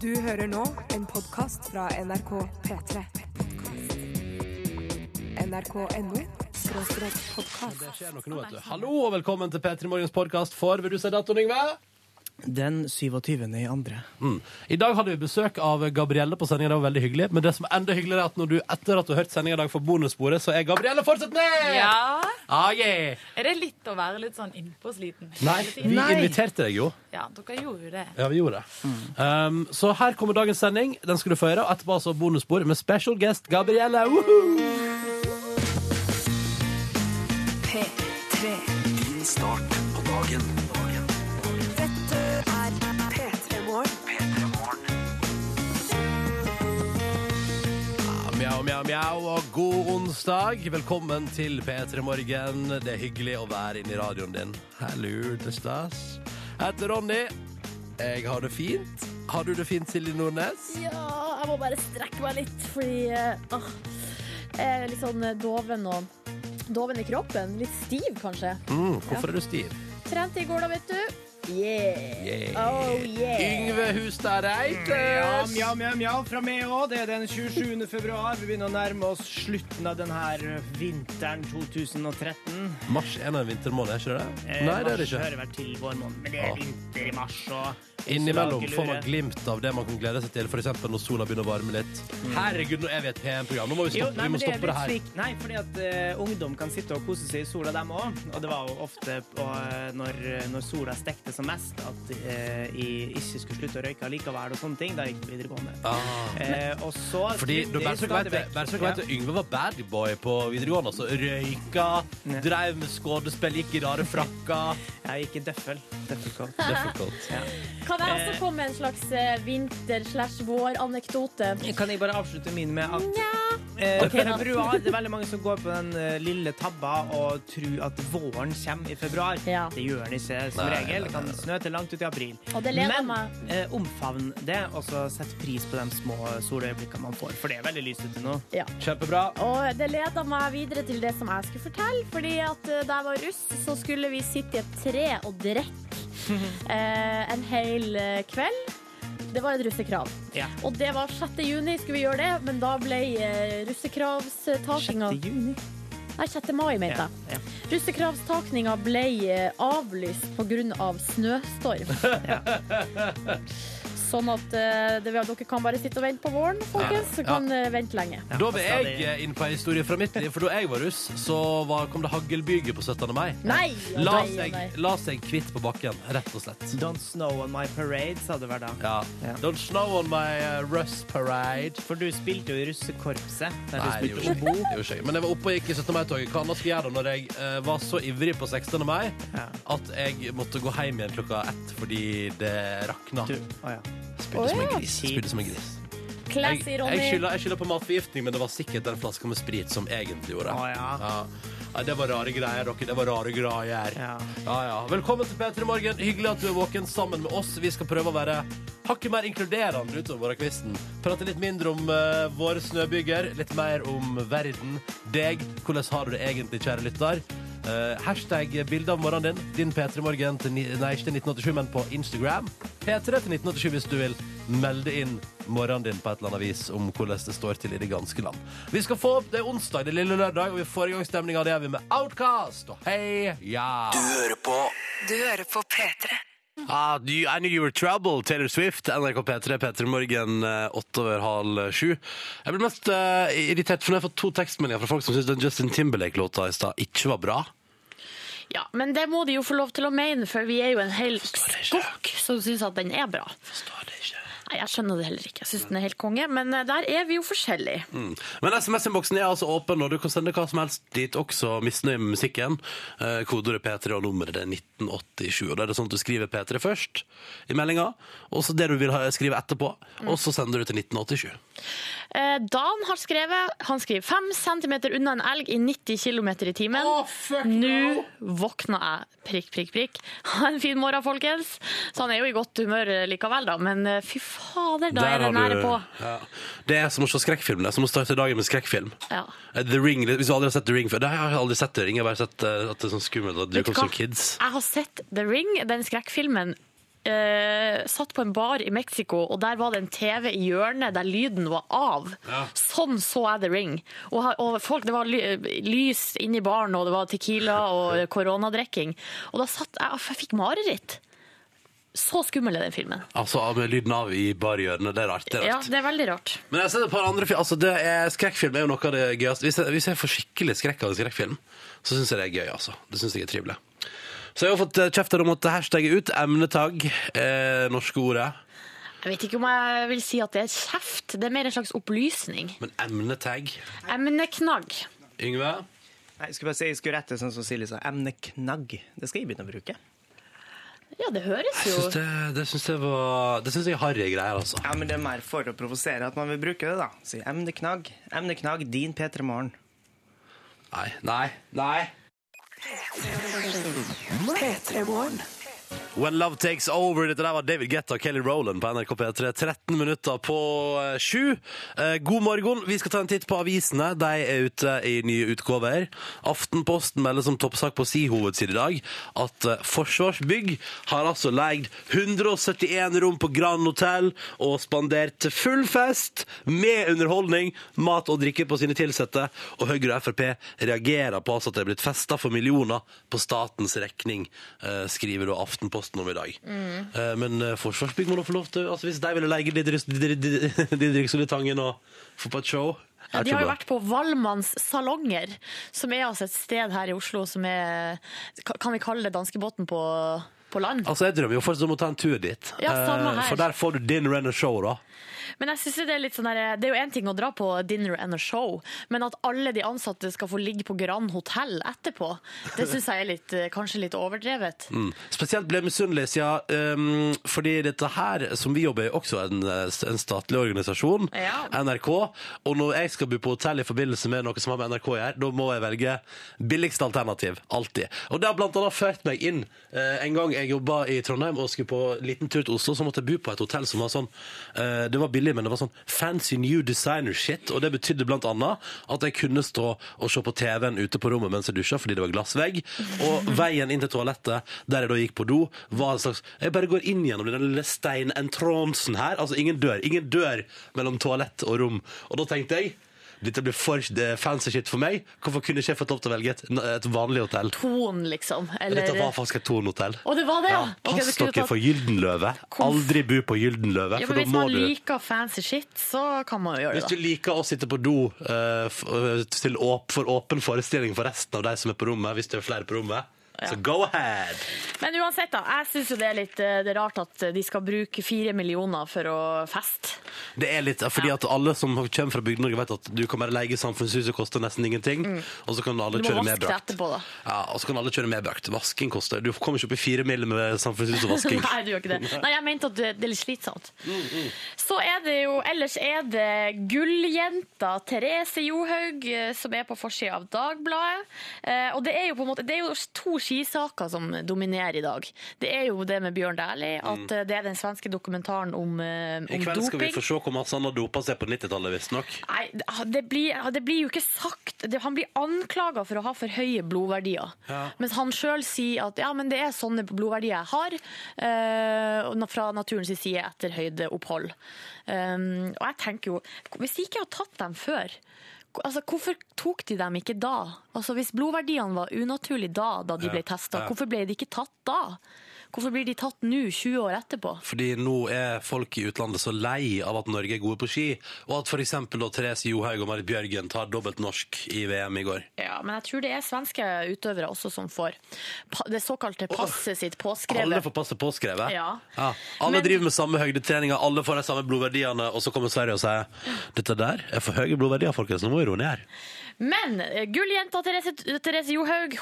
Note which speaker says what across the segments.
Speaker 1: Du hører nå en podkast fra NRK P3. NRK.no skråstrek
Speaker 2: Det
Speaker 1: podkast.
Speaker 2: skjer noe nå, vet du. Hallo og velkommen til P3 Morgens podkast for Vil du se datoen, Yngve? Hmm.
Speaker 3: Den 27. i andre.
Speaker 2: I dag hadde vi besøk av Gabrielle på sendinga. Det var veldig hyggelig. Men det som er enda hyggeligere, er at når du etter at du har hørt sendinga i dag, får bonussporet, så er Gabrielle fortsatt med!
Speaker 4: Ja.
Speaker 2: Ah, yeah.
Speaker 4: Er det litt å være litt sånn innpåsliten?
Speaker 2: Nei,
Speaker 4: hele
Speaker 2: vi
Speaker 4: tiden?
Speaker 2: inviterte deg jo.
Speaker 4: Ja, dere gjorde jo det.
Speaker 2: Ja, vi gjorde det. Um, så her kommer dagens sending. Den skal du få høre. Og etterpå altså bonusspor med special guest Gabrielle. Woohoo!
Speaker 1: P3.
Speaker 5: Din start på dagen. dagen.
Speaker 1: Dette er P3 Morgen.
Speaker 2: Mjau, mjau, mjau, og god onsdag. Velkommen til P3 Morgen. Det er hyggelig å være inne i radioen din. Hallo, det er stas. Jeg heter Ronny. Jeg har det fint. Har du det fint, Silje Nordnes?
Speaker 6: Ja, jeg må bare strekke meg litt, fordi eh, åh, jeg er litt sånn eh, doven og Doven i kroppen. Litt stiv, kanskje.
Speaker 2: Mm, hvorfor er du stiv?
Speaker 6: Trente i går, da, vet du. Yeah. Oh, yeah.
Speaker 2: Yngve Hustad Reites.
Speaker 3: Mjau, mjau, mjau fra meg òg. Det er den 27. februar. Vi begynner å nærme oss slutten av denne vinteren 2013.
Speaker 2: Mars er nå en vintermåned, er ikke det?
Speaker 3: Eh,
Speaker 2: Nei, det er det
Speaker 3: Mars
Speaker 2: ikke.
Speaker 3: hører vel til vår måned, men det
Speaker 2: Ja.
Speaker 3: er vinter i mars og
Speaker 2: Innimellom
Speaker 3: slagelure.
Speaker 2: får man glimt av det man kan glede seg til, f.eks. når sola begynner å varme litt. Herregud, nå er vi et PM-program. Nå må vi
Speaker 3: Mm. Jo,
Speaker 2: stoppe,
Speaker 3: nei,
Speaker 2: vi
Speaker 3: men
Speaker 2: må
Speaker 3: det er
Speaker 2: stoppe det
Speaker 3: litt
Speaker 2: her.
Speaker 3: slik Nei, fordi at eh, ungdom kan sitte og kose seg i sola, dem òg. Og det var jo ofte på, eh, når, når sola stekte som mest, at eh, jeg ikke skulle slutte å røyke allikevel og sånne ting. Da gikk jeg på videregående.
Speaker 2: Ah.
Speaker 3: Eh, og så
Speaker 2: Fordi du bare så ikke
Speaker 3: trivdes jeg
Speaker 2: vet
Speaker 3: stadig
Speaker 2: det,
Speaker 3: vekk.
Speaker 2: bare så ikke vet det, Yngve var badboy på videregående. Altså røyka,
Speaker 3: Ja.
Speaker 2: dreiv med skuespill, gikk i rare frakker.
Speaker 3: Ja, Jeg gikk i døffel. Døffelkål.
Speaker 2: Det er for kaldt.
Speaker 6: Kan jeg også komme med en slags eh, vinter-slash-vår-anekdote?
Speaker 3: Kan jeg bare avslutte min med at
Speaker 6: Nja
Speaker 3: eh,
Speaker 6: Ok, da.
Speaker 3: februar, Det er veldig mange som går på den eh, lille tabba og tror at våren kommer i februar.
Speaker 6: Ja.
Speaker 3: Det gjør den ikke som
Speaker 2: Nei, nei,
Speaker 3: regel.
Speaker 2: nei,
Speaker 3: Det kan
Speaker 2: nei.
Speaker 3: snø til langt ut i april.
Speaker 6: Og det leder
Speaker 3: Men
Speaker 6: meg.
Speaker 3: eh, omfavn det, og så sett pris på de små soløyeblikkene man får. For det er veldig lyst ute nå.
Speaker 6: Ja.
Speaker 2: Kjempebra.
Speaker 6: Og det leda meg videre til det som jeg skulle fortelle. Fordi at eh, da jeg var russ, så skulle vi sitte i et tre og drikke eh, en hel eh, kveld. Det var et russekrav.
Speaker 3: Ja.
Speaker 6: Og det var 6. juni skulle vi gjøre det, men da ble eh, russekravstakinga
Speaker 3: 6. juni.
Speaker 6: Nei, 6. mai, mente
Speaker 3: Ja, ja.
Speaker 6: jeg. Russekravstakinga ble eh, avlyst pga. Av snøstorm. Sånn at eh, det, dere kan bare sitte og vente på våren, folkens. Så
Speaker 2: Ja.
Speaker 6: kan eh, vente lenge.
Speaker 2: Da vil
Speaker 3: og
Speaker 2: jeg eh, inn på en historie fra mitt liv, for da jeg var russ, så var, kom det haglbyger på 17. mai.
Speaker 6: Nei! og
Speaker 2: La
Speaker 6: nei, og
Speaker 2: seg,
Speaker 6: nei.
Speaker 2: la seg kvitt på bakken, rett og slett.
Speaker 3: Don't snow on my parade, sa det hver dag.
Speaker 2: Ja.
Speaker 3: Ja.
Speaker 2: Don't snow on my eh, russ parade.
Speaker 3: For du spilte jo i russekorpset.
Speaker 2: Nei,
Speaker 3: Der du
Speaker 2: det
Speaker 3: spilte
Speaker 2: gjorde ikke jeg. Det gjorde ikke jeg. Men jeg var oppe og gikk i 17. mai-toget. Hva annet skulle jeg gjøre da når jeg eh, var så ivrig på 16. mai
Speaker 3: Ja.
Speaker 2: at jeg måtte gå hjem igjen klokka ett fordi det rakna?
Speaker 3: Du, å ja.
Speaker 2: Spydde som en
Speaker 6: Å ja.
Speaker 2: gris. Spydde som en gris. Jeg,
Speaker 6: Classy, Ronny.
Speaker 2: jeg, skylder, jeg skylder på matforgiftning, men det var sikkert den flaska med sprit som egentlig gjorde det.
Speaker 3: Å, ja.
Speaker 2: Ja, det var rare greier, dere. Det var rare greier.
Speaker 3: Ja.
Speaker 2: Ja, ja. Velkommen til P3 Morgen. Hyggelig at du er våken sammen med oss. Vi skal prøve å være hakket mer inkluderende utover morgenkvisten. Prate litt mindre om eh, våre snøbyger, litt mer om verden, deg. Hvordan har du det egentlig, kjære lytter? Eh, hashtag bilde av morgenen din. Din P3 Morgen til, ni- nei, ikke til 1987, men på Instagram. P3 til 1987 hvis du vil melde inn morgenen din på et eller annet vis om hvordan det står til i det ganske land. Vi skal få opp det er onsdag, det er lille lørdag, og vi får i gang stemninga. Det gjør vi med Outcast og Hei Ja!
Speaker 5: Du hører på
Speaker 1: Du hører på P3.
Speaker 2: Ah, you, I knew you were trouble, Taylor Swift, NRK P3, P3 Morgen, eh, åtte over halv eh, sju. Jeg ble mest eh, irritert, for når jeg har fått to tekstmeldinger fra folk som syns den Justin Timberlake-låta i stad ikke var bra.
Speaker 6: Ja, men det må de jo få lov til å mene, for vi er jo en hel
Speaker 2: det ikke.
Speaker 6: skokk som syns at den er bra.
Speaker 2: Forstår det ikke.
Speaker 6: Nei, jeg skjønner det heller ikke. Jeg syns den er helt konge, men eh, der er vi jo forskjellige.
Speaker 2: Mm. Men SMS-innboksen er altså åpen, og du kan sende hva som helst dit, også misnøye med musikken. Eh, Kodeordet P3 og nummeret det er 1987. Og da er det sånn at du skriver P3 først i meldinga, og så det du vil ha, skrive etterpå,
Speaker 6: Mm.
Speaker 2: og så sender du til 1987.
Speaker 6: Eh, Dan har skrevet Han skriver 5 cm unna en elg i 90 km i timen. Nå våkna jeg. Prikk, prikk, prikk. Ha en fin morgen, folkens. Så han er jo i godt humør eh, likevel, da. Men eh, fy fader, da er det
Speaker 2: har
Speaker 6: nære
Speaker 2: du-
Speaker 6: på.
Speaker 2: Ja. Det er som å se skrekkfilm. Det er som å starte dagen med skrekkfilm.
Speaker 6: Ja.
Speaker 2: Eh, The Ring, det- Hvis du aldri har sett The Ring før Det har jeg aldri sett The Ring. Jeg har bare sett eh, at det er sånn skummelt at det
Speaker 6: Vet du
Speaker 2: dukker opp som
Speaker 6: hva?
Speaker 2: kids.
Speaker 6: Jeg har sett The Ring, den skrekkfilmen. eh, satt på en bar i Mexico, og der var det en TV i hjørnet der lyden var av.
Speaker 2: Ja.
Speaker 6: Sånn så jeg The Ring. Og, ha- og folk, Det var ly, lys inni baren, og det var Tequila og koronadrikking. Og da satt jeg Jeg fikk mareritt. Så skummel er den filmen.
Speaker 2: Altså av- med lyden av i barhjørnet. Det er rart. Det er
Speaker 6: Ja,
Speaker 2: rart.
Speaker 6: Det er veldig rart.
Speaker 2: Men jeg har sett et par andre film. Altså, det er, skrekkfilm er jo noe av det gøyeste. Hvis jeg, hvis jeg får skikkelig skrekk av en skrekkfilm, så syns jeg det er gøy, altså. Det syns jeg er trivelig. Så jeg har fått eh, kjeft her om at hashtagget ut, emnetagg, eh, norske ordet.
Speaker 6: Jeg vet ikke om jeg vil si at det er kjeft. Det er mer en slags opplysning.
Speaker 2: Men emnetagg,
Speaker 6: Emneknagg.
Speaker 2: Yngve?
Speaker 3: Nei, jeg skulle bare si, jeg skulle rette sånn som Silje sa. Emneknagg. Det skal jeg begynne å bruke.
Speaker 6: Ja, det høres jo
Speaker 2: Syns det, det syns jeg var Det syns jeg er harry greier, altså.
Speaker 3: Ja, men det er mer for å provosere at man vil bruke det, da. Si emneknagg. Emneknagg, din P3 Morgen.
Speaker 2: Nei. Nei. Nei.
Speaker 1: P3-morgen.
Speaker 2: When Love Takes Over. Dette der var David Guetta og Kelly Rowland på NRK P3. 13 minutter på eh, sju. Eh, God morgen. Vi skal ta en titt på avisene. De er ute i nye utgaver. Aftenposten melder som toppsak på si hovedside i dag at eh, Forsvarsbygg har altså leid 171 rom på Grand Hotel og spandert full fest med underholdning, mat og drikke på sine tilsette. Og Høyre og Frp reagerer på altså at det er blitt festa for millioner på statens regning, eh, skriver da Aftenposten om i dag.
Speaker 6: Mm.
Speaker 2: Eh, men eh, Forsvarsbygg må da få lov til altså Hvis de ville leie Didrik Didrik- Didrik- Didrik Solitangen og få på et show
Speaker 6: Ja,
Speaker 2: er
Speaker 6: de
Speaker 2: ikke
Speaker 6: har jo
Speaker 2: bra.
Speaker 6: vært på Valmanns salonger, som er altså et sted her i Oslo som er Kan vi kalle det danskebåten på, på land?
Speaker 2: Altså, Jeg drømmer jo fortsatt om å ta en tur dit.
Speaker 6: Ja, samme
Speaker 2: Eh,
Speaker 6: her.
Speaker 2: for der får du dinner and a show, da.
Speaker 6: Men jeg synes jo det er litt sånn der, Det er jo én ting å dra på dinner and a show, men at alle de ansatte skal få ligge på Grand Hotell etterpå, det syns jeg er litt, eh, kanskje litt overdrevet.
Speaker 2: Mm. Spesielt ble jeg misunnelig, ja, um, fordi dette her, som vi jobber i, også er en, eh, s- en statlig organisasjon,
Speaker 6: Ja.
Speaker 2: NRK, og når jeg skal bo på hotell i forbindelse med noe som har med NRK å gjøre, da må jeg velge billigste alternativ, alltid. Og det har blant annet ført meg inn. Eh, en gang jeg jobba i Trondheim og skulle på en liten tur til Oslo, så måtte jeg bo på et hotell som var sånn, eh, det var billig, men det var sånn fancy new designer shit, og det betydde blant annet at jeg kunne stå og se på TV-en ute på rommet mens jeg dusja, fordi det var glassvegg, og veien inn til toalettet, der jeg da gikk på do, var en slags Jeg bare går inn gjennom den lille steinentronsen her. Altså ingen dør. Ingen dør mellom toalett og rom. Og da tenkte jeg dette blir for det er fancy shit for meg. Hvorfor kunne ikke jeg fått lov til å velge et, et vanlig hotell?
Speaker 6: Ton, liksom.
Speaker 2: Dette var
Speaker 6: Eller
Speaker 2: faktisk et Thornhotell.
Speaker 6: Å, det var det, ja! Ok, du
Speaker 2: Pass
Speaker 6: kunne
Speaker 2: dere
Speaker 6: tatt-
Speaker 2: for Gyldenløve. Aldri bo på Gyldenløve,
Speaker 6: ja,
Speaker 2: for
Speaker 6: men
Speaker 2: da
Speaker 6: Hvis
Speaker 2: må
Speaker 6: man
Speaker 2: du
Speaker 6: liker fancy shit, så kan man jo gjøre det.
Speaker 2: Hvis
Speaker 6: da.
Speaker 2: du liker å sitte på do eh, f- eh, til åp for åpen forestilling for resten av de som er på rommet, hvis det er flere på rommet, så go ahead!
Speaker 6: Men uansett, da. Jeg syns jo det er litt eh, det er rart at de skal bruke fire millioner for å feste.
Speaker 2: Det er litt, eh, fordi at alle som kommer fra Bygde-Norge vet at du kan bare leie samfunnshuset, koster nesten ingenting, og så kan alle
Speaker 6: Mm. Du må
Speaker 2: kjøre
Speaker 6: vaske det
Speaker 2: medbrakt.
Speaker 6: etterpå, da.
Speaker 2: Ja, og så kan alle kjøre medbrakt. Vasking koster. Du kommer ikke opp i fire mil med samfunnshuset og vasking. Mm,
Speaker 6: Nei, du gjør ikke det. Nei, jeg mente at det det er litt slitsomt. Så er det jo Ellers er det gulljenta Therese Johaug eh, som er på forsida av Dagbladet. Eh, Og det er jo på en måte Det er jo to skisaker som dominerer i dag. Det er jo det med Bjørn Dæhlie, at eh, det er den svenske dokumentaren om, eh, om
Speaker 2: Mm. I
Speaker 6: doping.
Speaker 2: kveld skal vi få se hvor masse han har dopa seg på 90-tallet, visstnok.
Speaker 6: Nei, det blir, ah, det blir jo ikke sagt det, Han blir anklaga for å ha for høye blodverdier.
Speaker 2: Ja.
Speaker 6: Mens han sjøl sier at ja, men det er sånne blodverdier jeg har eh, og na- fra naturens side etter høydeopphold. Um, og jeg tenker jo Hvis de ikke har tatt dem før, ko- altså, hvorfor tok de dem ikke da? Altså, hvis blodverdiene var unaturlige da, da de
Speaker 2: Ja,
Speaker 6: ble testa,
Speaker 2: ja.
Speaker 6: hvorfor ble de ikke tatt da? Hvorfor blir de tatt nå, 20 år etterpå?
Speaker 2: Fordi nå er folk i utlandet så lei av at Norge er gode på ski, og at f.eks. Therese Johaug og Marit Bjørgen tar dobbelt norsk i VM i går.
Speaker 6: Ja, men jeg tror det er svenske utøvere også som får pa- det såkalte passet sitt
Speaker 2: Alle
Speaker 6: påskrevet.
Speaker 2: får passe påskrevet.
Speaker 6: Ja.
Speaker 2: Alle
Speaker 6: Men-
Speaker 2: driver med samme høydetreninga, alle får de samme blodverdiene, og så kommer Sverige og sier dette der er for høye blodverdier, folkens, nå må vi roe ned.
Speaker 6: Men eh, gulljenta Therese, Therese Johaug,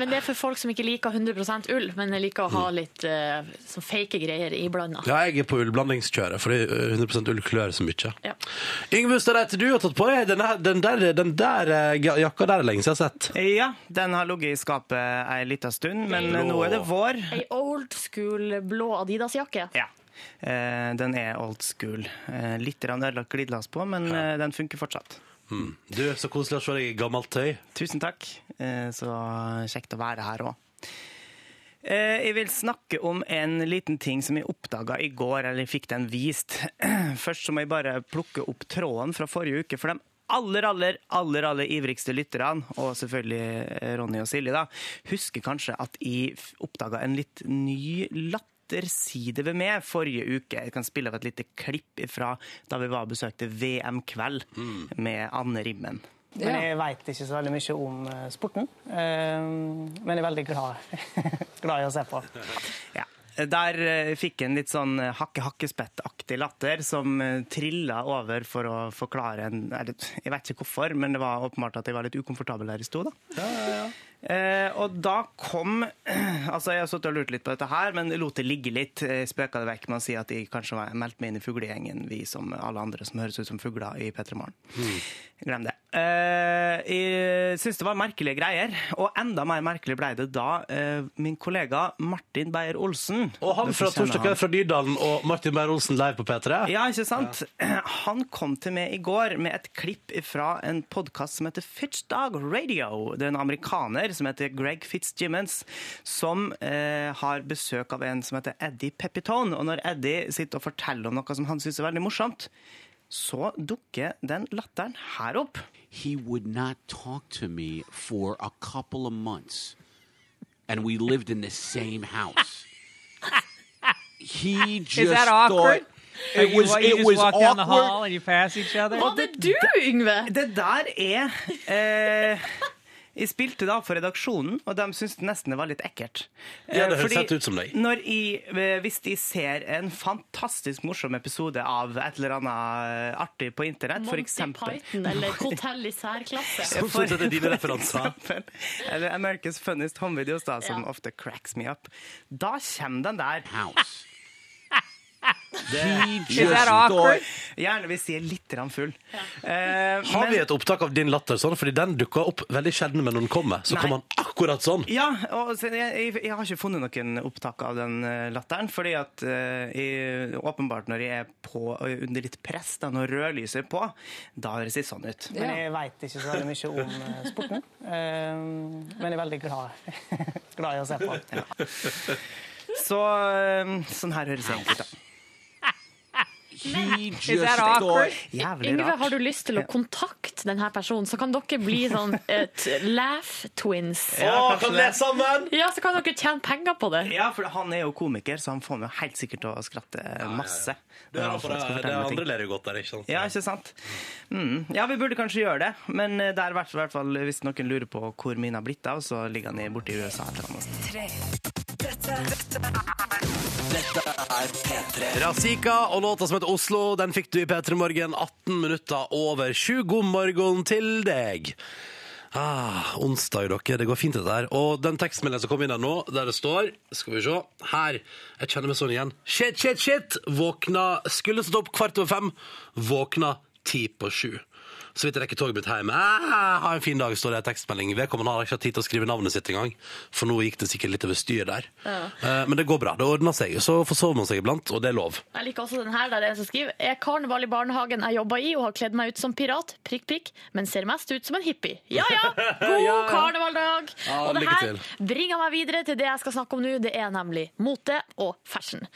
Speaker 6: Men det er for folk som ikke liker 100 ull, men liker å ha litt eh, sånn fake greier iblanda.
Speaker 2: Ja, jeg er på ullblandingskjøret, fordi ø, 100 eh, ull klør så mye.
Speaker 6: Ja.
Speaker 2: Yngve Ustadreite, du har tatt på deg den, her- den der, den der eh, ja- jakka der er lenge siden jeg har sett.
Speaker 3: Ja, den har ligget i skapet ei lita stund, men
Speaker 2: Blå.
Speaker 3: nå er det vår.
Speaker 6: Ei old school blå Adidas-jakke.
Speaker 3: Ja. Eh, Den er old school. Eh, Litt grann ødelagt glidelås på, men eh, den funker fortsatt.
Speaker 2: Hmm. Du, så koselig å se deg i gammelt tøy.
Speaker 3: Tusen takk. Eh, Så kjekt å være her òg. Jeg vil snakke om en liten ting som jeg oppdaga i går, eller fikk den vist. Først så må jeg bare plukke opp tråden fra forrige uke, for de aller, aller, aller aller ivrigste lytterne, og selvfølgelig eh, Ronny og Silje, da, husker kanskje at jeg oppdaga en litt ny latterside ved meg forrige uke. Jeg kan spille av et lite klipp fra da vi var og besøkte VM-kveld med Anne Rimmen.
Speaker 7: Men jeg veit ikke så veldig mye om eh, sporten. eh, Men jeg er veldig glad, glad i å se på.
Speaker 3: Ja. Der eh, fikk jeg en litt sånn eh, hakke-hakkespett-aktig latter som eh, trilla over for å forklare en er det- Jeg vet ikke hvorfor, men det var åpenbart at jeg var litt ukomfortabel der jeg sto, da. Eh, og da kom Altså, jeg har sittet og lurt litt på dette her, men lot det ligge litt. Jeg spøka det vekk med å si at jeg kanskje var- meldte meg inn i fuglegjengen, vi som alle andre som høres ut som fugler i P3 Morgen.
Speaker 2: Mm.
Speaker 3: Glem det. Eh, jeg syns det var merkelige greier, og enda mer merkelig ble det da eh, min kollega Martin Beyer-Olsen
Speaker 2: Og han
Speaker 3: Dere
Speaker 2: fra
Speaker 3: kjenner
Speaker 2: Torsdag
Speaker 3: han.
Speaker 2: kveld fra Nydalen og Martin Beyer-Olsen live på P3.
Speaker 3: Ja, ikke sant? Han kom til meg i går med et klipp fra en podkast som heter Fitchdog Radio. Det er en amerikaner som heter Greg Fitzgimmons, som eh, har besøk av en som heter Eddie Pepitone. Og når Eddie sitter og forteller om noe som han syns er veldig morsomt, så dukker den latteren her opp.
Speaker 8: he would not talk to me for a couple of months. And we lived in the same house. he just
Speaker 9: that
Speaker 8: thought
Speaker 9: awkward?
Speaker 8: it was
Speaker 9: you,
Speaker 8: it
Speaker 9: just
Speaker 8: was
Speaker 9: walk down the
Speaker 8: awkward.
Speaker 9: hall and you pass each other.
Speaker 6: Var det du, Yngve?
Speaker 3: Det der er eh, Jeg spilte det av for redaksjonen, og de syntes nesten det var litt ekkelt.
Speaker 2: Ja, det
Speaker 3: Eh,
Speaker 2: høres
Speaker 3: fordi
Speaker 2: helt ut som deg.
Speaker 3: Når jeg, hvis de ser en fantastisk morsom episode av et eller annet artig på internett, for
Speaker 6: Monty
Speaker 3: eksempel
Speaker 6: Python eller Hotell i særklasse.
Speaker 2: Som stort sett er dine referanser.
Speaker 3: eksempel, Eller America's Funniest Home Videos, da, som
Speaker 6: Ja.
Speaker 3: ofte cracks me up. Da kommer den der.
Speaker 8: house. he just
Speaker 9: that
Speaker 8: thought
Speaker 9: awkward?
Speaker 3: Gjerne hvis jeg er litt grann full. Eh,
Speaker 2: Har
Speaker 3: men-
Speaker 2: vi et opptak av din latter sånn? Fordi den dukker opp veldig sjelden, men når den kommer, så
Speaker 3: Nei.
Speaker 2: kommer den akkurat sånn.
Speaker 3: Ja, og så jeg, jeg, jeg har ikke funnet noen opptak av den eh, latteren. fordi at eh, jeg, åpenbart når jeg er på, og under litt press, da, når rødlyset er på, da høres jeg sånn ut.
Speaker 7: Men jeg veit ikke så veldig mye om eh, sporten. eh, Men jeg er veldig glad, glad i å se på.
Speaker 3: Så eh, sånn her høres jeg ut. da.
Speaker 8: he just
Speaker 9: that
Speaker 8: thought
Speaker 9: awkward?
Speaker 3: Jævlig
Speaker 6: Yngve, har
Speaker 3: rart.
Speaker 6: du lyst til å kontakte denne personen, så kan dere bli sånn et laugh twins.
Speaker 2: Å, kan vi lese sammen!
Speaker 6: Ja, så kan dere tjene penger på det.
Speaker 3: Ja, for han er jo komiker, så han får meg helt sikkert til å skratte masse.
Speaker 2: Det,
Speaker 3: når
Speaker 2: er,
Speaker 3: han
Speaker 2: for det,
Speaker 3: skal
Speaker 2: er-
Speaker 3: fortelle
Speaker 2: det
Speaker 3: meg ting.
Speaker 2: andre ler jo godt der, ikke sant?
Speaker 3: Ja, ikke sant? Mm. Ja, vi burde kanskje gjøre det, men eh, det er i hvert hvert fall hvis noen lurer på hvor min har blitt av, så ligger han i- borte i USA et eller annet. sted.
Speaker 2: Razika og låta som heter Oslo, den fikk du i P3 Morgen 18 minutter over 7. God morgen til deg. Ah, onsdag, dere. Det går fint, dette her. Og den tekstmeldingen som kom inn her nå, der det står Skal vi se. Her. Jeg kjenner meg sånn igjen. Shit, shit, shit! Våkna Skulle stått opp kvart over fem. Våkna ti på sju. Så vidt jeg rekker toget mitt hjem. Ah, ha en fin dag, står det i tekstmelding. Vedkommende har ikke hatt tid til å skrive navnet sitt engang, for nå gikk det sikkert litt over styr der. Eh, Men det går bra. Det ordner seg. Så forsover man seg iblant, og det er lov.
Speaker 6: Jeg liker også den her, der det er en som skriver Er karneval i barnehagen jeg jobba i og har kledd meg ut som pirat, prikk, prikk, men ser mest ut som en hippie. Ja ja, god karnevaldag!
Speaker 2: Ja,
Speaker 6: og det
Speaker 2: lykke
Speaker 6: her bringer meg videre til det jeg skal snakke om nå, det er nemlig mote og fashion.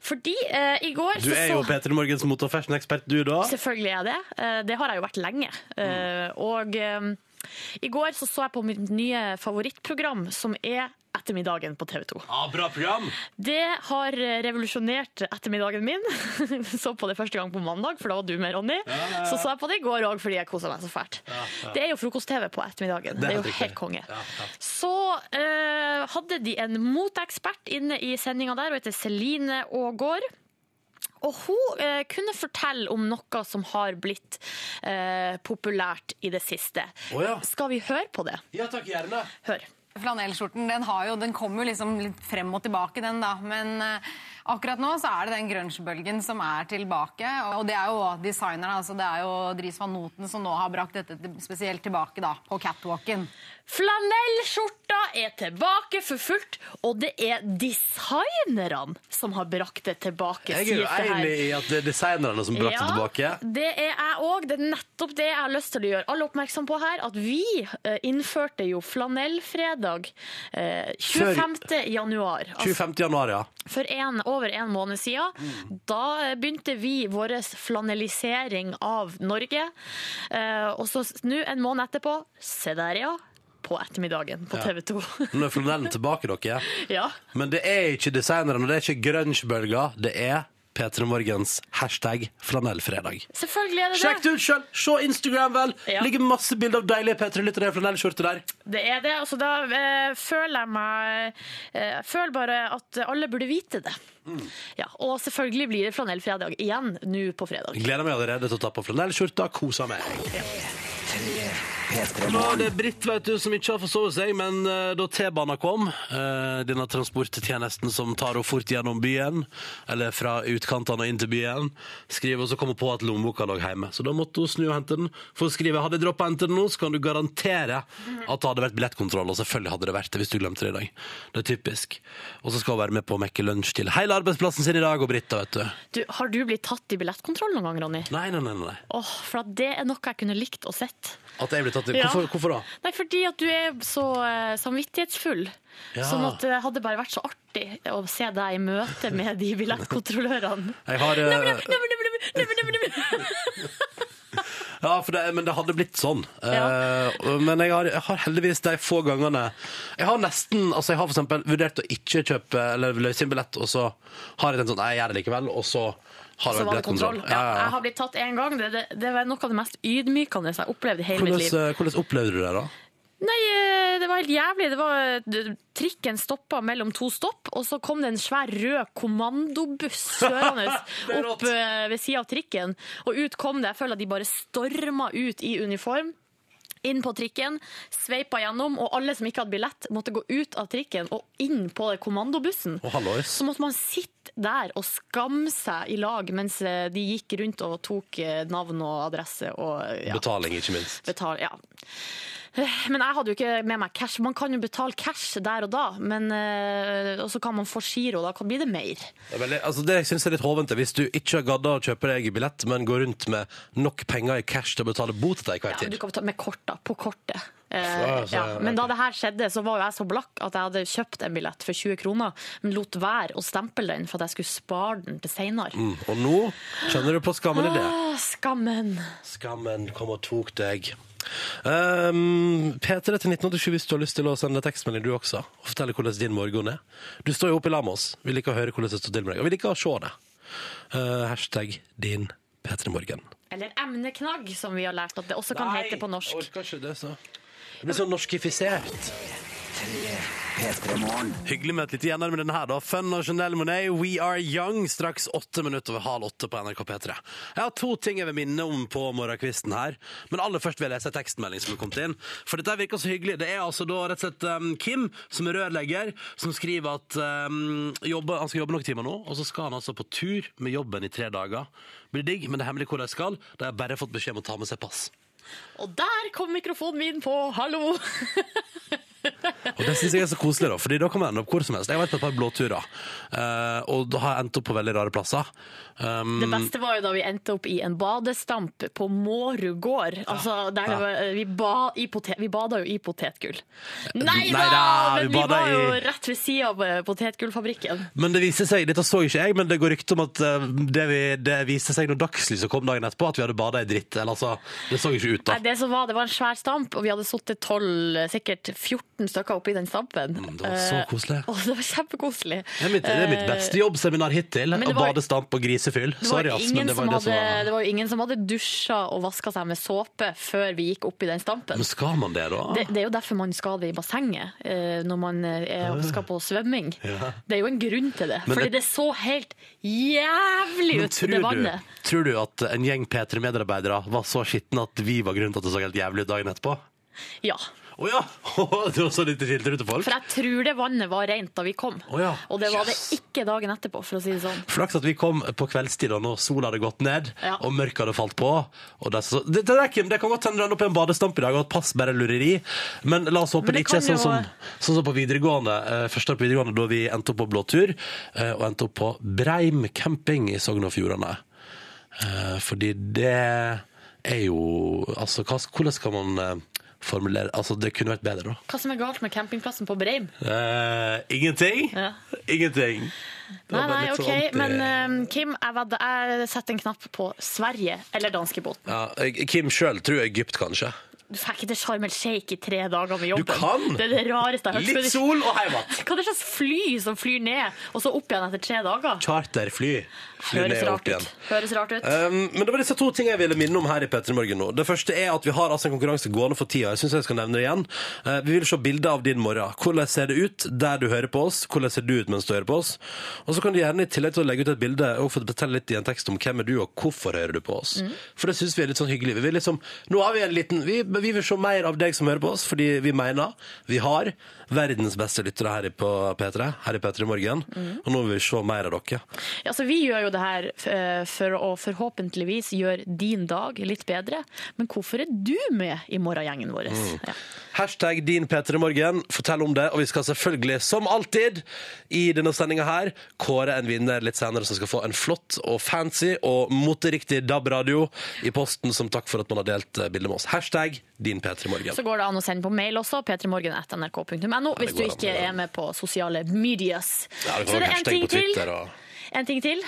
Speaker 6: Fordi eh, i går
Speaker 2: Du
Speaker 6: så
Speaker 2: er
Speaker 6: så
Speaker 2: jo Peter Morgens mote- og fashion-ekspert, du, da.
Speaker 6: Selvfølgelig er jeg det. Eh, Det har jeg jo vært lenge. Eh, Og eh, i går så, så jeg på mitt nye favorittprogram, som er Ettermiddagen på TV 2.
Speaker 2: Ah, bra program!
Speaker 6: Det har revolusjonert ettermiddagen min. så på det første gang på mandag, for da var du med, Ronny. Så så jeg på det i går òg, fordi jeg kosa meg så fælt. Det er jo frokost-TV på ettermiddagen. Det er,
Speaker 2: helt
Speaker 6: jo helt
Speaker 2: riktig.
Speaker 6: konge. Så eh, hadde de en moteekspert inne i sendinga der, hun heter Celine Aagaard. Og hun eh, kunne fortelle om noe som har blitt eh, populært i det siste.
Speaker 2: Å ja.
Speaker 6: Skal vi høre på det?
Speaker 2: Ja takk, gjerne.
Speaker 6: Hør.
Speaker 9: Flanellskjorten den, har jo, den kommer jo liksom litt frem og tilbake, den da. Men eh, akkurat nå så er det den grungebølgen som er tilbake. Og det er jo designerne, altså det er jo Dries van Noten som nå har brakt dette til, spesielt tilbake da, på catwalken.
Speaker 6: Flanellskjorta er tilbake for fullt, og det er designerne som har brakt det tilbake.
Speaker 2: Jeg er jo
Speaker 6: sies det her.
Speaker 2: enig i at det er designerne som brakte det tilbake.
Speaker 6: det er jeg òg. Det er nettopp det jeg har lyst til å gjøre alle oppmerksom på her. At vi eh, innførte jo flanellfredag eh, 25. januar. Altså
Speaker 2: 25. januar, ja.
Speaker 6: for en, over en måned siden.
Speaker 2: Mm.
Speaker 6: Da eh, begynte vi vår flanellisering av Norge. Eh, og så s- nå, en måned etterpå, se der, ja. På ettermiddagen på TV 2.
Speaker 2: Nå er flanellen tilbake, dere.
Speaker 6: ja.
Speaker 2: Men det er ikke designerne, og det er ikke grungebølga. Det er P3 Morgens hashtag flanellfredag.
Speaker 6: Selvfølgelig er det
Speaker 2: Sjekk
Speaker 6: det.
Speaker 2: det ut sjøl! Se Instagram, vel!
Speaker 6: Ja.
Speaker 2: Ligger masse bilder av deilige P3-lyttere i flanellskjorte der.
Speaker 6: Det er det. Altså, da eh, føler jeg meg eh, jeg Føler bare at alle burde vite det.
Speaker 2: Mm.
Speaker 6: Ja, og selvfølgelig blir det flanellfredag igjen nå på fredag.
Speaker 2: Gleder meg allerede til å ta på flanellskjorta. Koser meg. Nå er det Britt vet du, som ikke har forsovet seg, men eh, da T-banen kom, eh, denne transporttjenesten som tar henne fort gjennom byen, eller fra utkantene og inn til byen, skriver og så kommer hun på at lommeboka lå hjemme. Så da måtte hun snu og hente den. For hun skriver hadde jeg droppa å hente den nå, så kan du garantere at det hadde vært billettkontroll. Og selvfølgelig hadde det vært det hvis du glemte det i dag. Det er typisk. Og så skal hun være med på å mekke lunsj til hele arbeidsplassen sin i dag, og Britta, vet du.
Speaker 6: Du, har du blitt tatt i billettkontroll noen gang, Ronny?
Speaker 2: Nei, nei, nei. nei.
Speaker 6: Åh, For at det er noe jeg kunne likt å sett.
Speaker 2: At jeg blir tatt i.
Speaker 6: Ja.
Speaker 2: Hvorfor, hvorfor da?
Speaker 6: Nei, fordi at du er så eh, samvittighetsfull.
Speaker 2: Ja.
Speaker 6: Sånn at det hadde bare vært så artig å se deg i møte med de billettkontrollørene.
Speaker 2: Jeg har, eh,
Speaker 6: Nummer, nummer, nummer, nummer, nummer, nummer, nummer.
Speaker 2: Ja, for det, men det hadde blitt sånn.
Speaker 6: Ja.
Speaker 2: Eh, men jeg har, jeg har heldigvis de få gangene Jeg har nesten altså jeg har for eksempel vurdert å ikke kjøpe eller løse inn billett, og så har jeg tenkt sånn Nei, jeg gjør det likevel, og så har
Speaker 6: Så
Speaker 2: jeg
Speaker 6: var det
Speaker 2: billettkontroll.
Speaker 6: kontroll. Ja, jeg har blitt tatt én gang. Det, det, det var noe av det mest ydmykende jeg opplevde i hele mitt
Speaker 2: Hvordan,
Speaker 6: liv.
Speaker 2: eh, hvordan opplevde du det, da?
Speaker 6: Nei, eh, det var helt jævlig. Det var, eh, trikken stoppa mellom to stopp, og så kom det en svær rød kommandobuss kjørende
Speaker 2: Det er rått.
Speaker 6: opp eh, ved sida av trikken. Og ut kom det. Jeg føler at de bare storma ut i uniform. Inn på trikken, sveipa gjennom, og alle som ikke hadde billett, måtte gå ut av trikken og inn på kommandobussen.
Speaker 2: Å, hallois.
Speaker 6: Så måtte man sitte der og skamme seg i lag mens eh, de gikk rundt og tok eh, navn og adresse og eh, ja.
Speaker 2: Betaling, ikke minst.
Speaker 6: Betal, ja. Men jeg hadde jo ikke med meg cash. Man kan jo betale cash der og da, men eh, og så kan man få giro, da kan bli det mer.
Speaker 2: Det, er veldig, altså det jeg synes er litt hovent, er hvis du ikke har gadda å kjøpe deg billett, men går rundt med nok penger i cash til å betale bot til deg hver
Speaker 6: Ja, men
Speaker 2: tid.
Speaker 6: du kan betale med kort, da. På kortet. Eh,
Speaker 2: Ja, så-
Speaker 6: ja. Men da det her skjedde, så var jo jeg så blakk at jeg hadde kjøpt en billett for 20 kroner, men lot være å stemple den for at jeg skulle spare den til seinere.
Speaker 2: Mm, Og nå kjenner du på skammen i det.
Speaker 6: Skammen!
Speaker 2: Skammen kom og tok deg. Um, P3 til 1987 hvis du har lyst til å sende tekstmelding du også, og fortelle hvordan din morgen er. Du står jo oppe i lag med oss. Vi liker å høre hvordan det står til med deg, og vi liker å se det. Uh, hashtag din P3morgen.
Speaker 6: Eller emneknagg, som vi har lært at det også kan hete på norsk.
Speaker 2: Orker ikke det, så. Det blir sånn norskifisert.
Speaker 5: P3 Morgen.
Speaker 2: Hyggelig med et lite gjennom med denne her, da. Fun og Chanel Monet, We Are Young, straks åtte minutter over halv åtte på NRK P3. Jeg har to ting jeg vil minne om på morgenkvisten her, men aller først vil jeg lese en tekstmelding som er kommet inn. For dette virker så hyggelig. Det er altså da rett og slett um, Kim, som er rørlegger, som skriver at um, jobber, han skal jobbe noen timer nå, og så skal han altså på tur med jobben i tre dager. Blir digg, men det er hemmelig hvor de skal. De har bare fått beskjed om å ta med seg pass.
Speaker 6: Og der kom mikrofonen min på! Hallo!
Speaker 2: Og det syns jeg er så koselig, da, Fordi da kan man ende opp hvor som helst. Jeg har vært på et par blåturer, eh, og da har jeg endt opp på veldig rare plasser. Um,
Speaker 6: Det beste var jo da vi endte opp i en badestamp på Mårud gård. Altså, der det var, vi, ba i potet, vi bada jo i potetgull. Nei da!
Speaker 2: da, vi
Speaker 6: Men vi
Speaker 2: bada
Speaker 6: var jo
Speaker 2: i-
Speaker 6: rett ved sida av eh, potetgullfabrikken.
Speaker 2: Men det viste seg, dette så ikke jeg, men det går rykte om at eh, det, vi, det viste seg når dagslyset kom dagen etterpå, at vi hadde bada i dritt. Eller altså, det så ikke ut da.
Speaker 6: Nei, det, som var, det var en svær stamp, og vi hadde sittet 12, sikkert 14 stykker oppi den stampen.
Speaker 2: Mm, det var så
Speaker 6: Eh,
Speaker 2: koselig.
Speaker 6: og det var kjempekoselig.
Speaker 2: Det er mitt, det er mitt beste jobbseminar hittil.
Speaker 6: men det
Speaker 2: Å
Speaker 6: var-
Speaker 2: bade, stampe og grisefyll.
Speaker 6: Det var,
Speaker 2: Sorry, ass,
Speaker 6: ingen
Speaker 2: men det
Speaker 6: som
Speaker 2: var det som
Speaker 6: hadde,
Speaker 2: var
Speaker 6: det var jo ingen som hadde dusja og vaska seg med såpe før vi gikk opp i den stampen.
Speaker 2: Men skal man det, da?
Speaker 6: Det, det er jo derfor man skal det i bassenget eh, når man eh, er, skal på svømming. Det er jo en grunn til det.
Speaker 2: Men
Speaker 6: Fordi
Speaker 2: det-
Speaker 6: det så helt jævlig
Speaker 2: Men
Speaker 6: ut, det
Speaker 2: tror du,
Speaker 6: vannet.
Speaker 2: tror du at en gjeng P3-medarbeidere var så skitne at vi var grunnen til at det så helt jævlig ut dagen etterpå?
Speaker 6: Ja.
Speaker 2: Å ja! det var så lite filter ute, folk.
Speaker 6: For jeg tror det vannet var rent da vi kom.
Speaker 2: Å ja.
Speaker 6: Og det var det
Speaker 2: Yes.
Speaker 6: ikke dagen etterpå, for å si det sånn.
Speaker 2: Flaks at vi kom på kveldstid da når sola hadde gått ned
Speaker 6: Ja.
Speaker 2: og mørket hadde falt på. Og det, så, det, det, der, Kim, det kan godt hende du ender opp i en badestamp i dag og at pass bare er lureri. Men la oss håpe
Speaker 6: Men
Speaker 2: det
Speaker 6: det
Speaker 2: ikke er
Speaker 6: kan
Speaker 2: sånn
Speaker 6: jo-
Speaker 2: som, sånn som på videregående. eh, første år på videregående da vi endte opp på blåtur, eh, og endte opp på Breim camping i Sogn og Fjordane. Eh, fordi det er jo Altså, hva, hvordan skal man eh, formulere Altså, det kunne vært bedre, da.
Speaker 6: Hva som er galt med campingplassen på Breim?
Speaker 2: Eh, ingenting.
Speaker 6: Ja.
Speaker 2: Ingenting. Det
Speaker 6: Nei,
Speaker 2: var
Speaker 6: nei,
Speaker 2: litt
Speaker 6: ok.
Speaker 2: sånn anti-
Speaker 6: Men eh, Kim, jeg, vedder- jeg setter en knapp på Sverige eller danskebåten.
Speaker 2: Ja, Kim sjøl tror Egypt, kanskje.
Speaker 6: Du får ikke til Sharm el Sheikh i tre dager med jobben.
Speaker 2: kan!
Speaker 6: Det er det rareste jeg har hørt.
Speaker 2: Litt sol og heim igjen.
Speaker 6: Hva er det slags fly som flyr ned, og så opp igjen etter tre dager?
Speaker 2: Charterfly. Fly
Speaker 6: Høres
Speaker 2: ned og opp
Speaker 6: rart
Speaker 2: igjen.
Speaker 6: ut. Høres rart ut.
Speaker 2: Um, men det var disse to tingene jeg ville minne om her i Petter Morgen nå. Det første er at vi har altså en konkurranse gående for tida. Jeg synes jeg skal nevne det igjen. Eh, vi vil se bilder av din morgen. Hvordan ser det ut der du hører på oss? Hvordan ser du ut mens du hører på oss? Og så kan du gjerne i tillegg til å legge ut et bilde og få fortelle litt i en tekst om hvem er du og hvorfor hører du på oss. For det synes vi er litt sånn hyggelig. Vi vil liksom, nå har vi en liten, vi, vi vil se mer av deg som hører på oss, fordi vi mener vi har verdens beste lyttere her i på P3, her i P3 Morgen. Og nå vil vi se mer av dere.
Speaker 6: Ja, så vi gjør jo det her eh, for å forhåpentligvis gjøre din dag litt bedre, men hvorfor er du med i morgengjengen vår?
Speaker 2: Mm.
Speaker 6: Ja.
Speaker 2: Hashtag din P3morgen. Fortell om det. Og vi skal selvfølgelig, som alltid, i denne sendinga her kåre en vinner litt senere som skal få en flott og fancy og moteriktig DAB-radio i posten som takk for at man har delt eh, bildet med oss. Hashtag din P3morgen.
Speaker 6: Så går det an å sende på mail også, p3morgen.nrk.no, hvis du
Speaker 2: går an,
Speaker 6: ikke
Speaker 2: det går
Speaker 6: er med på sosiale medias.
Speaker 2: Ja, det kan
Speaker 6: så
Speaker 2: være
Speaker 6: det er en
Speaker 2: hashtag
Speaker 6: ting
Speaker 2: på
Speaker 6: til,
Speaker 2: Twitter og- Mm.
Speaker 6: en ting til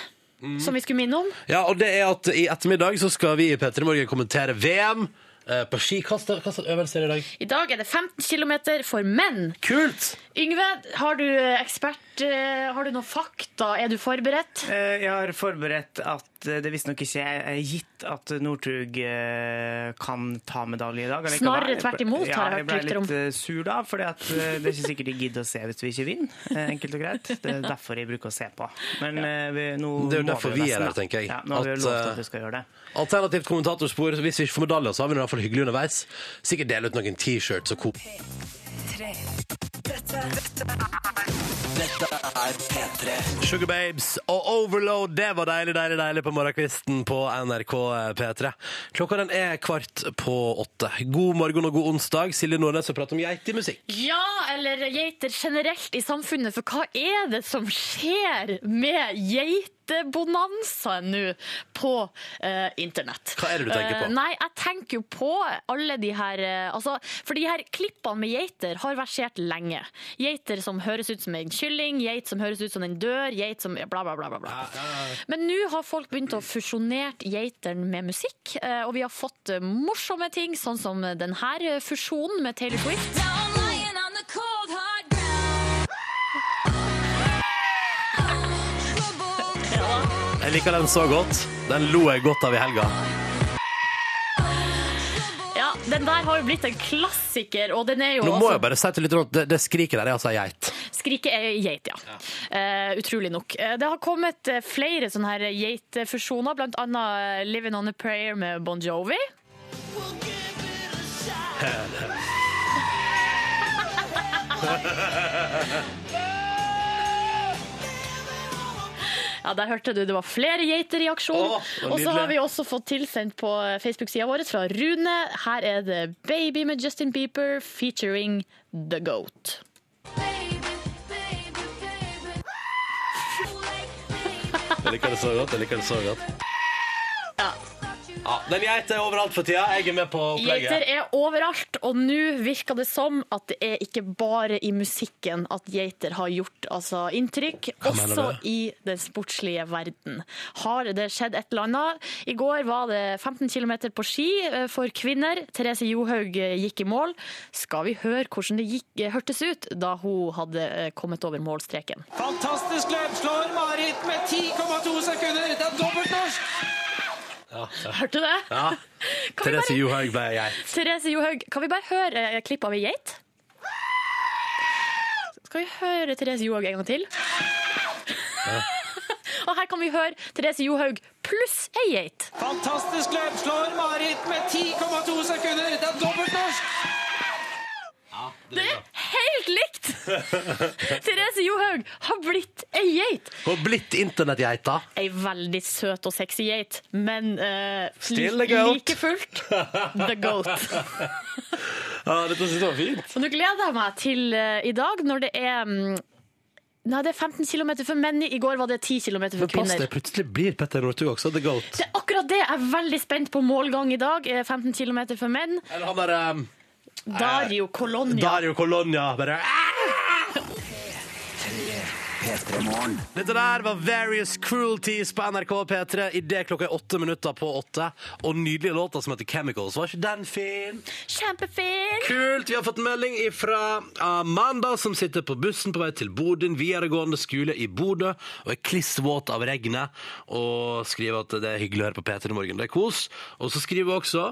Speaker 6: som vi skulle minne om.
Speaker 2: Ja, og det er at i ettermiddag så skal vi i P3morgen kommentere VM eh, på ski. Hva slags hva slags øvelse er det i dag?
Speaker 6: I dag er det 15 km for menn.
Speaker 2: Kult!
Speaker 6: Yngve, har du eh, ekspert, eh, har du noen fakta? Er du forberedt?
Speaker 3: Eh, Jeg har forberedt at eh, det visstnok ikke er gitt at Northug eh, kan ta medalje i dag. allikevel.
Speaker 6: Snarere tvert imot,
Speaker 3: Ja,
Speaker 6: har jeg hørt rykter om.
Speaker 3: Jeg ble litt eh, sur da, for eh, det er ikke sikkert de gidder å se hvis vi ikke vinner. eh, Enkelt og greit. Det er derfor jeg bruker å se på. Men eh, vi, nå
Speaker 2: Det er jo
Speaker 3: må
Speaker 2: derfor
Speaker 3: jo
Speaker 2: vi er her,
Speaker 3: nesten, da.
Speaker 2: tenker jeg.
Speaker 3: Ja, nå har vi
Speaker 2: At,
Speaker 3: jo lovt
Speaker 2: eh,
Speaker 3: at vi skal gjøre det.
Speaker 2: Alternativt kommentatorspor. Hvis vi ikke får medaljer, så har vi det i hvert fall hyggelig underveis. Sikkert dele ut noen T-shirts og Coop. Sugar Babes og Overload, det var deilig, deilig, deilig på morgenkvisten på NRK P3. Klokka den er kvart på åtte. God morgen og god onsdag. Silje Nordnes har pratet om geitemusikk.
Speaker 6: Ja, eller geiter generelt i samfunnet, for hva er det som skjer med geitebonanzaen nå på eh, internett?
Speaker 2: Hva er det du tenker på?
Speaker 6: Eh, nei, jeg tenker jo på alle de her eh, altså, For de her klippene med geiter har versert lenge. Geiter som høres ut som en kylling, geit som høres ut som den dør, geit som bla, bla, bla. bla, bla. Men nå har folk begynt å fusjonere geiteren med musikk, eh, og vi har fått eh, morsomme ting, sånn som denne fusjonen med Taylor Swift.
Speaker 2: Jeg liker den så godt. Den lo jeg godt av i helga.
Speaker 6: Ja, det den der har jo blitt en klassiker, og den er jo altså
Speaker 2: Nå må
Speaker 6: også-
Speaker 2: jeg bare si til lytterne at det, det skriket der er altså ei geit.
Speaker 6: Skrike er geit, ja. Eh, utrolig nok. Eh, Det har kommet eh, flere sånne her geitfusjoner, blant annet eh, Living on a Prayer med Bon Jovi. Ja, Der hørte du det var flere geiter i aksjon.
Speaker 2: Åh, så
Speaker 6: og så har
Speaker 2: nydelig.
Speaker 6: vi også fått tilsendt på Facebook-sida vår fra Rune. Her er det 'Baby' med Justin Bieber featuring The Goat.
Speaker 2: Jeg liker det så godt. jeg liker det så godt. Ja, Den geita er overalt for tida. Jeg er med på
Speaker 6: Geiter
Speaker 2: opplegget.
Speaker 6: er overalt, og nå virker det som at det er ikke bare i musikken at geiter har gjort altså, inntrykk,
Speaker 2: Hva mener
Speaker 6: også
Speaker 2: du?
Speaker 6: i den sportslige verden. Har det skjedd et eller annet? I går var det 15 km på ski eh, for kvinner. Therese Johaug eh, gikk i mål. Skal vi høre hvordan det gikk, eh, hørtes ut da hun hadde eh, kommet over målstreken?
Speaker 5: Fantastisk løp, slår Marit med 10,2 sekunder. Det er dobbelt norsk.
Speaker 6: Hørte du det?
Speaker 2: Ja,
Speaker 6: Kan vi
Speaker 2: Therese
Speaker 6: bare,
Speaker 2: Johaug ble ei geit.
Speaker 6: Therese Johaug, kan vi bare høre eh, klipp av ei geit? Skal vi høre Therese Johaug en gang til? Og her kan vi høre Therese Johaug pluss ei geit.
Speaker 5: Fantastisk løp, slår Marit med 10,2 sekunder. Det er dobbelt norsk.
Speaker 6: Det er helt likt! Therese Johaug har blitt ei geit.
Speaker 2: Hun har blitt internettgeita.
Speaker 6: Ei veldig søt og sexy geit, men eh,
Speaker 2: Still
Speaker 6: li-
Speaker 2: the goat.
Speaker 6: like fullt the goat.
Speaker 2: Ja, dette synes jeg var fint.
Speaker 6: Så nå gleder jeg meg til eh, i dag, når det er mm, Nei, det er 15 km for menn. I går var det 10 km for
Speaker 2: Men pass
Speaker 6: kvinner.
Speaker 2: deg, plutselig blir Petter Northug også the goat.
Speaker 6: Det er akkurat det! Jeg er veldig spent på målgang i dag. eh, 15 km for menn.
Speaker 2: Eller han der um,
Speaker 6: Dario Colonia.
Speaker 2: Dario Colonia. Bare
Speaker 5: P3 Morgen.
Speaker 2: Dette der var Various Cruelties på NRK P3 i det klokka er åtte minutter på åtte. Og nydelige låter som heter Chemicals. Var ikke den fin?
Speaker 6: Kjempefin!
Speaker 2: Kult! Vi har fått melding fra Amanda, som sitter på bussen på vei til Bodø videregående skole i Bodø og er klissvåt av regnet. Og skriver at det er hyggelig å høre på P3 i morgen. Det er kos. Og så skriver hun også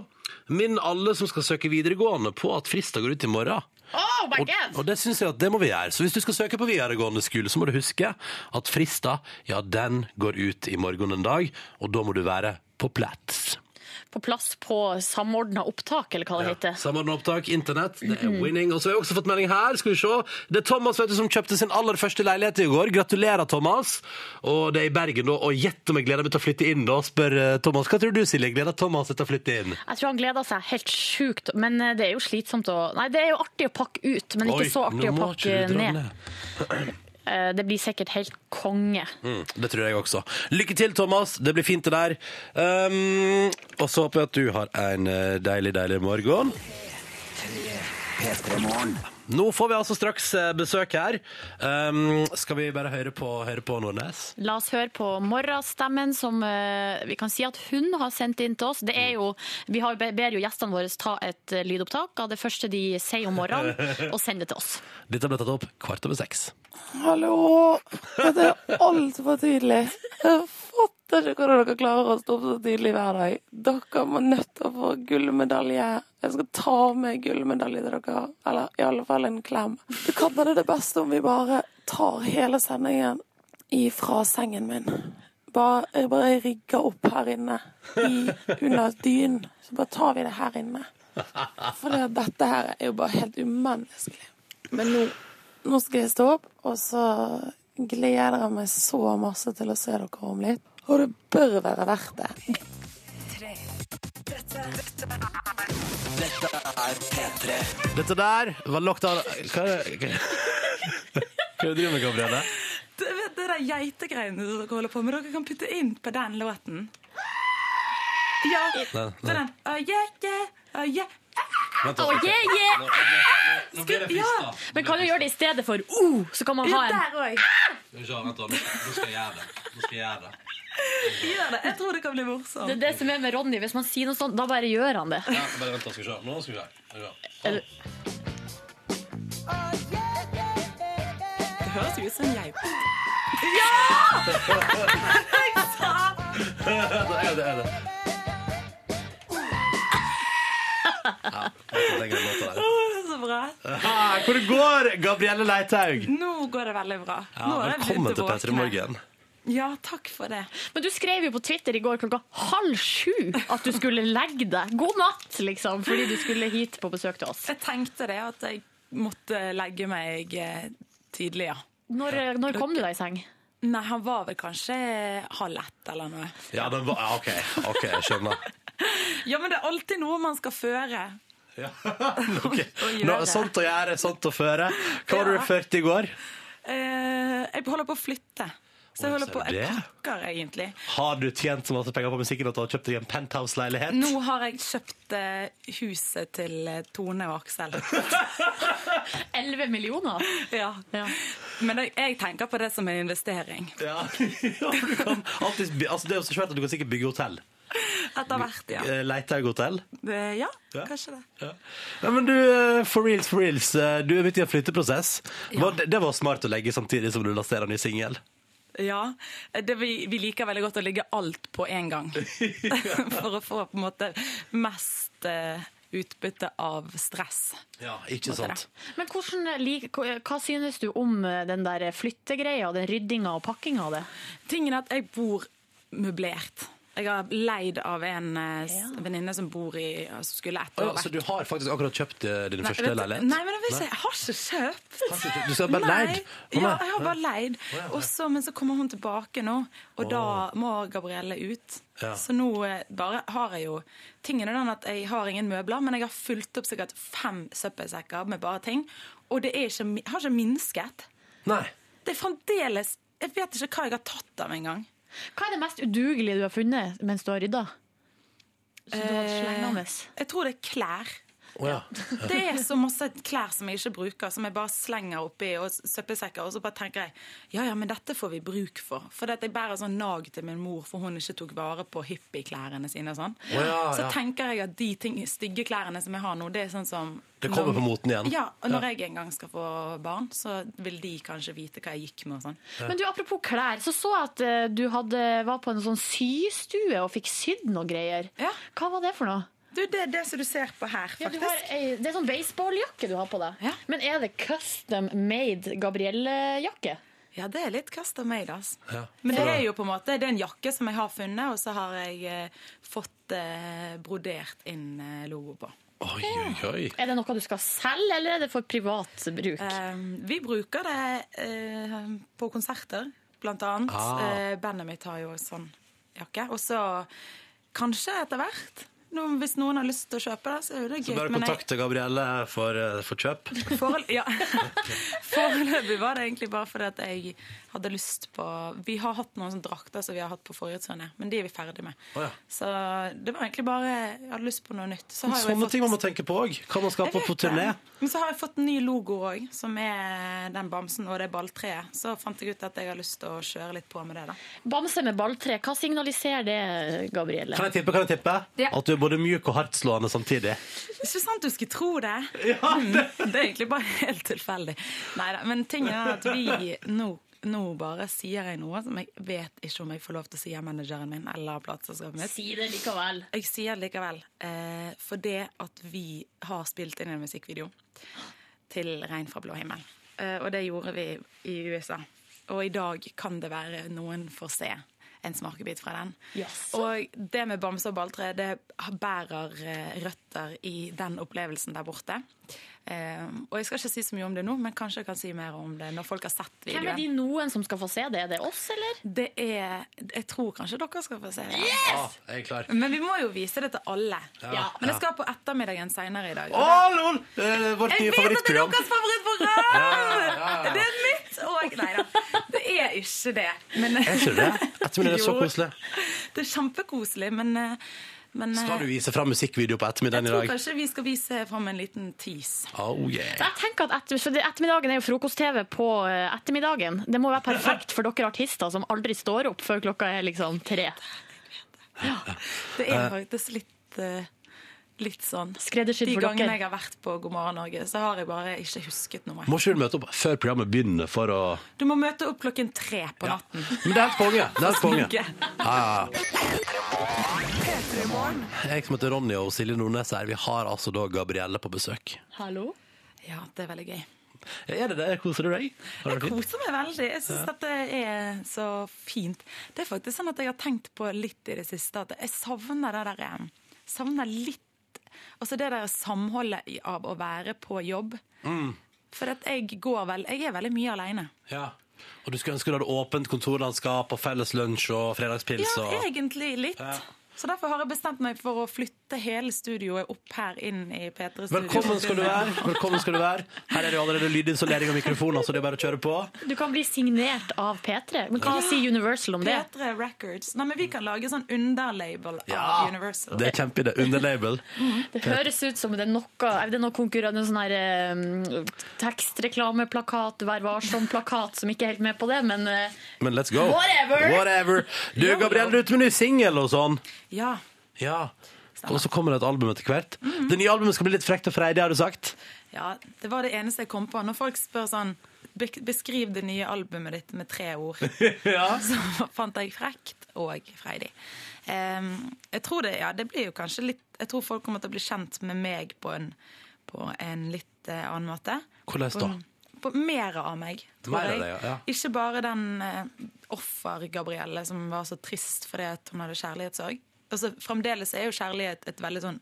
Speaker 2: Minn alle som skal søke videregående på at fristen går ut i morgen.
Speaker 6: Oh my
Speaker 2: Og, og det synes jeg at det må vi gjøre. Så hvis du skal søke på videregående skole, så må du huske at fristen, ja, den går ut i morgen en dag, og da må du være på plass.
Speaker 6: På plass på samordna opptak, eller hva det heter.
Speaker 2: Samordna opptak, internett, det er winning. Og så har jeg også fått melding her. skal vi se. Det er Thomas vet du, som kjøpte sin aller første leilighet i går. Gratulerer, Thomas. Og det er i Bergen, da. Og gjett om jeg gleder meg til å flytte inn, da, spør eh, Thomas. Hva tror du, Silje? Gleder Thomas seg til å flytte inn?
Speaker 6: Jeg tror han gleder seg helt sjukt, men eh, det er jo slitsomt å Nei, det er jo artig å pakke ut, men ikke så artig å pakke ned. Eh, Det blir sikkert helt konge.
Speaker 2: Mm, det tror jeg også. Lykke til, Thomas. Det blir fint, det der. Um, og så håper jeg at du har en eh, deilig, deilig morgen.
Speaker 5: P3 Morgen.
Speaker 2: Nå får vi altså straks eh, besøk her. Um, skal vi bare høre på, høre på Nordnes?
Speaker 6: La oss høre på morgenstemmen, som eh, vi kan si at hun har sendt inn til oss. Det er jo, vi har, ber jo gjestene våre ta et eh, lydopptak av det første de sier om morgenen, og sende det til oss.
Speaker 2: Dette ble tatt opp kvart over seks.
Speaker 10: Hallo! Det er altfor tidlig. Jeg fatter ikke hvordan dere klarer å stå opp så tidlig hver dag. Dere må nødt til å få gullmedalje. Jeg skal ta med gullmedalje til dere. Eller i alle fall en klem. Du kan være det beste om vi bare tar hele sendingen ifra sengen min. Bare, jeg bare rigger opp her inne. I, under dynen. Så bare tar vi det her inne. For det, dette her er jo bare helt umenneskelig. Men nå nå skal jeg stå opp, og så gleder jeg meg så masse til å se dere om litt. Og det bør være verdt det.
Speaker 2: Dette der var lockdown Hva er det hva er det du driver med, Gabrielle?
Speaker 10: Det, vet, det der geitegreiene som dere holder på med, dere kan putte inn på den låten. Ja, det er den. Ah, yeah, yeah, ah, yeah.
Speaker 2: Vent,
Speaker 6: Å,
Speaker 2: altså.
Speaker 6: yeah, yeah.
Speaker 2: Nå blir det frista.
Speaker 6: Men kan du gjøre det i stedet for uh, så kan man ha en
Speaker 10: Der òg.
Speaker 2: Nå skal jeg gjøre det. Nå skal jeg gjøre det.
Speaker 10: Gjør det. Jeg tror det kan bli
Speaker 6: Det
Speaker 10: morsomt.
Speaker 6: er det som er med Ronny. Hvis man sier noe sånt, da bare gjør han det.
Speaker 2: Ja, bare vent, da skal vi se. Nå skal vi se. Skal vi se.
Speaker 6: Eller-
Speaker 10: Det høres jo ut som en geit.
Speaker 2: Det er det, det er det. Ja. lenger enn låta der.
Speaker 4: Så bra.
Speaker 2: Ah, Hvor det går Gabrielle Leithaug?
Speaker 4: Nå går det veldig bra. Nå er jeg
Speaker 2: velkommen
Speaker 4: begynt
Speaker 2: til
Speaker 4: å
Speaker 2: P3
Speaker 4: våkne.
Speaker 2: Morgen.
Speaker 4: Ja, takk for det.
Speaker 6: Men du skrev jo på Twitter i går klokka halv sju at du skulle legge deg. God natt, liksom, fordi du skulle hit på besøk til oss.
Speaker 4: Jeg tenkte det, at jeg måtte legge meg eh, tidlig, ja.
Speaker 6: Når, eh, når kom du deg i seng?
Speaker 4: Nei, han var vel kanskje halv ett eller noe.
Speaker 2: Ja, den var, ja, OK, ok, jeg skjønner.
Speaker 4: Ja, men det er alltid noe man skal føre.
Speaker 2: Ja, ok. Nå, sånt å gjøre, sånt å føre. Hva har du ført i går?
Speaker 4: Eh, jeg holder på å flytte. Så jeg holder
Speaker 2: ser
Speaker 4: på
Speaker 2: du det?
Speaker 4: Jeg pakker, egentlig.
Speaker 2: Har du tjent så masse penger på musikken at du har kjøpt deg en penthouse-leilighet?
Speaker 4: Nå har jeg kjøpt eh, huset til eh, Tone og Aksel.
Speaker 6: 11 millioner?
Speaker 4: Ja. Men jeg, jeg tenker på det som en investering.
Speaker 2: Ja, du kan alltid, by- altså, det er jo så svært at du kan sikkert bygge hotell.
Speaker 4: Etter hvert, ja.
Speaker 2: Eh, Leithaug-hotell.
Speaker 4: Eh, ja,
Speaker 2: Ja.
Speaker 4: kanskje det.
Speaker 2: Ja, men du, eh, for reals, for reals, eh, du er midt i en flytteprosess. Var, det, det var smart å legge samtidig som du lanserer en ny singel.
Speaker 4: Ja, Eh, det vi, vi liker veldig godt å ligge alt på en gang. For å få på en måte mest eh, utbytte av stress.
Speaker 2: Ja, ikke
Speaker 4: Måte
Speaker 2: sant.
Speaker 6: Men hvordan, eh, lik- hva synes du om eh, den der flyttegreia, den ryddinga og pakkinga av det?
Speaker 4: Tingen er at jeg bor møblert. Jeg har leid av en eh, s- venninne som bor i, som skulle ett år
Speaker 2: Å ja, så du har faktisk akkurat kjøpt eh, din
Speaker 4: Nei,
Speaker 2: første
Speaker 4: vet du-
Speaker 2: leilighet?
Speaker 4: Nei, men jeg, vil si, jeg har ikke kjøpt.
Speaker 2: ikke kjøpt? Du sa bare
Speaker 4: Nei.
Speaker 2: leid. Å,
Speaker 4: Ja,
Speaker 2: nei.
Speaker 4: jeg har bare leid.
Speaker 2: Å, ja, ja.
Speaker 4: Og så- men så kommer hun tilbake nå, og
Speaker 2: Å.
Speaker 4: da må Gabrielle ut.
Speaker 2: Ja.
Speaker 4: Så nå eh, bare har jeg jo Tingen er den at jeg har ingen møbler, men jeg har fulgt opp sikkert fem søppelsekker med bare ting. Og det er ikke, mi- har ikke minsket.
Speaker 2: Nei.
Speaker 4: Det er fremdeles Jeg vet ikke hva jeg har tatt av engang.
Speaker 6: Hva er det mest udugelige du har funnet mens du har rydda? Som du hadde slengende?
Speaker 4: Jeg tror det er klær.
Speaker 2: Å ja.
Speaker 4: Det er så masse klær som jeg ikke bruker, som jeg bare slenger oppi og s- søppelsekker. Og så bare tenker jeg ja, ja, men dette får vi bruk for. For jeg bærer sånn nag til min mor, for hun ikke tok vare på hippieklærne sine. og sånn.
Speaker 2: Å, ja,
Speaker 4: så
Speaker 2: ja.
Speaker 4: tenker jeg at de ting, stygge klærne som jeg har nå, det er sånn som
Speaker 2: Det kommer på moten igjen.
Speaker 4: Ja, og når
Speaker 2: Ja.
Speaker 4: jeg en gang skal få barn, så vil de kanskje vite hva jeg gikk med og sånn.
Speaker 6: Men du, apropos klær, så så jeg at eh, du hadde, var på en sånn systue og fikk sydd noe greier. Hva var det for noe?
Speaker 4: Du, det er det som du ser på her,
Speaker 6: Ja, du
Speaker 4: faktisk.
Speaker 6: har ei, det er sånn baseballjakke du har på deg. Men er det custom made Gabrielle-jakke?
Speaker 4: Ja, det er litt custom made, altså.
Speaker 2: Ja.
Speaker 4: Men det er jo på en måte, det er en jakke som jeg har funnet, og så har jeg eh, fått eh, brodert inn eh, logo på.
Speaker 2: Oi, oi, oi.
Speaker 6: Er det noe du skal selge, eller er det for privat bruk?
Speaker 4: Eh, vi bruker det eh, på konserter, blant annet.
Speaker 6: Ah.
Speaker 4: Eh, bandet mitt har jo sånn jakke. Og så kanskje etter hvert, nå, hvis noen har lyst til å kjøpe det, så er jo det gøy.
Speaker 2: Så bare
Speaker 4: men eh, jeg-
Speaker 2: kontakte Gabrielle for, eh, for kjøp.
Speaker 4: Forel ja. Foreløpig var det egentlig bare fordi at jeg hadde lyst på Vi har hatt noen sånne drakter som vi har hatt på forrige turné, men de er vi ferdig med.
Speaker 2: Å, ja.
Speaker 4: Så det var egentlig bare Jeg hadde lyst på noe nytt. Så har jo jeg
Speaker 2: Sånne
Speaker 4: fått,
Speaker 2: ting man må tenke på òg. Hva man skal ha på på turné.
Speaker 4: men så har jeg fått en ny logo òg, som er den bamsen og det balltreet. Så fant jeg ut at jeg har lyst til å kjøre litt på med det, da.
Speaker 6: Bamse med balltre, hva signaliserer det, Gabrielle?
Speaker 2: Kan jeg tippe? kan jeg tippe?
Speaker 4: Ja.
Speaker 2: At du er både mjuk og hardtslående samtidig.
Speaker 4: Ikke sant du skulle tro det? Mm, det. er egentlig bare helt tilfeldig. Neida, men tingen er at vi nå, nå bare sier jeg noe som jeg vet ikke om jeg får lov til å si av manageren min eller av plateselskapet mitt.
Speaker 6: Si det likevel.
Speaker 4: Jeg sier det likevel. Eh, for det at vi har spilt inn en musikkvideo til 'Regn fra blå himmel'. Eh, og det gjorde vi i USA. Og i dag kan det være noen får se en smakebit fra den. Og det med bamse og balltre det bærer eh, røtter i den opplevelsen der borte. Eh, og jeg skal ikke si så mye om det nå, men kanskje jeg kan si mer om det når folk har sett videoen.
Speaker 6: Hvem er de noen som skal få se det? Er det oss, eller?
Speaker 4: Det er Jeg tror kanskje dere skal få se det.
Speaker 2: Ah, jeg er klar.
Speaker 4: Men vi må jo vise det til alle.
Speaker 2: Ja. Ja.
Speaker 4: Men det skal på ettermiddagen seinere i dag.
Speaker 2: Å, lol! Eh, vårt nye
Speaker 4: jeg vet at det er
Speaker 2: favorittprogram.
Speaker 4: deres favorittprogram! Det er mitt òg. Nei da, det er ikke det. Men,
Speaker 2: Er ikke det? Ettermiddag er så
Speaker 4: Jo.
Speaker 2: koselig.
Speaker 4: Det er kjempekoselig, men, eh, men eh,
Speaker 2: Skal du vise fram musikkvideo på ettermiddagen
Speaker 4: jeg
Speaker 2: i
Speaker 4: tror
Speaker 2: dag?
Speaker 4: kanskje vi skal vise fram en liten tease.
Speaker 2: Oh, yeah.
Speaker 6: Jeg tenker at etter, for det- Ettermiddagen er jo frokost-TV på eh, ettermiddagen. Det må være perfekt for dere artister som aldri står opp før klokka er liksom tre.
Speaker 4: Det er
Speaker 6: Eh.
Speaker 4: faktisk litt eh, Litt sånn.
Speaker 6: Skreddersydd
Speaker 4: De
Speaker 6: for
Speaker 4: gangene
Speaker 6: dere.
Speaker 4: jeg har vært på God morgen Norge, så har jeg bare ikke husket noe.
Speaker 2: Må ikke du møte opp før programmet begynner for å
Speaker 4: Du må møte opp klokken tre på natten.
Speaker 2: Men det er helt konge. Det er helt konge.
Speaker 4: Snakke.
Speaker 2: Ja, ja. Jeg som heter Ronny og Silje Nordnes her, vi har altså da Gabrielle på besøk.
Speaker 4: Hallo? Ja, det er veldig gøy.
Speaker 2: Er det det? Koser du deg? Har du
Speaker 4: Jeg
Speaker 2: det fint?
Speaker 4: koser meg veldig. Jeg syns
Speaker 2: Ja.
Speaker 4: dette er så fint. Det er faktisk sånn at jeg har tenkt på litt i det siste at jeg savner det der eh, Savner litt Altså det der samholdet i- av å være på jobb.
Speaker 2: Mm.
Speaker 4: For at jeg går vel Jeg er veldig mye alene.
Speaker 2: Ja. Og du skulle ønske du hadde åpent kontorlandskap og felles lunsj og fredagspils
Speaker 4: Ja,
Speaker 2: og
Speaker 4: egentlig litt.
Speaker 2: Ja.
Speaker 4: Så derfor har jeg bestemt meg for å flytte hele studioet opp her inn i P3 Studio.
Speaker 2: Velkommen skal du være. Velkommen skal du være. Her er det jo allerede lydisolering og mikrofoner, så altså, det er bare å kjøre på.
Speaker 6: Du kan bli signert av P3. Men hva sier Universal om det?
Speaker 4: P3 Records. Nei, men vi kan lage sånn underlabel
Speaker 2: Ja,
Speaker 4: av Universal.
Speaker 2: Det er kjempeidé. Underlabel.
Speaker 6: Det høres ut som det er noe, er det noe konkurrent, en sånn her eh, tekstreklameplakat, Vær varsom-plakat, som ikke er helt med på det, men eh,
Speaker 2: Men let's go.
Speaker 6: Whatever.
Speaker 2: Whatever. Du, Gabrielle, du er ute med ny singel og sånn.
Speaker 4: Ja.
Speaker 2: Ja. Og så kommer det et album etter hvert. Det nye albumet skal bli litt frekt og freidig, har du sagt.
Speaker 4: Ja, det var det eneste jeg kom på. Når folk spør sånn "Bek- Beskriv det nye albumet ditt med tre ord. Så fant jeg frekt og freidig. Em, jeg tror det, ja, det blir jo kanskje litt Jeg tror folk kommer til å bli kjent med meg på en, på en litt eh, annen måte.
Speaker 2: Hvordan da?
Speaker 4: På, på mer av meg, tror
Speaker 2: Mer av
Speaker 4: jeg.
Speaker 2: deg, ja.
Speaker 4: Ikke bare den eh, offer-Gabrielle som var så trist fordi at hun hadde kjærlighetssorg. Altså, fremdeles er jo kjærlighet et veldig sånn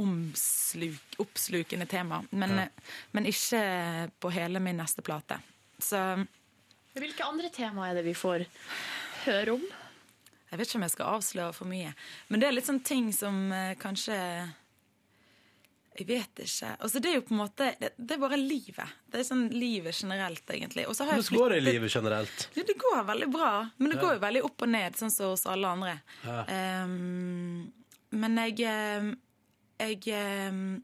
Speaker 4: omsluk, oppslukende tema, men,
Speaker 6: Ja.
Speaker 4: eh, men ikke på hele min neste plate. Så
Speaker 6: Hvilke andre tema er det vi får høre om?
Speaker 4: jeg vet ikke om jeg skal avsløre for mye. Men det er litt sånn ting som eh, kanskje Jeg vet ikke. Altså, det er jo på en måte Det, det er bare livet. Det er sånn livet generelt, egentlig. Og så har jeg
Speaker 2: Hvordan går det i
Speaker 4: flyttet-
Speaker 2: livet generelt?
Speaker 4: Ja, det går veldig bra, men det
Speaker 2: Ja.
Speaker 4: går jo veldig opp og ned, sånn som hos alle andre.
Speaker 2: Ja.
Speaker 4: Ehm, men jeg ehm, Jeg ehm,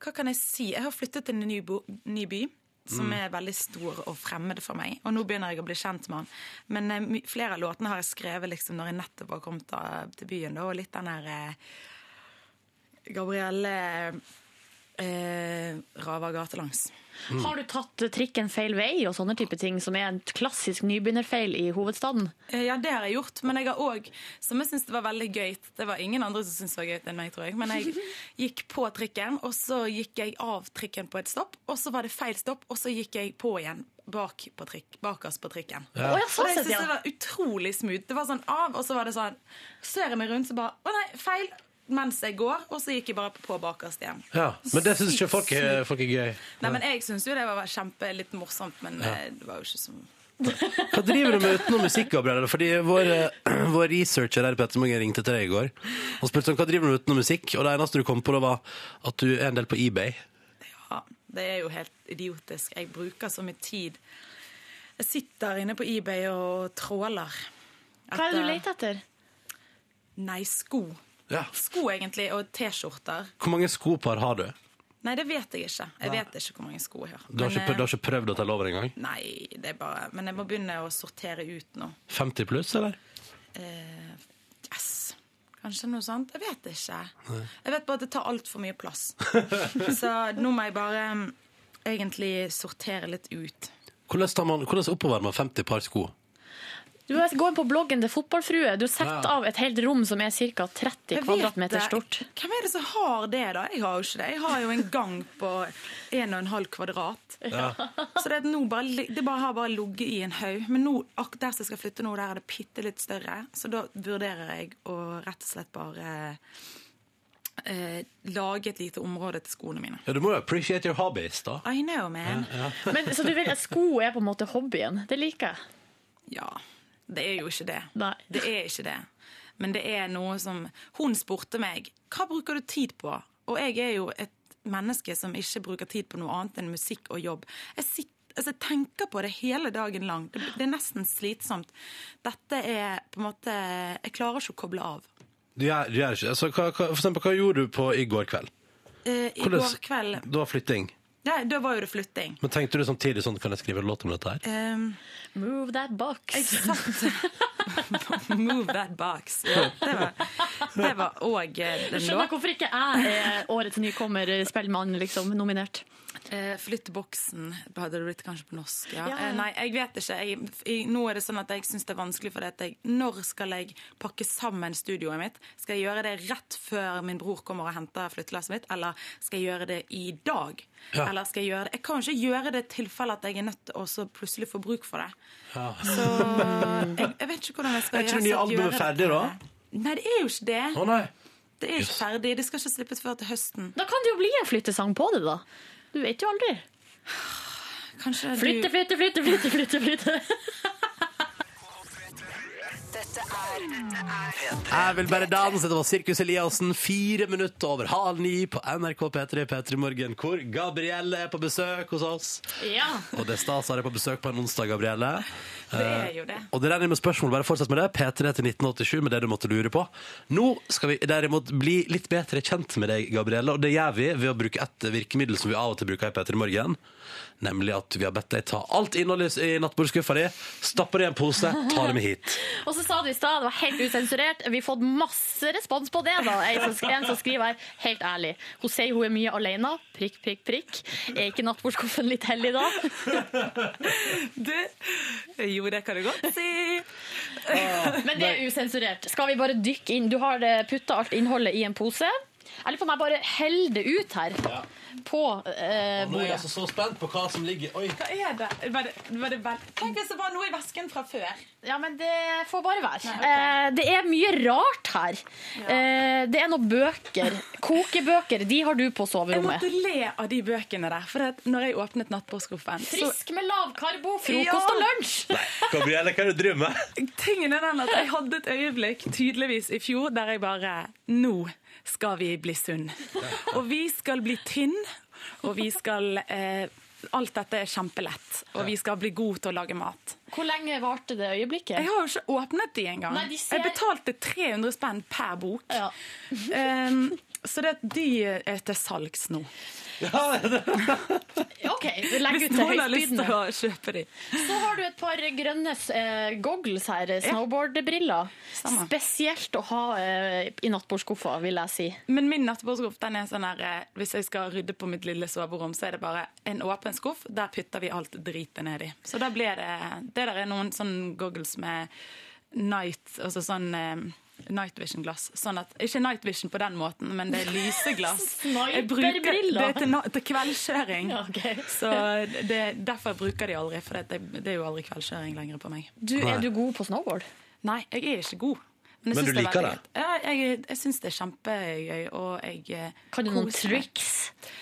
Speaker 4: Hva kan jeg si? Jeg har flyttet til en ny, bo, ny by. Som
Speaker 6: Mm.
Speaker 4: er veldig stor og fremmed for meg. Og nå begynner jeg å bli kjent med han. Men eh, my- flere av låtene har jeg skrevet liksom når jeg nettopp har kommet da, til byen. Da, og litt den der eh, Gabrielle eh, raver gatelangs. Mm.
Speaker 6: Har du tatt trikken feil vei og sånne type ting, som er en klassisk nybegynnerfeil i hovedstaden?
Speaker 4: Eh, Ja, det har jeg gjort, men jeg har òg, som jeg syns var veldig gøy Det var ingen andre som syntes det var gøy enn meg, tror jeg. Men jeg gikk på trikken, og så gikk jeg av trikken på et stopp, og så var det feil stopp, og så gikk jeg på igjen bak på trikk, bakerst på trikken.
Speaker 6: Ja. Å, ja, sånn
Speaker 4: og det
Speaker 6: sett,
Speaker 4: synes
Speaker 6: ja.
Speaker 4: jeg var utrolig smooth. Det var sånn av, og så var det sånn Ser jeg meg rundt, så bare Å nei, feil! Mens jeg går, og så gikk jeg bare på bakerst igjen.
Speaker 2: Ja, Men det syns ikke folk er,
Speaker 4: Sykt
Speaker 2: folk er gøy.
Speaker 4: smooth. Nei, men jeg syns jo det var kjempe litt morsomt, men
Speaker 2: Ja.
Speaker 4: eh, det var jo ikke så
Speaker 2: Hva driver du med utenom musikk, Gabrielle? Fordi vår, eh, vår researcher her, Petter Mange, ringte til deg i går og spurte om hva driver du med utenom musikk, og det eneste du kom på, da var at du er en del på eBay.
Speaker 4: Ja, det er jo helt idiotisk. Jeg bruker så mye tid. Jeg sitter inne på eBay og tråler.
Speaker 6: Hva er det du leter etter?
Speaker 4: Nei, sko.
Speaker 2: Ja.
Speaker 4: Sko, egentlig, og T-skjorter.
Speaker 2: Hvor mange skopar har du?
Speaker 4: Nei, det vet jeg ikke. Jeg
Speaker 2: Nei.
Speaker 4: vet ikke hvor mange sko jeg har.
Speaker 2: Du har, ikke,
Speaker 4: Men,
Speaker 2: prøvd- du har ikke prøvd å telle over engang?
Speaker 4: eh, Nei, det er bare Men jeg må begynne å sortere ut nå.
Speaker 2: 50 pluss, eller?
Speaker 4: Eh, yes. Kanskje noe sånt? Jeg vet ikke. Jeg vet bare at det tar altfor mye plass. Så nå må jeg bare mm, egentlig sortere litt ut.
Speaker 2: Hvordan, tar man, hvordan oppbevarer man 50 par sko?
Speaker 6: Du må Gå inn på bloggen til Fotballfrue. Du setter
Speaker 2: Ja.
Speaker 6: av et helt rom som er ca. 30
Speaker 4: Jeg vet
Speaker 6: kvadratmeter
Speaker 4: det.
Speaker 6: stort.
Speaker 4: Hvem er det som har det, da? Jeg har jo ikke det. Jeg har jo en gang på 1,5 kvadrat.
Speaker 2: Ja.
Speaker 4: Så det, at nå bare, li- det bare har bare ligget i en haug. Men nå, ak- der som jeg skal flytte nå, der er det bitte litt større. Så da vurderer jeg å rett og slett bare eh, lage et lite område til skoene mine.
Speaker 2: Ja, du må jo appreciate your hobbies, da.
Speaker 4: I know, man.
Speaker 2: Ja, ja.
Speaker 6: Men, så du vil at sko er på en måte hobbyen? Det liker jeg.
Speaker 4: Ja. Det er jo ikke det. Det er ikke det. Men det er noe som Hun spurte meg hva bruker du tid på? Og jeg er jo et menneske som ikke bruker tid på noe annet enn musikk og jobb. Jeg, sitter, altså, jeg tenker på det hele dagen lang. Det, det er nesten slitsomt. Dette er på en måte Jeg klarer ikke å koble av.
Speaker 2: Du gjør, du gjør ikke det. Så hva, hva, for eksempel, hva gjorde du på i går kveld?
Speaker 4: Eh, I
Speaker 2: Hvordan-
Speaker 4: går kveld
Speaker 2: Det var flytting.
Speaker 4: Nei, Da var jo det flytting. Ehm,
Speaker 2: Men tenkte du samtidig sånn, kan jeg skrive en låt om dette her?
Speaker 4: Um,
Speaker 6: Move that box.
Speaker 4: Jeg satt, Move that box. Ja, det var- det var òg den
Speaker 6: Jeg skjønner hvorfor ikke jeg er årets nykommerspellemann liksom, nominert.
Speaker 4: Eh, flytt boksen, hadde det blitt kanskje på norsk. Ja.
Speaker 6: Ja, ja.
Speaker 4: Eh, nei, jeg vet ikke. Jeg, i- nå er det sånn at jeg syns det er vanskelig for det at jeg Når skal jeg pakke sammen studioet mitt? Skal jeg gjøre det rett før min bror kommer og henter flyttelasset mitt, eller skal jeg gjøre det i dag?
Speaker 2: Ja.
Speaker 4: Eller skal jeg gjøre det Jeg kan jo ikke gjøre det i tilfelle at jeg er nødt til å så plutselig få bruk for det.
Speaker 2: Ja.
Speaker 4: Så eh, jeg, jeg vet ikke hvordan jeg skal
Speaker 2: Er ikke det
Speaker 4: så
Speaker 2: nye
Speaker 4: jeg gjør
Speaker 2: albumet
Speaker 4: det.
Speaker 2: ferdig, da?
Speaker 4: Nei, det er jo ikke det.
Speaker 2: Å nei.
Speaker 4: Det er ikke ferdig. Det skal ikke slippes før til høsten.
Speaker 6: Da kan det jo bli en flyttesang på det, da. Du vet jo aldri.
Speaker 4: Kanskje
Speaker 6: Flytte,
Speaker 4: du...
Speaker 6: flytte, flytte, flytte, flytte. flytte.
Speaker 11: Dette er
Speaker 2: Jeg vil bare danse. Det var Sirkus Eliassen, fire minutter over halv ni på NRK P3 P3 Morgen, hvor Gabrielle er på besøk hos oss.
Speaker 6: Ja.
Speaker 2: Og det er stas å ha deg på besøk på en onsdag, Gabrielle.
Speaker 4: Det er jo det.
Speaker 2: Eh, Og det regner jeg med spørsmål. Bare fortsett med det. P3 til 1987 med det du måtte lure på. Nå skal vi derimot bli litt bedre kjent med deg, Gabrielle, og det gjør vi ved å bruke et virkemiddel som vi av og til bruker i P3 Morgen. Nemlig at vi har bedt deg ta alt innholdet i nattbordskuffa di, stappe det i en pose, ta det med hit.
Speaker 6: Og så sa du i stad, det var helt usensurert. Vi har fått masse respons på det. da. En som, en som skriver her, helt ærlig. Hun sier hun er mye alene. Prikk, prikk, prikk. Er ikke nattbordskuffen litt hellig da?
Speaker 4: Jo, det kan du godt si.
Speaker 6: Men det er usensurert. Skal vi bare dykke inn? Du har putta alt innholdet i en pose. Jeg lurer på om jeg bare heller det ut her. På eh,
Speaker 2: Og nå er jeg
Speaker 6: bordet.
Speaker 2: altså så spent på hva som ligger Oi.
Speaker 4: Hva er det? Var det, var det vel... Tenk hvis det var noe i vesken fra før.
Speaker 6: Ja, men det får bare være. Eh, det er mye rart her. Eh, det er noen bøker. Kokebøker. De har du på
Speaker 4: Jeg
Speaker 6: soverommet.
Speaker 4: måtte le av de bøkene der, for at når jeg åpnet nattbordskuffen så-
Speaker 6: Frisk med lavkarbo, frokost
Speaker 4: Ja.
Speaker 6: og lunsj!
Speaker 2: Gabrielle, hva er det du driver med?
Speaker 4: Tingen er den at jeg hadde et øyeblikk, tydeligvis i fjor, der jeg bare Nå skal vi bli sunn. Og vi skal bli tynn, og vi skal eh, Alt dette er kjempelett, og vi skal bli gode til å lage mat.
Speaker 6: Hvor lenge varte det øyeblikket?
Speaker 4: Jeg har jo ikke åpnet de engang.
Speaker 6: Nei, de ser-
Speaker 4: Jeg betalte 300 spenn per bok. Ehm, så det, de er til salgs nå.
Speaker 6: OK, legg ut
Speaker 4: Hvis
Speaker 6: til
Speaker 4: noen har lyst
Speaker 6: høytbydende.
Speaker 4: til å kjøpe de.
Speaker 6: Så har du et par grønne eh, goggles her, snowboardbriller. Spesielt å ha eh, i nattbordskuffa, vil jeg si.
Speaker 4: Men min nattbordskuff den er sånn her eh, Hvis jeg skal rydde på mitt lille soverom, så er det bare en åpen skuff. Der putter vi alt dritet ned i. Så da blir det Det der er noen sånn goggles med night Altså sånn eh, Night vision-glass. Sånn at, ikke night vision på den måten, men det er lyseglass. Jeg bruker- Det
Speaker 6: Sniperbriller.
Speaker 4: er til, na- til kveldskjøring.
Speaker 6: Ja, ok.
Speaker 4: Så det, derfor bruker jeg de aldri, for det, det er jo aldri kveldskjøring lenger på meg.
Speaker 6: Du, er du god på snowboard?
Speaker 4: Nei, jeg er ikke god. jeg
Speaker 6: Men
Speaker 4: synes
Speaker 6: du
Speaker 4: er
Speaker 6: liker
Speaker 4: veldig
Speaker 6: det?
Speaker 4: gøy. Ja, jeg, jeg syns det er kjempegøy, og jeg eh,
Speaker 6: Kan du noen
Speaker 4: koser meg.
Speaker 6: triks?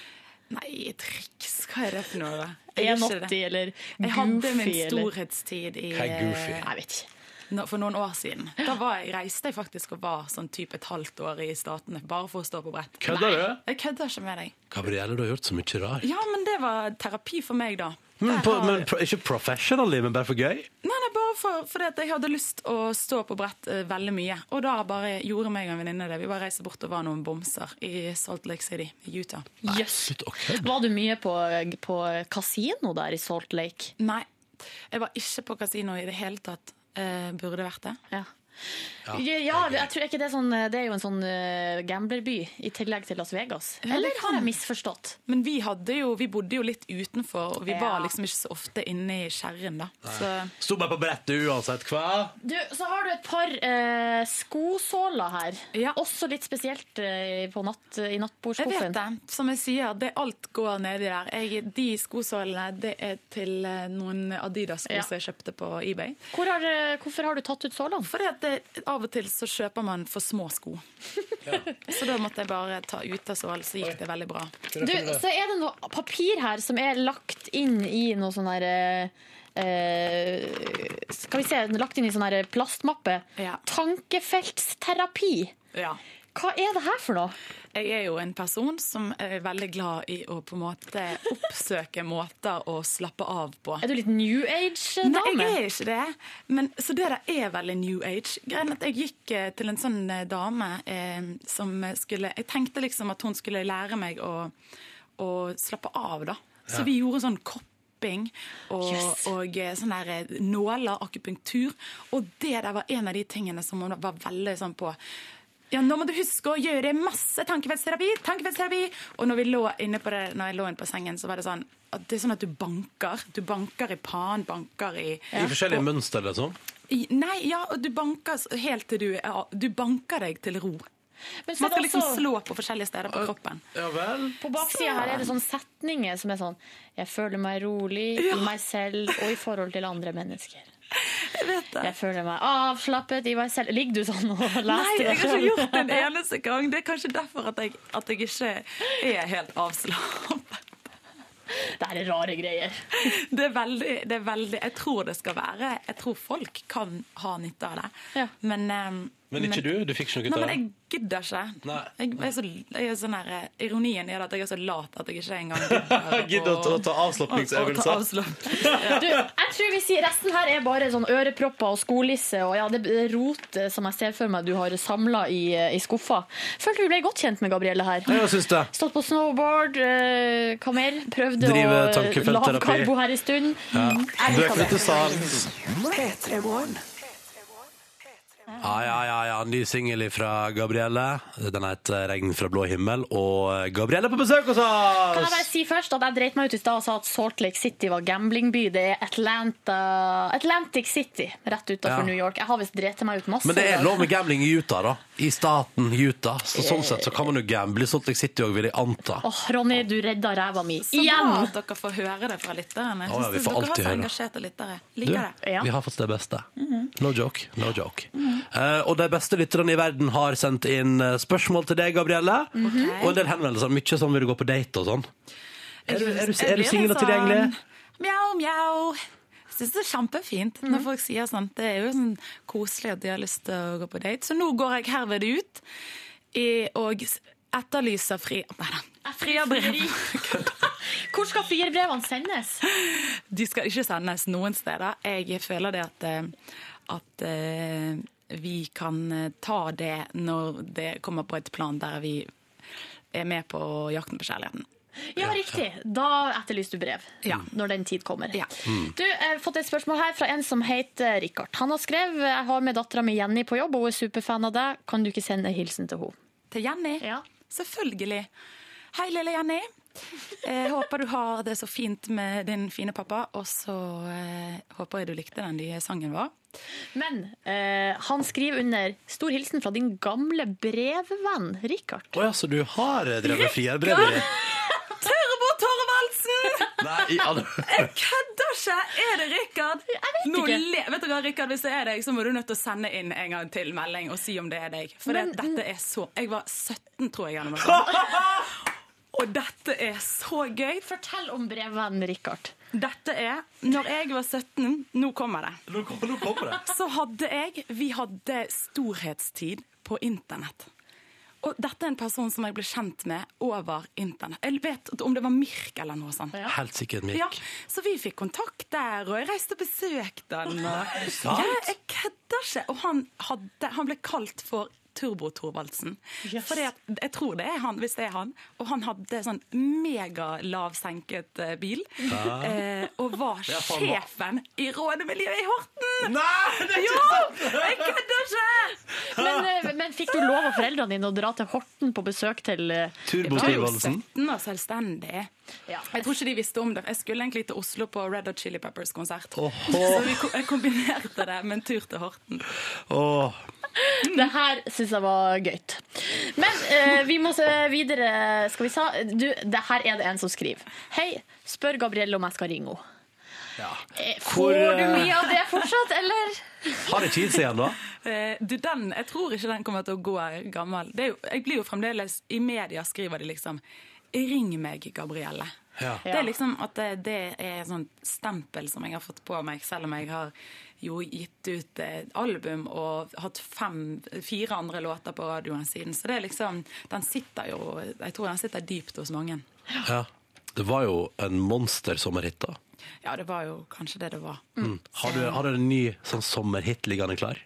Speaker 4: Nei, triks? Hva er det for noe? da? Jeg gjør ikke
Speaker 6: 1,80
Speaker 4: det.
Speaker 6: eller
Speaker 4: Jeg hadde min
Speaker 6: goofy, eller-
Speaker 4: storhetstid i
Speaker 6: Hva er goofy?
Speaker 4: eh,
Speaker 6: Jeg vet ikke.
Speaker 4: nå- For noen år siden. Da var jeg, reiste jeg faktisk og var sånn type et halvt år i Statene bare for å stå på brett.
Speaker 2: Kødder du?
Speaker 4: Nei, Jeg kødder ikke med deg.
Speaker 2: Gabrielle, du har gjort så mye rart.
Speaker 4: Ja, men det var terapi for meg, da.
Speaker 2: Men,
Speaker 4: Der
Speaker 2: på,
Speaker 4: har
Speaker 2: men pro, ikke professionally, men bare for gøy?
Speaker 4: Nei, nei, bare for, fordi at jeg hadde lyst å stå på brett eh, veldig mye. Og da bare gjorde meg og en venninne det. Vi bare reiste bort og var noen bomser i Salt Lake City i Utah.
Speaker 6: Jøss. Var du mye på, på kasino der i Salt Lake?
Speaker 4: Nei, jeg var ikke på kasino i det hele tatt. Eh, burde vært det.
Speaker 6: Ja. Ja, jeg tror ikke det, er sånn, det er jo en sånn eh, gamblerby i tillegg til Las Vegas.
Speaker 4: Ja, det
Speaker 6: Eller
Speaker 4: kan-
Speaker 6: har jeg misforstått?
Speaker 4: Men vi, hadde jo, vi bodde jo litt utenfor, og vi
Speaker 6: Ja.
Speaker 4: var liksom ikke så ofte inne i skjerren, da. Så
Speaker 2: Sto bare på brettet uansett hva?
Speaker 6: Du, så har du et par eh, skosåler her. Også litt spesielt eh, på natt, i
Speaker 4: jeg vet
Speaker 6: nattbordskuffen.
Speaker 4: det. Som jeg sier, det alt går nedi der. Jeg, de skosålene, det er til eh, noen Adidas-sko
Speaker 6: Ja.
Speaker 4: som jeg kjøpte på eBay.
Speaker 6: Hvor har, du- hvorfor har du tatt ut sålene?
Speaker 4: Fordi at det, av og til så kjøper man for små sko. Så da måtte jeg bare ta ut av sål, så gikk det veldig bra.
Speaker 6: Du, så er det noe papir her som er lagt inn i noe sånn her eh, eh, Skal vi se, lagt inn i sånn her plastmappe. Tankefeltsterapi.
Speaker 4: Ja.
Speaker 6: Hva er det her for noe?
Speaker 4: Jeg er jo en person som er veldig glad i å på en måte oppsøke måter å slappe av på.
Speaker 6: Er du litt new eh, age-dame?
Speaker 4: Nei, jeg er ikke det. Men, så det der er veldig new age. Greien er at Jeg gikk eh, til en sånn eh, dame eh, som skulle Jeg tenkte liksom at hun skulle lære meg å, å slappe av, da. Så
Speaker 6: Ja.
Speaker 4: vi gjorde sånn kopp klipping og,
Speaker 6: Yes.
Speaker 4: og eh, sånne der eh, nåler, akupunktur. Og det der var en av de tingene som hun var veldig sånn på. Ja, nå må du huske å gjøre masse tankefeltterapi, tankefeltterapi. Og når vi lå inne på det, når jeg lå inne på sengen, så var det sånn at det er sånn at du banker. Du banker i panen, banker i
Speaker 2: I forskjellige mønster, liksom.
Speaker 4: i- Nei, ja, og du banker s- helt til du er Du banker deg til ro.
Speaker 6: Men så
Speaker 4: Man
Speaker 6: er det
Speaker 4: skal liksom
Speaker 6: også-
Speaker 4: slå på forskjellige steder på kroppen.
Speaker 2: Ja vel.
Speaker 6: På baksida her er det sånne setninger som er sånn Jeg føler meg rolig i meg selv og i forhold til andre mennesker. Jeg
Speaker 4: vet det.
Speaker 6: Jeg føler meg avslappet i meg selv. Ligger du sånn og leser
Speaker 4: Nei,
Speaker 6: til
Speaker 4: jeg
Speaker 6: deg
Speaker 4: har ikke
Speaker 6: selv?
Speaker 4: gjort det en eneste gang. Det er kanskje derfor at jeg, at jeg ikke er helt avslappet.
Speaker 6: Det her er rare greier.
Speaker 4: Det er, veldig, det er veldig Jeg tror det skal være Jeg tror folk kan ha nytte av det. Men, eh,
Speaker 2: Men ikke du? Du fikk ikke noe ut
Speaker 4: Nei,
Speaker 2: av
Speaker 4: men
Speaker 2: det?
Speaker 4: jeg gidder ikke.
Speaker 2: Nei.
Speaker 4: Jeg, jeg er så, jeg er sånn her, ironien er at jeg er så lat at jeg ikke engang gidder
Speaker 2: Gidder å ta- ta
Speaker 4: å
Speaker 2: avslapningsøvelser.
Speaker 4: ta
Speaker 6: Du, jeg tror vi sier Resten her er bare sånn ørepropper og skolisse og ja, det det rotet som jeg ser for meg du har samla i, eh, i skuffa. Følte vi ble godt kjent med Gabrielle
Speaker 2: Ja,
Speaker 6: her.
Speaker 4: altså-
Speaker 2: jeg syns det.
Speaker 6: Stått på snowboard, eh, hva mer? Prøvde
Speaker 2: Drive
Speaker 6: å eh,
Speaker 2: tankefeltterapi.
Speaker 6: lavkarbo her en stund.
Speaker 2: Ja.
Speaker 6: Jeg
Speaker 2: Du
Speaker 6: liker
Speaker 2: er
Speaker 6: det.
Speaker 2: flink til sans.
Speaker 12: P3-morgen.
Speaker 2: Ja, ja, ja, ja. Ny singel fra Gabrielle. Den heter 'Regn fra blå himmel'. Og Gabrielle er på besøk hos
Speaker 6: Kan jeg bare
Speaker 2: oss!
Speaker 6: si først at jeg dreit meg ut i stad og sa at Salt Lake City var gamblingby. Det er Atlanta Atlantic City rett utenfor
Speaker 2: Ja.
Speaker 6: New York. Jeg har visst dreit meg ut masse.
Speaker 2: Men det
Speaker 6: i
Speaker 2: er
Speaker 6: dag.
Speaker 2: lov med gambling i Utah, da. I staten Utah. Så sånn sett så kan man jo gamble. Salt Lake City òg, vil jeg anta.
Speaker 6: Åh, Ronny, du redda ræva mi.
Speaker 4: Så
Speaker 6: Igjen!
Speaker 4: bra at dere får høre det fra lytterne.
Speaker 2: Å,
Speaker 4: Jeg
Speaker 2: ja,
Speaker 4: synes
Speaker 2: vi får
Speaker 4: dere har
Speaker 2: alltid
Speaker 4: så
Speaker 2: høre.
Speaker 4: engasjerte lyttere.
Speaker 2: Du,
Speaker 4: Liker det. Mhm.
Speaker 2: vi har fått det beste. No joke. no joke. Eh, og de beste lytterne i verden har sendt inn eh, spørsmål til deg, Gabrielle.
Speaker 4: Mhm.
Speaker 2: Og en del henvendelser. Mye sånn vil du gå på date og sånn. Er du, er du,
Speaker 4: Jeg
Speaker 2: er du
Speaker 4: blir
Speaker 2: singel og
Speaker 4: litt
Speaker 2: tilgjengelig?
Speaker 4: sånn, Mjau, mjau. Jeg syns det er kjempefint når folk sier sånt. Det er jo sånn koselig at de har lyst til å gå på date. Så nå går jeg herved ut i, og etterlyser fri... Nei da. Frierbrev.
Speaker 6: Hvor skal frierbrevene sendes?
Speaker 4: De skal ikke sendes noen steder. Jeg føler det at, eh, at eh, vi kan eh, ta det når det kommer på et plan der vi er med på jakten på kjærligheten.
Speaker 6: Ja, riktig. Da etterlyser du brev. Når den tid kommer.
Speaker 2: Mm.
Speaker 6: Du, jeg har fått et spørsmål her fra en som heter Rikard. Han har skrevet jeg har med dattera mi Jenny på jobb, og hun er superfan av deg. Kan du ikke sende en hilsen til henne?
Speaker 4: Til Jenny? Selvfølgelig. Hei, lille Jenny. Jeg håper du har det så fint med din fine pappa, og så eh, håper jeg du likte den nye sangen vår.
Speaker 6: Men eh, han skriver under 'Stor hilsen fra din gamle brevvenn Rikard'.
Speaker 2: Å ja, så du har eh, drevet frierbrevet ditt?
Speaker 4: Turbo Torvaldsen!
Speaker 2: Nei, i alle
Speaker 4: Jeg kødder ikke! Er det Rikard? Nå
Speaker 6: ikke.
Speaker 4: le- Vet du hva, Rikard, Hvis det er deg, så må du nødt til å sende inn en gang til melding og si om det er deg. For det-
Speaker 6: Men-
Speaker 4: dette er så Jeg var 17, tror jeg. Anne Margrethe. Og dette er så gøy.
Speaker 6: Fortell om brevvennen Rikard.
Speaker 4: Dette er Når jeg var 17 Nå kommer det. Så hadde jeg Vi hadde storhetstid på internett. Og dette er en person som jeg ble kjent med over internett. Jeg vet om det var Mirk eller noe sånt.
Speaker 2: Helt sikkert Mirk.
Speaker 4: Ja, så vi fikk kontakt der, og jeg reiste og besøkte han.
Speaker 2: Er det
Speaker 4: Og...
Speaker 2: sant?
Speaker 4: Ja, jeg kødder ikke. Og han, hadde, han ble kalt for Turbo Thorvaldsen. Fordi at, jeg tror det er han, hvis det er han. Og han hadde sånn megalavsenket eh, bil.
Speaker 3: Ja.
Speaker 4: Eh, og var
Speaker 3: Det er faen meg-
Speaker 4: sjefen i rådemiljøet i Horten!
Speaker 2: Nei,
Speaker 3: det er ikke
Speaker 4: jo,
Speaker 3: sant!
Speaker 4: Jeg kødder ikke!
Speaker 6: Men, eh, men fikk du lov av foreldrene dine å dra til Horten på besøk til eh,
Speaker 2: Turbo
Speaker 4: Jeg var jo
Speaker 2: Thorvaldsen.
Speaker 4: 17 og selvstendig. Jeg tror ikke de visste om det. Jeg skulle egentlig til Oslo på Red Hot Chili Peppers-konsert. Så vi ko- jeg kombinerte det med en tur til Horten.
Speaker 2: Åh.
Speaker 6: Det her syns jeg var gøy. Men eh, vi må se videre. Skal vi sa? Du, det her er det en som skriver. Hei, spør Gabrielle om jeg skal ringe henne. Eh,
Speaker 2: Hvor,
Speaker 6: Får du
Speaker 2: eh,
Speaker 6: mye av det fortsatt, eller?
Speaker 2: Har det ikke gitt seg ennå?
Speaker 4: Eh, Du, den, jeg tror ikke den kommer til å gå gammel. Det er jo, jeg blir jo fremdeles I media skriver de liksom 'Ring meg, Gabrielle'.
Speaker 2: Ja.
Speaker 4: Det er liksom at det, det er sånn stempel som jeg har fått på meg, selv om jeg har jo gitt ut eh, album og hatt fem, fire andre låter på radioen siden. Så det er liksom Den sitter jo Jeg tror den sitter dypt hos mange.
Speaker 2: Ja. Det var jo en monstersommerhit, da.
Speaker 4: Ja, det var jo kanskje det det var.
Speaker 2: Mm. Har, du, har du en ny sånn sommerhit liggende klar?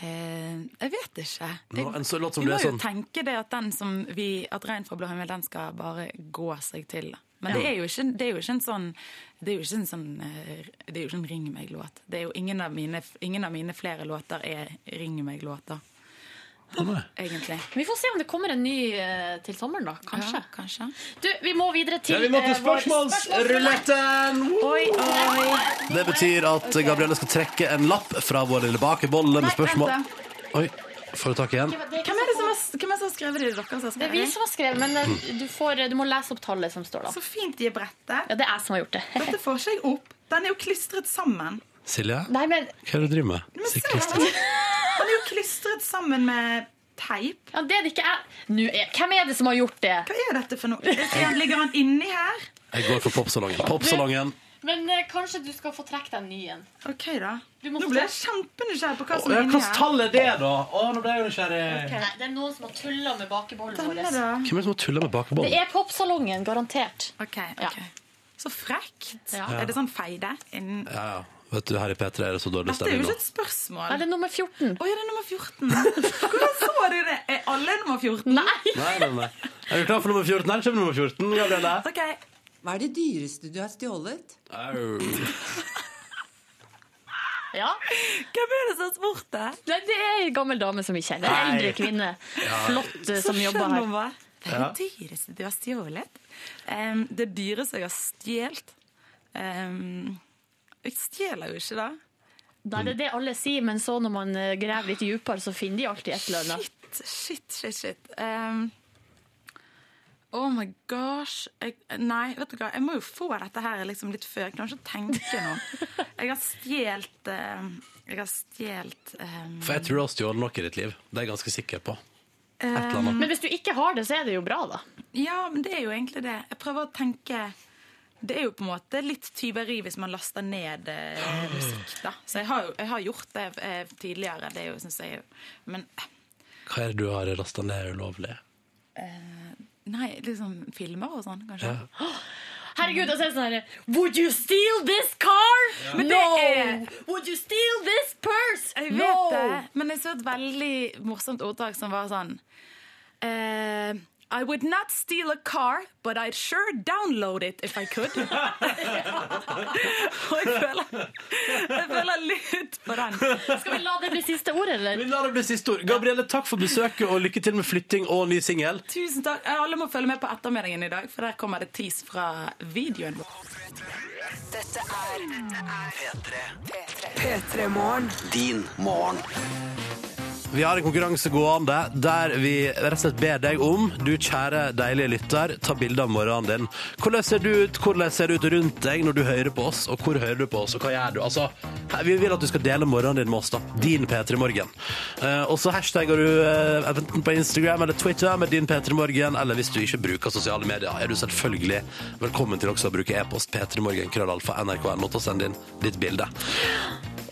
Speaker 4: Eh, jeg vet ikke.
Speaker 2: Nå, en sånn låt som
Speaker 4: vi
Speaker 2: du
Speaker 4: må
Speaker 2: er
Speaker 4: jo
Speaker 2: sånn-
Speaker 4: tenke det at den som vi At Rein fra blå himmel, den skal bare gå seg til. Men
Speaker 2: Ja.
Speaker 4: det, er jo ikke, det er jo ikke en sånn Det er jo ikke en sånn eh, Det er jo ikke en Ring meg-låt. Det er jo ingen av, mine, ingen av mine flere låter er Ring meg-låter. Egentlig.
Speaker 6: Vi får se om det kommer en ny eh, til sommeren, da. Kanskje. Du, vi må videre til
Speaker 2: Ja, vi må til
Speaker 6: eh, vår
Speaker 2: spørsmålsruletten!
Speaker 6: Oi, oi.
Speaker 2: Det betyr at eh, Gabrielle skal trekke en lapp fra vår lille bakebolle med spørsmål.
Speaker 4: vent
Speaker 2: Oi, får du tak i en?
Speaker 4: Hvem er det som har, hvem er det som har skrevet det? Det er dere som har
Speaker 6: Det er
Speaker 4: skrevet
Speaker 6: vi som har skrevet, men eh,
Speaker 2: Mm.
Speaker 6: du, får, du må lese opp tallet som står da.
Speaker 4: Så fint de er brettet.
Speaker 6: Ja, det er jeg som har gjort det.
Speaker 4: Dette får ikke jeg opp. Den er jo klistret sammen.
Speaker 2: Silje,
Speaker 6: Nei, men
Speaker 2: hva er det du driver med?
Speaker 4: Men se, Den er jo klistret sammen med teip.
Speaker 6: Ja, det er det ikke jeg Nå er, Hvem er det som har gjort det?
Speaker 4: Hva er dette for noe? Det Ligger han inni her?
Speaker 2: Jeg går for popsalongen. Popsalongen.
Speaker 6: Men eh, kanskje du skal få trekke deg en ny en.
Speaker 4: Ok, da.
Speaker 6: må
Speaker 4: Nå
Speaker 6: få-
Speaker 4: ble jeg kjempenysgjerrig på hva som
Speaker 2: Ja,
Speaker 4: er inni
Speaker 2: Hvilket
Speaker 4: her.
Speaker 2: tall er det, da? Å, nå ble jeg jo nysgjerrig.
Speaker 6: Nei, det er noen som har tulla med bakebollen vår.
Speaker 2: Hvem er det som har tulla med
Speaker 6: Det
Speaker 2: bakebollen?
Speaker 6: er popsalongen, garantert.
Speaker 4: Så frekt.
Speaker 2: Ja.
Speaker 4: Er det sånn feide? Innen...
Speaker 2: Ja, ja. Vet du, her i P3 er det så dårlig
Speaker 4: Dette er
Speaker 2: stemning nå.
Speaker 4: jo ikke et spørsmål.
Speaker 6: Er det nummer 14?
Speaker 4: Å, er det nummer 14? Hvordan så du det? Er alle nummer 14?
Speaker 6: Nei.
Speaker 2: Nei, nei, nei. Er du klar for nummer 14? Her kommer nummer 14, Gabrielle.
Speaker 13: Hva er det dyreste du har stjålet?
Speaker 2: Au.
Speaker 6: Ja.
Speaker 4: Hvem er det som har spurt deg?
Speaker 6: Nei, det er en gammel dame som vi kjenner. En
Speaker 4: Nei.
Speaker 6: eldre kvinne.
Speaker 4: Ja.
Speaker 6: Flott eh, som
Speaker 4: Så
Speaker 6: jobber
Speaker 4: skjønn
Speaker 6: her.
Speaker 4: hun hva. Det er
Speaker 6: Ja.
Speaker 4: det dyreste du har stjålet. Em, det dyreste jeg har stjålet Em, Jeg stjeler jo ikke, da.
Speaker 6: Nei, det er det alle sier, men så når man eh, graver litt dypere, så finner de alltid et eller annet.
Speaker 4: Shit, shit, shit. Em, oh my gosh. Jeg, nei, vet du hva? Jeg må jo få dette her liksom litt før. Jeg kan ikke tenke nå. Jeg har stjålet em, Jeg har stjålet ehm, em,
Speaker 2: For jeg tror du har stjålet noe i ditt liv. Det er jeg ganske sikker på. eller annet.
Speaker 4: Em,
Speaker 6: Men hvis du ikke har det, så er det jo bra, da.
Speaker 4: Ja, men det er jo egentlig det. Jeg prøver å tenke Det er jo på en måte litt tyveri hvis man laster ned eh, musikk, da. Så jeg har, jo- jeg har gjort det eh, tidligere. Det er jo, synes jeg, jo- men
Speaker 2: Hva er det du har lasta ned ulovlig?
Speaker 4: eh, Nei, liksom filmer og sånn, kanskje.
Speaker 6: Herregud, og så er det sånn her Would you steal this car?
Speaker 4: Ja. Men det
Speaker 6: No!
Speaker 4: er-
Speaker 6: Would you steal this purse?
Speaker 4: Jeg vet
Speaker 6: no!
Speaker 4: det, men jeg så et veldig morsomt ordtak som var sånn eh, I would not steal a car, but I'd sure download it if I could. Og jeg føler, jeg føler litt på den.
Speaker 6: Skal vi la det bli siste ord, eller?
Speaker 2: Vi lar det bli siste ord. Gabrielle, takk for besøket, og lykke til med flytting og ny singel.
Speaker 4: Tusen takk. Alle må følge med på ettermiddagen i dag, for der kommer det tease fra videoen vår.
Speaker 14: Dette er P3.
Speaker 1: P3 Morgen.
Speaker 2: Din morgen. Vi har en konkurranse gående der vi rett og slett ber deg om, du kjære deilige lytter, ta bilde av morgenen din. Hvordan ser du ut, hvordan ser det ut rundt deg når du hører på oss, og hvor hører du på oss, og hva gjør du? Altså, vi vil at du skal dele morgenen din med oss, da. Din P3 Morgen. Eh, og så hashtagger du eh, enten på Instagram eller Twitter med din P3 Morgen, eller hvis du ikke bruker sosiale medier, er du selvfølgelig velkommen til også å bruke e-post p3morgen krøllalfa nrk.no til å sende inn ditt bilde.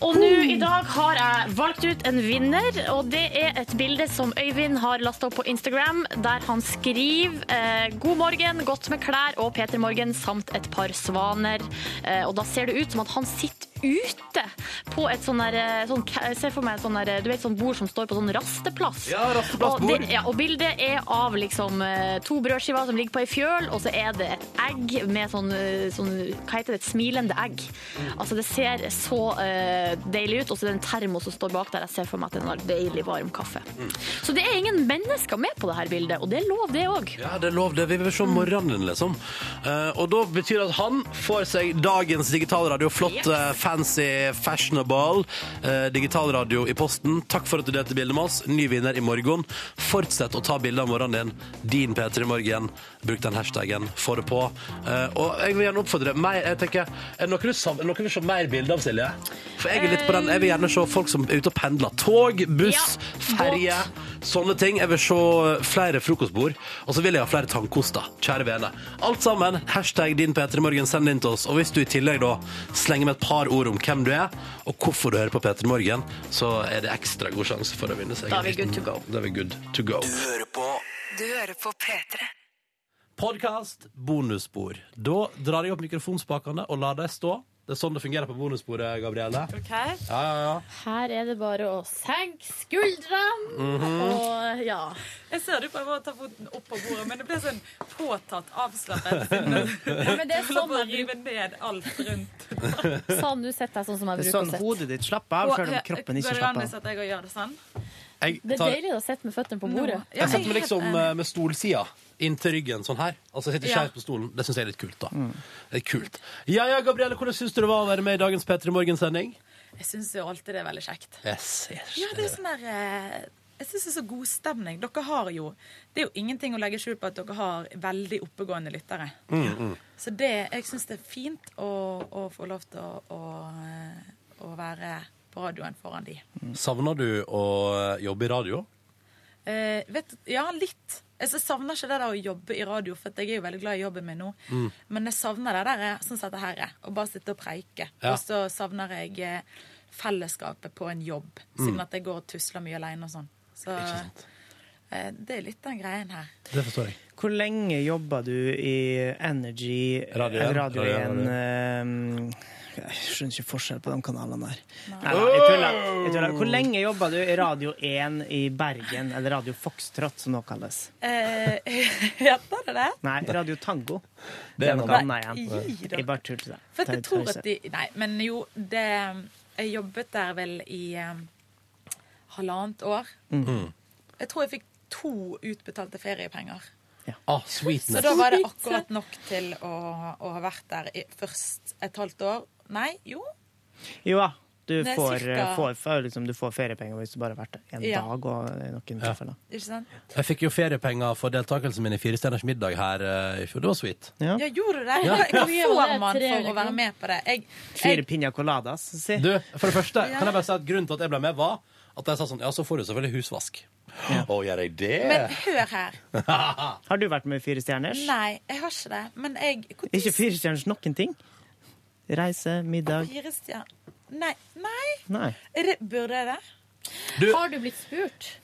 Speaker 6: Og nå i dag har jeg valgt ut en vinner, og det er et bilde som Øyvind har lasta opp på Instagram, der han skriver eh, 'God morgen, godt med klær' og 'Peter Morgen' samt et par svaner. Eh, og da ser det ut som at han sitter ute på et sånn der eh, sånn, ca- Se for meg et sånn der, du vet, sånn bord som står på sånn rasteplass.
Speaker 2: Ja, rasteplassbord.
Speaker 6: Og, det, ja, og bildet er av liksom eh, to brødskiver som ligger på ei fjøl, og så er det et egg med sånn, eh, sånn Hva heter det? Et smilende egg. Altså, det ser så eh, deilig ut. Og så er det en termos som står bak der. Jeg ser for meg at den har deilig, varm kaffe. Så det er ingen mennesker med på dette bildet, og det er lov, det òg.
Speaker 2: Ja, det er lov. det. Vi vil se morgenen, din, liksom. Eh, og da betyr det at han får seg dagens digitalradio. Flott,
Speaker 6: Yes.
Speaker 2: eh, fancy, fashionable eh, digitalradio i posten. Takk for at du delte bildet med oss. Ny vinner i morgen. Fortsett å ta bilder av morgenen din. Din P3 Morgen. Bruk den hashtagen. Få det på. Eh, og jeg vil gjerne oppfordre mer. Jeg tenker, Er det noe du savner? Noe du vil se mer bilder av, Silje? For jeg er litt på den. Jeg vil gjerne se folk som er ute og pendler. Tog, buss, ferje. Sånne ting. Jeg vil se eh, flere frokostbord. Og så vil jeg ha flere tannkoster. Kjære vene. Alt sammen. Hashtag din P3morgen. Send det inn til oss. Og hvis du i tillegg da slenger med et par ord om hvem du er, og hvorfor du hører på P3morgen, så er det ekstra god sjanse for å vinne seg.
Speaker 6: Da er vi
Speaker 2: en liten-
Speaker 6: good to go.
Speaker 2: Da er vi good to go.
Speaker 14: Du hører på P3.
Speaker 2: Podkast, bonusspor. Da drar jeg opp mikrofonspakene og lar dem stå Det er sånn det fungerer på bonusbordet, Gabrielle.
Speaker 6: Ok.
Speaker 2: Ja, ja, ja.
Speaker 6: Her er det bare å senke skuldrene
Speaker 2: Mhm.
Speaker 6: og ja.
Speaker 4: Jeg ser du prøver å ta foten opp på bordet, men det ble sånn påtatt avslappet.
Speaker 6: Ja, men det er
Speaker 4: Du holder
Speaker 6: sånn
Speaker 4: på å
Speaker 6: jeg
Speaker 4: rive ned alt rundt.
Speaker 6: Sånn du setter deg, sånn som jeg
Speaker 3: Det er
Speaker 6: bruker
Speaker 3: sånn
Speaker 6: å sette.
Speaker 3: hodet ditt slapper av,
Speaker 4: eh,
Speaker 3: selv om kroppen ikke
Speaker 4: Går det an
Speaker 3: slapper
Speaker 4: hvis
Speaker 3: av.
Speaker 4: at jeg også gjør det sånn?
Speaker 2: Jeg
Speaker 6: Det er
Speaker 2: tar-
Speaker 6: deilig å sitte med føttene på bordet.
Speaker 2: Jeg setter meg liksom eh, med stolsida inntil ryggen, sånn her. Altså jeg sitter
Speaker 6: Ja.
Speaker 2: skjevt på stolen. Det syns jeg er litt kult, da. Det er kult. Ja ja, Gabrielle, hvordan syns du det var å være med i dagens P3 Morgen-sending?
Speaker 4: Jeg syns jo alltid det er veldig kjekt.
Speaker 2: Yes, yes.
Speaker 4: Ja, det er sånn der eh, Jeg syns det er så god stemning. Dere har jo Det er jo ingenting å legge skjul på at dere har veldig oppegående lyttere.
Speaker 2: Mm, mm.
Speaker 4: Så det, jeg syns det er fint å, å få lov til å, å, eh, å være på radioen foran de.
Speaker 2: Savner du å eh, jobbe i radio?
Speaker 4: Eh, vet, ja, litt. Jeg så savner ikke det der å jobbe i radio, for at jeg er jo veldig glad i jobben min nå.
Speaker 2: Mm.
Speaker 4: Men jeg savner det der sånn som dette her er, å bare sitte og preike.
Speaker 2: Ja.
Speaker 4: Og så savner jeg eh, fellesskapet på en jobb, siden
Speaker 2: Mm.
Speaker 4: at jeg går og tusler mye alene og sånn. Så eh, det er litt den greien her.
Speaker 2: Det forstår
Speaker 4: altså.
Speaker 2: jeg.
Speaker 3: Hvor lenge jobba du i Energy
Speaker 2: Radio
Speaker 3: eh,
Speaker 2: en,
Speaker 3: Radio
Speaker 2: Radio
Speaker 3: 1?
Speaker 2: en,
Speaker 3: eh, Jeg skjønner ikke forskjell på de kanalene der. Nei, nei, jeg tuller. Jeg tuller. Hvor lenge jobba du i Radio 1 i Bergen, eller Radio Foxtrot, som nå kalles?
Speaker 4: Eh, heter det det?
Speaker 3: Nei, Radio Tango.
Speaker 4: Det
Speaker 3: Det
Speaker 4: er
Speaker 3: er noe
Speaker 4: noe.
Speaker 3: annet
Speaker 4: Nei,
Speaker 3: igjen.
Speaker 4: gi da.
Speaker 3: Jeg bare tulte. da.
Speaker 4: For at jeg
Speaker 3: Ta-
Speaker 4: tror
Speaker 3: pause.
Speaker 4: at de Nei, men jo, det eh, Jeg jobbet der vel i eh, halvannet år.
Speaker 2: Mm.
Speaker 4: Jeg tror jeg fikk to utbetalte feriepenger.
Speaker 2: Ah, sweetness.
Speaker 4: Så da var det akkurat nok til å, å ha vært der i først et halvt år. Nei, jo.
Speaker 3: Jo da, du
Speaker 4: Det er
Speaker 3: får,
Speaker 4: cirka-
Speaker 3: får, får, liksom, du får feriepenger hvis du bare har vært der en
Speaker 4: Ja.
Speaker 3: dag og i noen tilfeller.
Speaker 4: Ikke sant?
Speaker 2: Jeg fikk jo feriepenger for deltakelsen min i Fire stjerners middag her eh, i fjor. Det var sweet.
Speaker 4: Ja, gjorde du det?
Speaker 2: Ja.
Speaker 4: Hva får
Speaker 6: det?
Speaker 4: man
Speaker 6: Tre
Speaker 4: for
Speaker 6: eller
Speaker 4: å være med på det? Jeg,
Speaker 3: Fire piña coladas, si.
Speaker 2: Du, for det første,
Speaker 4: Ja.
Speaker 2: kan jeg bare si at grunnen til at jeg ble med, var at jeg sa sånn Ja, så får du selvfølgelig husvask. Å, gjør jeg det?
Speaker 4: men hør her.
Speaker 3: Har du vært med i Fire stjerners?
Speaker 4: Nei, jeg har ikke det. Men jeg hvor tid-
Speaker 3: Ikke Fire stjerners noen ting? Reise, middag
Speaker 4: Fire stjerner. Nei. nei.
Speaker 3: Nei.
Speaker 4: Er det- Burde jeg det?
Speaker 2: Du-
Speaker 4: Har
Speaker 6: du blitt spurt?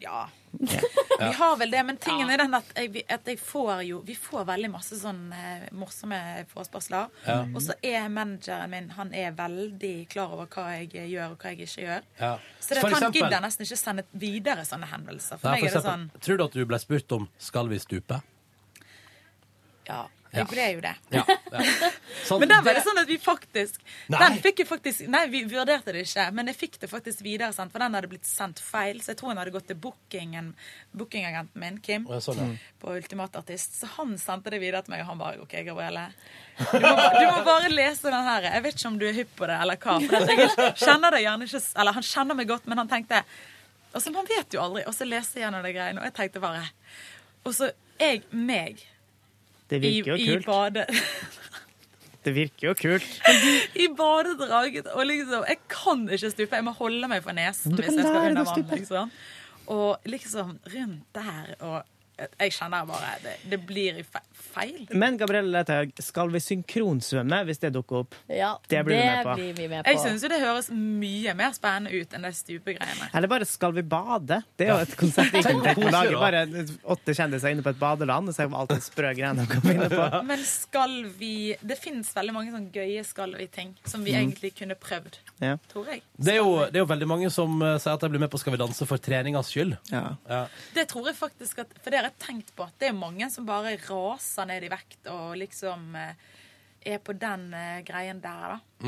Speaker 4: Ja.
Speaker 2: Ja.
Speaker 4: Vi har vel det, men tingen er den at jeg, at jeg får jo Vi får veldig masse sånn eh, morsomme forespørsler.
Speaker 2: Ja.
Speaker 4: Og så er manageren min Han er veldig klar over hva jeg gjør, og hva jeg ikke gjør.
Speaker 2: Ja.
Speaker 4: Så det,
Speaker 2: For
Speaker 4: han
Speaker 2: eksempel-
Speaker 4: gidder nesten ikke sende videre sånne henvendelser. For
Speaker 2: Nei,
Speaker 4: meg
Speaker 2: for
Speaker 4: er det
Speaker 2: eksempel,
Speaker 4: sånn
Speaker 2: Tror du at du ble spurt om 'Skal vi stupe'?
Speaker 4: Ja,
Speaker 2: Ja.
Speaker 4: jeg ble jo det.
Speaker 2: Ja, ja. Sånn,
Speaker 4: men den var det sånn at vi faktisk
Speaker 2: Nei.
Speaker 4: Den fikk jeg faktisk Nei, vi vurderte det ikke, men jeg fikk det faktisk videre, sant? for den hadde blitt sendt feil. Så jeg tror han hadde gått til bookingen bookingagenten min, Kim,
Speaker 2: Ja, sånn, ja.
Speaker 4: på Ultimat Artist. Så han sendte det videre til meg, og han bare OK, Gabrielle. Du må, ba- du må bare lese den her. Jeg vet ikke om du er hypp på det, eller hva. For at jeg kjenner det gjerne ikke s- Eller han kjenner meg godt, men han tenkte Og så Man vet jo aldri. Og så leser jeg gjennom det greiene, og jeg tenkte bare Og så jeg, meg,
Speaker 3: Det
Speaker 4: i,
Speaker 3: virker
Speaker 4: i
Speaker 3: jo kult.
Speaker 4: badet
Speaker 3: Det virker jo kult.
Speaker 4: i badedraget. Og liksom, jeg kan ikke stupe. Jeg må holde meg for nesen
Speaker 3: Du
Speaker 4: hvis
Speaker 3: kan
Speaker 4: jeg skal
Speaker 3: lære deg
Speaker 4: under
Speaker 3: å
Speaker 4: vann.
Speaker 3: stupe.
Speaker 4: Liksom. Og liksom rundt der og Jeg kjenner bare Det, det blir fe- feil.
Speaker 3: Men Gabrielle Leithaug, skal vi synkronsvømme hvis det dukker opp?
Speaker 6: Ja,
Speaker 3: Det blir du med på.
Speaker 4: Jeg syns jo det høres mye mer spennende ut enn de stupegreiene.
Speaker 3: Eller bare 'Skal vi bade'? Det er jo et konsept jeg
Speaker 2: Tenk
Speaker 3: ikke
Speaker 2: hvor
Speaker 3: tenker på å
Speaker 2: koselig,
Speaker 3: lage. Bare åtte kjendiser inne på et badeland, og så er det alltid sprø greier å komme inne på.
Speaker 4: Men skal vi Det fins veldig mange sånne gøye skal vi-ting som vi
Speaker 2: Mm.
Speaker 4: egentlig kunne prøvd,
Speaker 3: Ja.
Speaker 4: tror jeg.
Speaker 2: Det er, jo, det er jo veldig mange som eh, sier at de blir med på Skal vi danse for treningas skyld. Ja.
Speaker 4: Det tror jeg faktisk at For det har jeg tenkt på. at Det er mange som bare raser ned i vekt og liksom eh, er på den eh, greien der, da.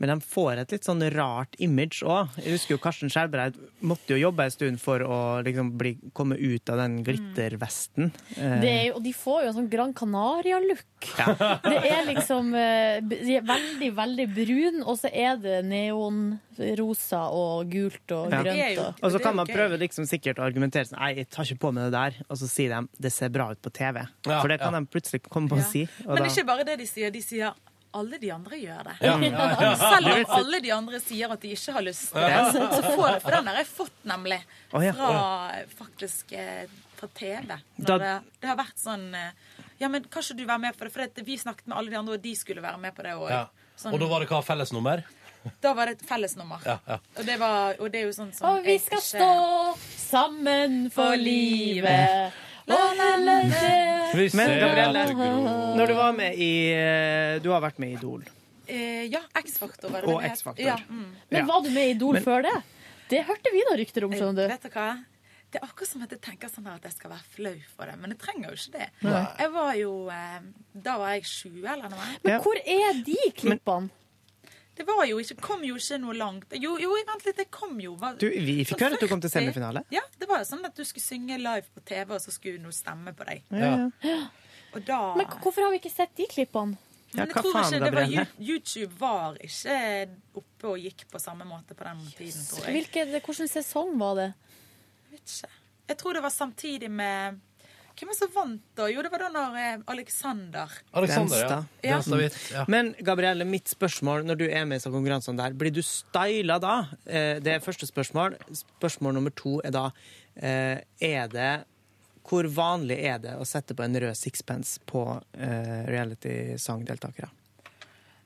Speaker 3: Men de får et litt sånn rart image òg. Jeg husker jo Karsten Skjelbreid måtte jo jobbe en stund for å liksom bli, komme ut av den glittervesten. Eh,
Speaker 6: Det er jo, og de får jo en sånn Gran Canaria-look.
Speaker 3: ja.
Speaker 6: Det er liksom eh, b- de er veldig, veldig brun, og så er det neonrosa og gult og
Speaker 3: Ja.
Speaker 6: grønt. Og,
Speaker 3: Og så kan man prøve liksom sikkert å argumentere sånn Nei, jeg tar ikke på meg det der. Og så sier de det ser bra ut på TV.
Speaker 2: Ja,
Speaker 3: For det kan
Speaker 2: ja.
Speaker 3: de plutselig komme på å si. og
Speaker 4: Men
Speaker 3: da-
Speaker 4: ikke bare det de sier. De sier alle de andre gjør det.
Speaker 3: Ja, ja, ja.
Speaker 4: Selv om alle de andre sier at de ikke har lyst til
Speaker 3: Ja.
Speaker 4: det. Så får, for den har jeg fått, nemlig.
Speaker 3: Å, ja.
Speaker 4: Fra, faktisk, eh, fra TV.
Speaker 3: Da-
Speaker 4: Når det, det har vært sånn eh, Ja, men kan ikke du være med på det? For det, vi snakket med alle de andre, og de skulle være med på det òg.
Speaker 2: Ja.
Speaker 4: Sånn,
Speaker 2: Og da var det hva? Fellesnummer?
Speaker 4: da var det et fellesnummer.
Speaker 2: Ja, ja.
Speaker 4: Og det, var, og det er jo sånn som
Speaker 6: og vi
Speaker 4: jeg
Speaker 6: skal
Speaker 4: ikke-
Speaker 6: stå sammen for livet. La, la, la, la.
Speaker 3: Men Gabrielle, når du var med i Du har eh, vært med i Idol.
Speaker 4: Eh, ja, X-Faktor var det
Speaker 3: Og
Speaker 4: det het.
Speaker 3: X-Faktor.
Speaker 4: Ja, mm.
Speaker 6: Men var du med i Idol
Speaker 3: Men-
Speaker 6: før det? Det hørte vi da rykter om, skjønner du.
Speaker 4: Vet du hva? Det er akkurat som at jeg tenker sånn her at jeg skal være flau for det, men jeg trenger jo ikke det.
Speaker 6: Nei.
Speaker 4: Jeg var jo eh, Da var jeg 20 eller noe.
Speaker 6: Men hvor er de klippene?
Speaker 4: Det var jo ikke, kom jo ikke noe langt. Jo, jo vent litt, jeg kom jo. Var,
Speaker 3: Du, vi fikk høre at du kom til
Speaker 4: 40.
Speaker 3: semifinale.
Speaker 4: Ja, det var jo sånn at du skulle synge live på TV, og så skulle noe stemme på deg.
Speaker 3: Ja.
Speaker 4: Og da
Speaker 6: Men k- hvorfor har vi ikke sett de klippene?
Speaker 4: Men jeg tror ikke det var Yu- YouTube var ikke oppe og gikk på samme måte på den tiden, tror jeg.
Speaker 6: Hvilken, hvilken sesong var det?
Speaker 4: Jeg vet ikke. Jeg tror det var samtidig med Hvem var det som vant da? Jo, det var da når eh, Alexander
Speaker 2: Alexander, ja.
Speaker 4: Denstad.
Speaker 2: Ja. Denstad Hvitt, ja.
Speaker 3: Men Gabrielle, mitt spørsmål når du er med i disse konkurransene der, blir du styla da? Eh, Det er første spørsmål. Spørsmål nummer to er da eh, Er det Hvor vanlig er det å sette på en rød sixpence på eh, reality-sangdeltakere?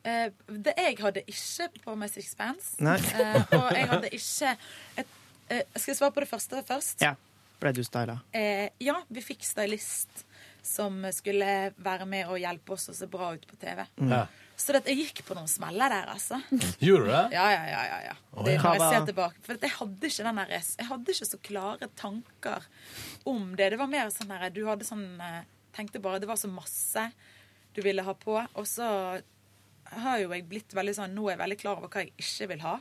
Speaker 4: Eh, det jeg hadde ikke på meg sixpence.
Speaker 3: Nei.
Speaker 4: Eh, og jeg hadde ikke et, eh, Skal jeg svare på det første først?
Speaker 3: Ja. Ble du styla?
Speaker 4: Eh, ja, vi fikk stylist som skulle være med og hjelpe oss å se bra ut på TV.
Speaker 2: Ja.
Speaker 4: Så det, jeg gikk på noen smeller der, altså.
Speaker 2: Gjorde du det?
Speaker 4: Ja, ja, ja. ja, ja.
Speaker 2: Å,
Speaker 4: det
Speaker 2: ja.
Speaker 4: når jeg
Speaker 2: Hva
Speaker 4: ser
Speaker 2: var-
Speaker 4: tilbake. For at jeg hadde ikke den der, jeg hadde ikke så klare tanker om det. Det var mer sånn her Du hadde sånn eh, Tenkte bare Det var så masse du ville ha på. Og så har jo jeg blitt veldig sånn Nå er jeg veldig klar over hva jeg ikke vil ha.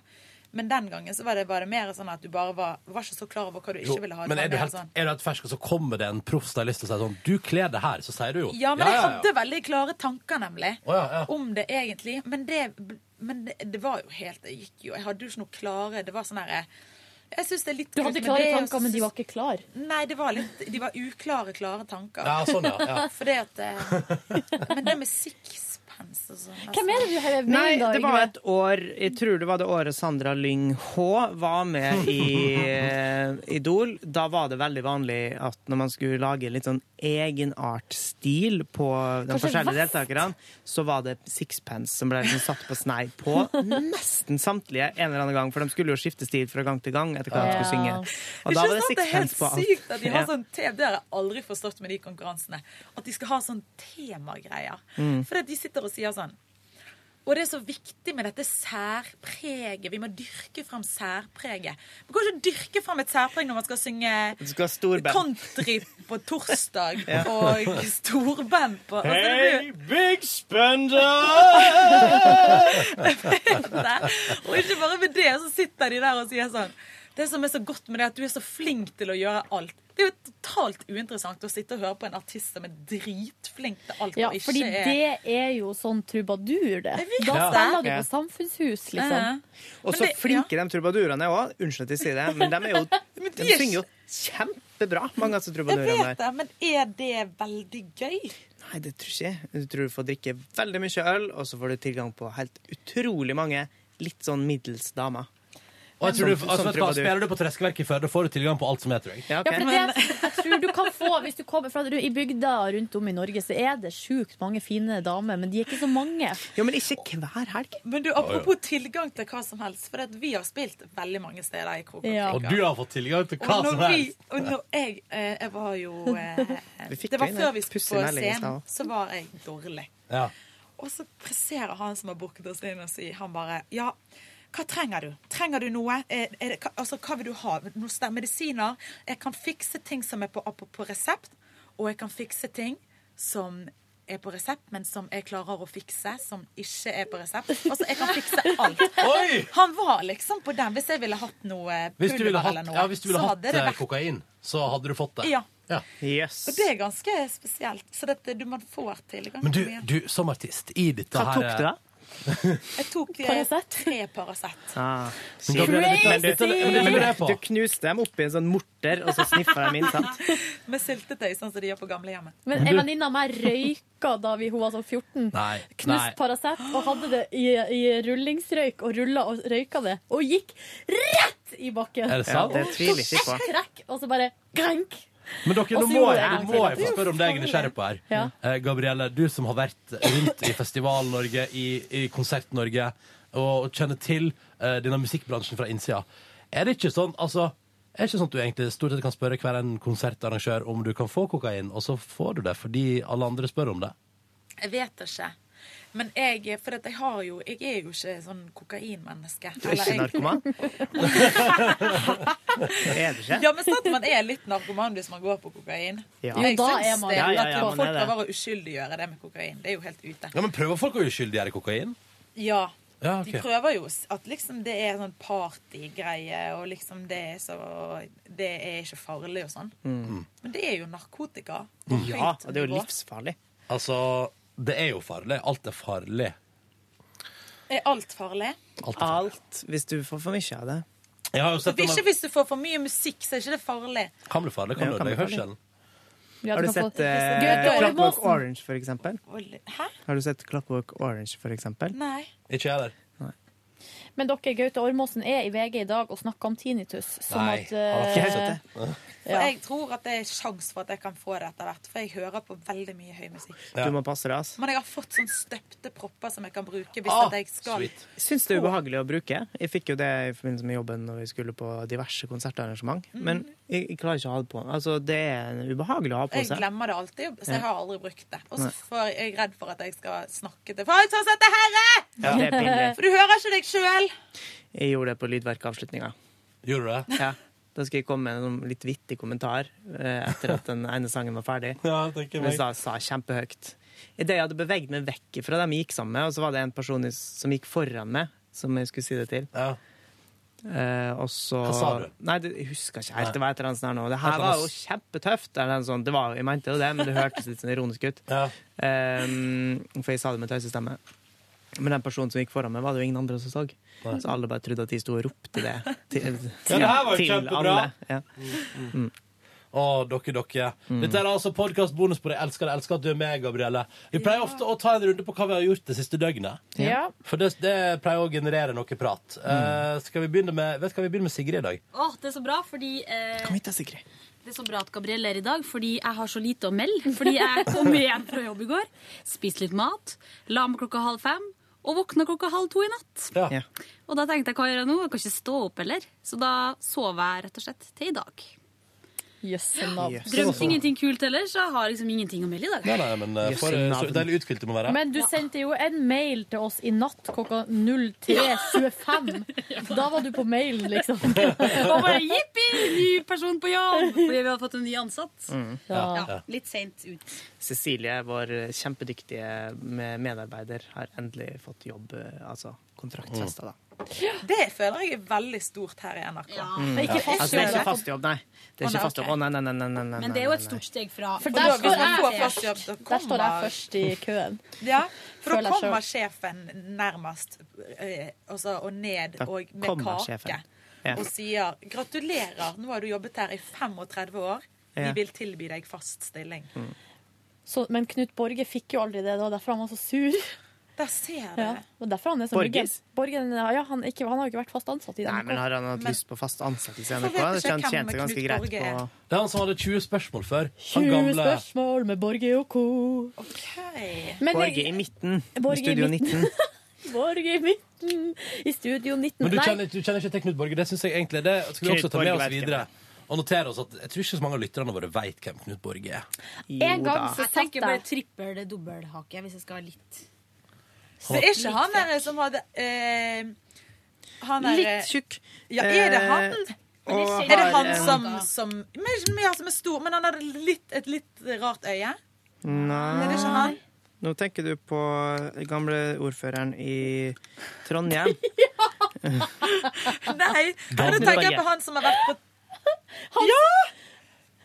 Speaker 4: Men den gangen så var det, var det mer sånn at du bare var, var ikke så klar over hva du ikke
Speaker 2: Jo,
Speaker 4: ville ha. Det
Speaker 2: men
Speaker 4: var
Speaker 2: er du,
Speaker 4: mer
Speaker 2: helt,
Speaker 4: sånn-
Speaker 2: er du helt fersk, og så kommer det en proff stylist og sier sånn Du kler det her, så sier du jo
Speaker 4: Ja, men jeg
Speaker 2: ja,
Speaker 4: hadde veldig klare tanker, nemlig.
Speaker 2: Å, ja, ja.
Speaker 4: Om det egentlig. Men det, men det, det var jo helt Det gikk jo Jeg hadde jo ikke noe klare Det var sånn herre jeg synes det er litt
Speaker 6: Du hadde
Speaker 4: kult, men
Speaker 6: klare
Speaker 4: det er jo
Speaker 6: tanker,
Speaker 4: så-
Speaker 6: men de var ikke klare.
Speaker 4: Nei, det var litt, de var uklare, klare tanker.
Speaker 6: Ja, sånn, ja, ja.
Speaker 4: Fordi at eh, Men det med sixpence og sånn altså.
Speaker 6: Hvem er det du er med
Speaker 3: Nei,
Speaker 6: i da?
Speaker 3: det
Speaker 6: Yngve?
Speaker 3: var et år Jeg tror det var det året Sandra Lyng H var med i eh, Idol. Da var det veldig vanlig at når man skulle lage litt sånn egenartstil på de
Speaker 15: Kanskje
Speaker 3: forskjellige
Speaker 15: vest?
Speaker 3: deltakerne, så var det sixpence som ble liksom satt på snei på nesten samtlige en eller annen gang, for de skulle jo skifte stil fra gang til gang etter hva de
Speaker 4: Ja.
Speaker 3: skulle synge. Og
Speaker 4: Ikke
Speaker 3: da var det
Speaker 4: sant? Det er helt
Speaker 3: sixpence på alt.
Speaker 4: sykt at de har
Speaker 3: Ja.
Speaker 4: sånn te- Det har jeg aldri forstått med de konkurransene. At de skal ha sånn temagreier.
Speaker 3: Mm.
Speaker 4: For at de sitter og sier sånn og det er så viktig med dette særpreget. Vi må dyrke fram særpreget. Man kan ikke dyrke fram et særpreg når man skal synge
Speaker 3: Du skal ha storband.
Speaker 4: country på torsdag
Speaker 3: Ja.
Speaker 4: og storband på altså, det blir jo-
Speaker 3: big spender!
Speaker 4: Og ikke bare med det, så sitter de der og sier sånn Det som er så godt med det, er at du er så flink til å gjøre alt. Det er jo totalt uinteressant å sitte og høre på en artist som er dritflink til alt
Speaker 6: Ja,
Speaker 4: og ikke
Speaker 6: fordi
Speaker 4: er
Speaker 6: det er jo sånn trubadur, det.
Speaker 4: vet Uh-huh.
Speaker 3: det.
Speaker 6: Da spiller de
Speaker 3: Ja.
Speaker 6: på samfunnshus, liksom.
Speaker 3: Og så flinke de trubadurene er òg. Unnskyld at jeg sier det, men de, er jo, de,
Speaker 4: de er-
Speaker 3: synger jo kjempebra, mange av disse
Speaker 4: Jeg
Speaker 3: trubadurene
Speaker 4: vet
Speaker 3: der.
Speaker 4: det, men er det veldig gøy?
Speaker 3: Nei, det tror ikke jeg. Du tror du får drikke veldig mye øl, og så får du tilgang på helt utrolig mange litt sånn middels damer.
Speaker 2: Og jeg tror du,
Speaker 4: Sånn-
Speaker 3: Som-
Speaker 2: altså,
Speaker 3: som
Speaker 2: vet du hva,
Speaker 3: trubadur.
Speaker 2: Spiller du på Treskeverket i Førde, får du tilgang på alt som er, tror jeg.
Speaker 3: Ja,
Speaker 6: Ja, for det, er- jeg tror du kan få, Hvis du kommer fra i bygda rundt om i Norge, så er det sjukt mange fine damer, men de er ikke så mange.
Speaker 3: Jo, men ikke hver helg.
Speaker 4: Men du, Apropos tilgang til hva som helst, for at vi har spilt veldig mange steder i Krok og
Speaker 6: Ja.
Speaker 4: Krika.
Speaker 2: Og du har fått tilgang til hva
Speaker 4: Og når
Speaker 2: som
Speaker 4: vi,
Speaker 2: helst.
Speaker 4: og når jeg, eh, jeg var jo eh,
Speaker 2: Vi fikk
Speaker 4: Det var
Speaker 2: inn
Speaker 4: før
Speaker 2: en
Speaker 4: vi skulle
Speaker 2: pussig
Speaker 4: på
Speaker 2: melding i
Speaker 4: scenen,
Speaker 2: stad.
Speaker 4: så var jeg dårlig.
Speaker 2: Ja.
Speaker 4: Og så presserer han som har booket oss inn, og sier han bare Ja, hva trenger du? Trenger du noe? Er, er det, hva- altså, hva vil du ha? Noe sted- medisiner? Jeg kan fikse ting som er på, på, på resept, og jeg kan fikse ting som er på resept, men som jeg klarer å fikse, som ikke er på resept. Altså, jeg kan fikse alt.
Speaker 2: Oi!
Speaker 4: Han var liksom på den. Hvis jeg ville hatt noe
Speaker 2: Hvis du ville
Speaker 4: pulver
Speaker 2: hatt,
Speaker 4: eller noe,
Speaker 2: ja, hvis du ville
Speaker 4: så
Speaker 2: hatt
Speaker 4: hadde det
Speaker 2: eh,
Speaker 4: vært
Speaker 2: kokain, så hadde du fått det.
Speaker 4: Ja.
Speaker 3: Yes.
Speaker 4: Og det er ganske spesielt. Så dette, du, man får tilgang.
Speaker 2: Men du,
Speaker 4: på mye.
Speaker 2: du, som artist, i dette
Speaker 3: Hva
Speaker 2: her
Speaker 3: tok du, da?
Speaker 4: Jeg tok eh, tre Paracet.
Speaker 3: Ah,
Speaker 2: Men da ble det litt-
Speaker 3: Men du-
Speaker 2: Crazy! men det- men det lurer jeg på.
Speaker 3: Du knuste dem oppi en sånn morter, og så sniffa dem inn, sant?
Speaker 4: Med syltetøy, sånn som de gjør på gamlehjemmet.
Speaker 6: Men en venninne av meg røyka da vi, hun var sånn 14.
Speaker 2: Nei.
Speaker 6: Knust Paracet og hadde det i, i rullingsrøyk og rulla og røyka det. Og gikk rett i bakken!
Speaker 2: Er det sant? Ja, det tviler jeg ikke på.
Speaker 6: Og så Trekk, og så bare grank!
Speaker 2: Men dere, nå
Speaker 6: Og så
Speaker 2: må
Speaker 6: gjorde
Speaker 2: jeg, nå
Speaker 6: jeg det.
Speaker 2: må jeg få spørre om det jeg er nysgjerrig på her.
Speaker 6: Ja.
Speaker 2: Eh, Gabrielle, du som har vært rundt i Festival-Norge, i, i Konsert-Norge, og kjenner til eh, denne musikkbransjen fra innsida. Er det ikke sånn, altså, er det ikke sånn at du egentlig stort sett kan spørre hver en konsertarrangør om du kan få kokain, og så får du det fordi alle andre spør om det?
Speaker 4: Jeg vet ikke. Men jeg, for at jeg, har jo, jeg er jo ikke sånn kokainmenneske.
Speaker 3: Du er ikke
Speaker 4: Eller jeg-
Speaker 3: narkoman? er du ikke?
Speaker 4: Ja, men sant, man er litt narkoman hvis man går på kokain.
Speaker 2: Ja.
Speaker 4: Jeg
Speaker 2: Jo, da
Speaker 4: syns
Speaker 2: er man
Speaker 4: det
Speaker 2: det. Ja, ja,
Speaker 4: at
Speaker 2: ja, man
Speaker 4: folk
Speaker 2: er det.
Speaker 4: prøver å uskyldiggjøre det med kokain. Det er jo helt ute.
Speaker 2: Ja, men Prøver folk å uskyldiggjøre kokain?
Speaker 4: Ja.
Speaker 2: Ja, ok.
Speaker 4: De prøver jo s- at liksom det er sånn partygreie, og liksom det er så Det er ikke farlig og sånn.
Speaker 2: Mm.
Speaker 4: Men det er jo narkotika.
Speaker 3: Ah,
Speaker 2: Ja,
Speaker 4: og det er jo
Speaker 3: livsfarlig.
Speaker 2: Altså, det er jo farlig. Alt er farlig.
Speaker 4: Er alt farlig?
Speaker 3: Alt, hvis du får for mye av det.
Speaker 2: Jeg har jo sett
Speaker 4: Ikke hvis du får for mye musikk, så er ikke det farlig.
Speaker 2: Kan bli farlig. Kan
Speaker 3: Ja,
Speaker 2: du
Speaker 3: kan bli
Speaker 2: ødelegge
Speaker 3: farlig.
Speaker 2: hørselen?
Speaker 3: Har
Speaker 4: Ja, du
Speaker 3: du
Speaker 4: kan
Speaker 3: sett
Speaker 4: få-
Speaker 3: eh,
Speaker 4: Gøy, Dårlig
Speaker 3: Clockwork
Speaker 4: Måsen.
Speaker 3: Orange, for eksempel?
Speaker 4: Hæ?
Speaker 3: Har du sett Clockwork Orange, for eksempel?
Speaker 4: Nei.
Speaker 2: Ikke jeg heller.
Speaker 6: Men dere, Gaute Ormåsen er i VG i dag og snakker om tinnitus. Som at, eh,
Speaker 4: For jeg tror at det er sjans for at jeg kan få det etter hvert. For jeg hører på veldig mye høy musikk.
Speaker 3: Du må passe deg, ass.
Speaker 4: Men jeg har fått sånn støpte propper som jeg kan bruke hvis
Speaker 3: Ah,
Speaker 4: at jeg skal
Speaker 3: Syns det er ubehagelig å bruke. Jeg fikk jo det i forbindelse med jobben når vi skulle på diverse konsertarrangement.
Speaker 4: Mm.
Speaker 3: Men jeg, jeg klarer ikke å ha det på. Altså, det er ubehagelig å ha på
Speaker 4: Jeg
Speaker 3: seg.
Speaker 4: glemmer det alltid, så jeg
Speaker 3: Ja.
Speaker 4: har aldri brukt det. Og så
Speaker 3: Nei.
Speaker 4: får jeg jeg er redd for at jeg skal snakke til Faen, sånn sett det her er!
Speaker 3: Ja, det er pinlig.
Speaker 4: For du hører ikke deg sjøl.
Speaker 3: Jeg gjorde det på lydverkavslutninga.
Speaker 2: Gjorde du det?
Speaker 3: Ja. Da skal jeg komme med en sånn litt vittig kommentar eh, etter at den ene sangen var ferdig.
Speaker 2: Ja, tenker
Speaker 3: Men
Speaker 2: meg.
Speaker 3: sa, sa kjempehøyt. Idet jeg hadde beveget meg vekk fra dem jeg gikk sammen med, og så var det en person i- som gikk foran meg, som jeg skulle si det til. Eh, og så
Speaker 2: Hva sa du?
Speaker 3: Nei, det, jeg husker ikke helt.
Speaker 2: Nei.
Speaker 3: Det var et eller annet sånt her nå. Det
Speaker 2: Et
Speaker 3: her
Speaker 2: eller annet
Speaker 3: var jo kjempetøft. Eller en sånn, det var, jeg mente jo det, men det hørtes litt sånn ironisk ut. Ehm, for jeg sa det med tøysestemme. Men den personen som gikk foran meg, var det jo ingen andre som så. Så alle bare trodde at de sto og ropte det til,
Speaker 2: Ja, det her var jo kjempebra.
Speaker 3: Ja. Mm.
Speaker 2: Å, dere, dere. Dette er altså podkastbonus på det. Jeg elsker det. Jeg elsker at du er med, Gabrielle. Vi pleier ofte å ta en runde på hva vi har gjort det siste døgnet.
Speaker 6: eh, Ja.
Speaker 2: For det, det pleier å generere noe prat. Eh, skal vi begynne med, vet du hva vi begynner med Sigrid i dag?
Speaker 15: Åh, det er så bra, fordi eh, Det er så bra at Gabrielle er i dag, fordi jeg har så lite å melde. Fordi jeg kom hjem fra jobb i går, spiste litt mat, la meg klokka halv fem og våkna klokka halv to i natt.
Speaker 2: Ah.
Speaker 15: Og da tenkte jeg hva gjør jeg nå? Jeg kan ikke stå opp heller. Så da sov jeg rett og slett til i dag.
Speaker 6: Jøsse
Speaker 2: navn. Jøsse.
Speaker 15: Drømte ingenting kult heller, så jeg har liksom ingenting å melde i dag.
Speaker 2: Nei, nei, men eh, for eh, så deilig uthvilt du må være.
Speaker 6: Men du sendte jo en mail til oss i natt klokka 03.25. Da var du på mailen, liksom.
Speaker 15: Og bare jippi, ny person på jobb! Fordi vi hadde fått en ny ansatt.
Speaker 3: Mm.
Speaker 15: Ja.
Speaker 3: Ja.
Speaker 15: Litt seint ut.
Speaker 3: Cecilie, vår kjempedyktige med- medarbeider, har endelig fått jobb, eh, altså kontraktfesta, da.
Speaker 4: Det føler jeg er veldig stort her i
Speaker 3: Mm.
Speaker 4: NRK.
Speaker 3: Ja. Altså, det er ikke fast jobb, nei. Det er
Speaker 4: Å, nei,
Speaker 3: ikke fast jobb.
Speaker 4: ok.
Speaker 3: Å, nei, nei, nei, nei, nei, nei.
Speaker 15: Men det er jo et stort steg fra
Speaker 4: For der står jeg først. Der står jeg først
Speaker 6: i køen.
Speaker 4: Ja, for
Speaker 6: Føler
Speaker 4: da
Speaker 6: jeg
Speaker 4: kommer sjefen nærmest eh, altså, og ned
Speaker 3: Da
Speaker 4: og med
Speaker 3: kommer
Speaker 4: kake
Speaker 3: sjefen. Ja.
Speaker 4: og sier 'Gratulerer, nå har du jobbet her i 35 år. Vi
Speaker 6: Ja.
Speaker 4: vil tilby deg fast stilling'.
Speaker 3: Mm.
Speaker 6: Så, men Knut Borge fikk jo aldri det, det var derfor han var så sur.
Speaker 4: Der ser jeg det.
Speaker 6: Ja, og derfor han er så myggen.
Speaker 3: Borges?
Speaker 6: Borgen, ja, han, er ikke, han har jo ikke vært fast ansatt i
Speaker 3: Nei,
Speaker 6: NRK.
Speaker 3: men har han hatt lyst på fast ansettelse i NRK?
Speaker 6: Hvorfor vet
Speaker 3: Det
Speaker 6: ikke
Speaker 3: kjente
Speaker 6: hvem
Speaker 3: seg ganske
Speaker 6: Knut
Speaker 3: greit
Speaker 6: Borge
Speaker 3: på
Speaker 6: er?
Speaker 2: Det er han som hadde 20 spørsmål før. Han
Speaker 6: 20
Speaker 2: gamle
Speaker 6: spørsmål med Borge og co. Men
Speaker 3: Borge
Speaker 6: jeg-
Speaker 3: i midten.
Speaker 6: Borge i
Speaker 3: I studio
Speaker 6: midten.
Speaker 3: 19.
Speaker 6: Borge i midten, i studio 19.
Speaker 2: Men du
Speaker 6: Nei,
Speaker 2: kjenner, du kjenner ikke til Knut Borge. Det synes jeg egentlig Det skal vi
Speaker 3: Knut
Speaker 2: også ta med
Speaker 3: Borge
Speaker 2: oss
Speaker 3: vet hvem
Speaker 2: videre. Og notere oss at jeg tror ikke så mange av lytterne våre veit hvem Knut Borge er.
Speaker 15: En gang så
Speaker 6: satt
Speaker 15: tenker jeg
Speaker 6: jeg-
Speaker 15: bare trippel dobbelthake, hvis jeg skal ha litt
Speaker 4: Så er ikke han der som hadde eh, han der,
Speaker 15: Litt tjukk.
Speaker 4: Ja, er det han?
Speaker 15: Eh,
Speaker 3: og
Speaker 4: er det
Speaker 3: har
Speaker 4: han
Speaker 3: en-
Speaker 4: som, som men, ikke mye som er stor, men han hadde litt, et litt rart øye? Er det ikke
Speaker 3: Nei
Speaker 4: han?
Speaker 3: Nå tenker du på gamle ordføreren i Trondheim.
Speaker 4: Nei,
Speaker 3: Da
Speaker 4: men da
Speaker 3: blir
Speaker 4: tenker jeg
Speaker 3: det-
Speaker 4: på han som har vært på Ja!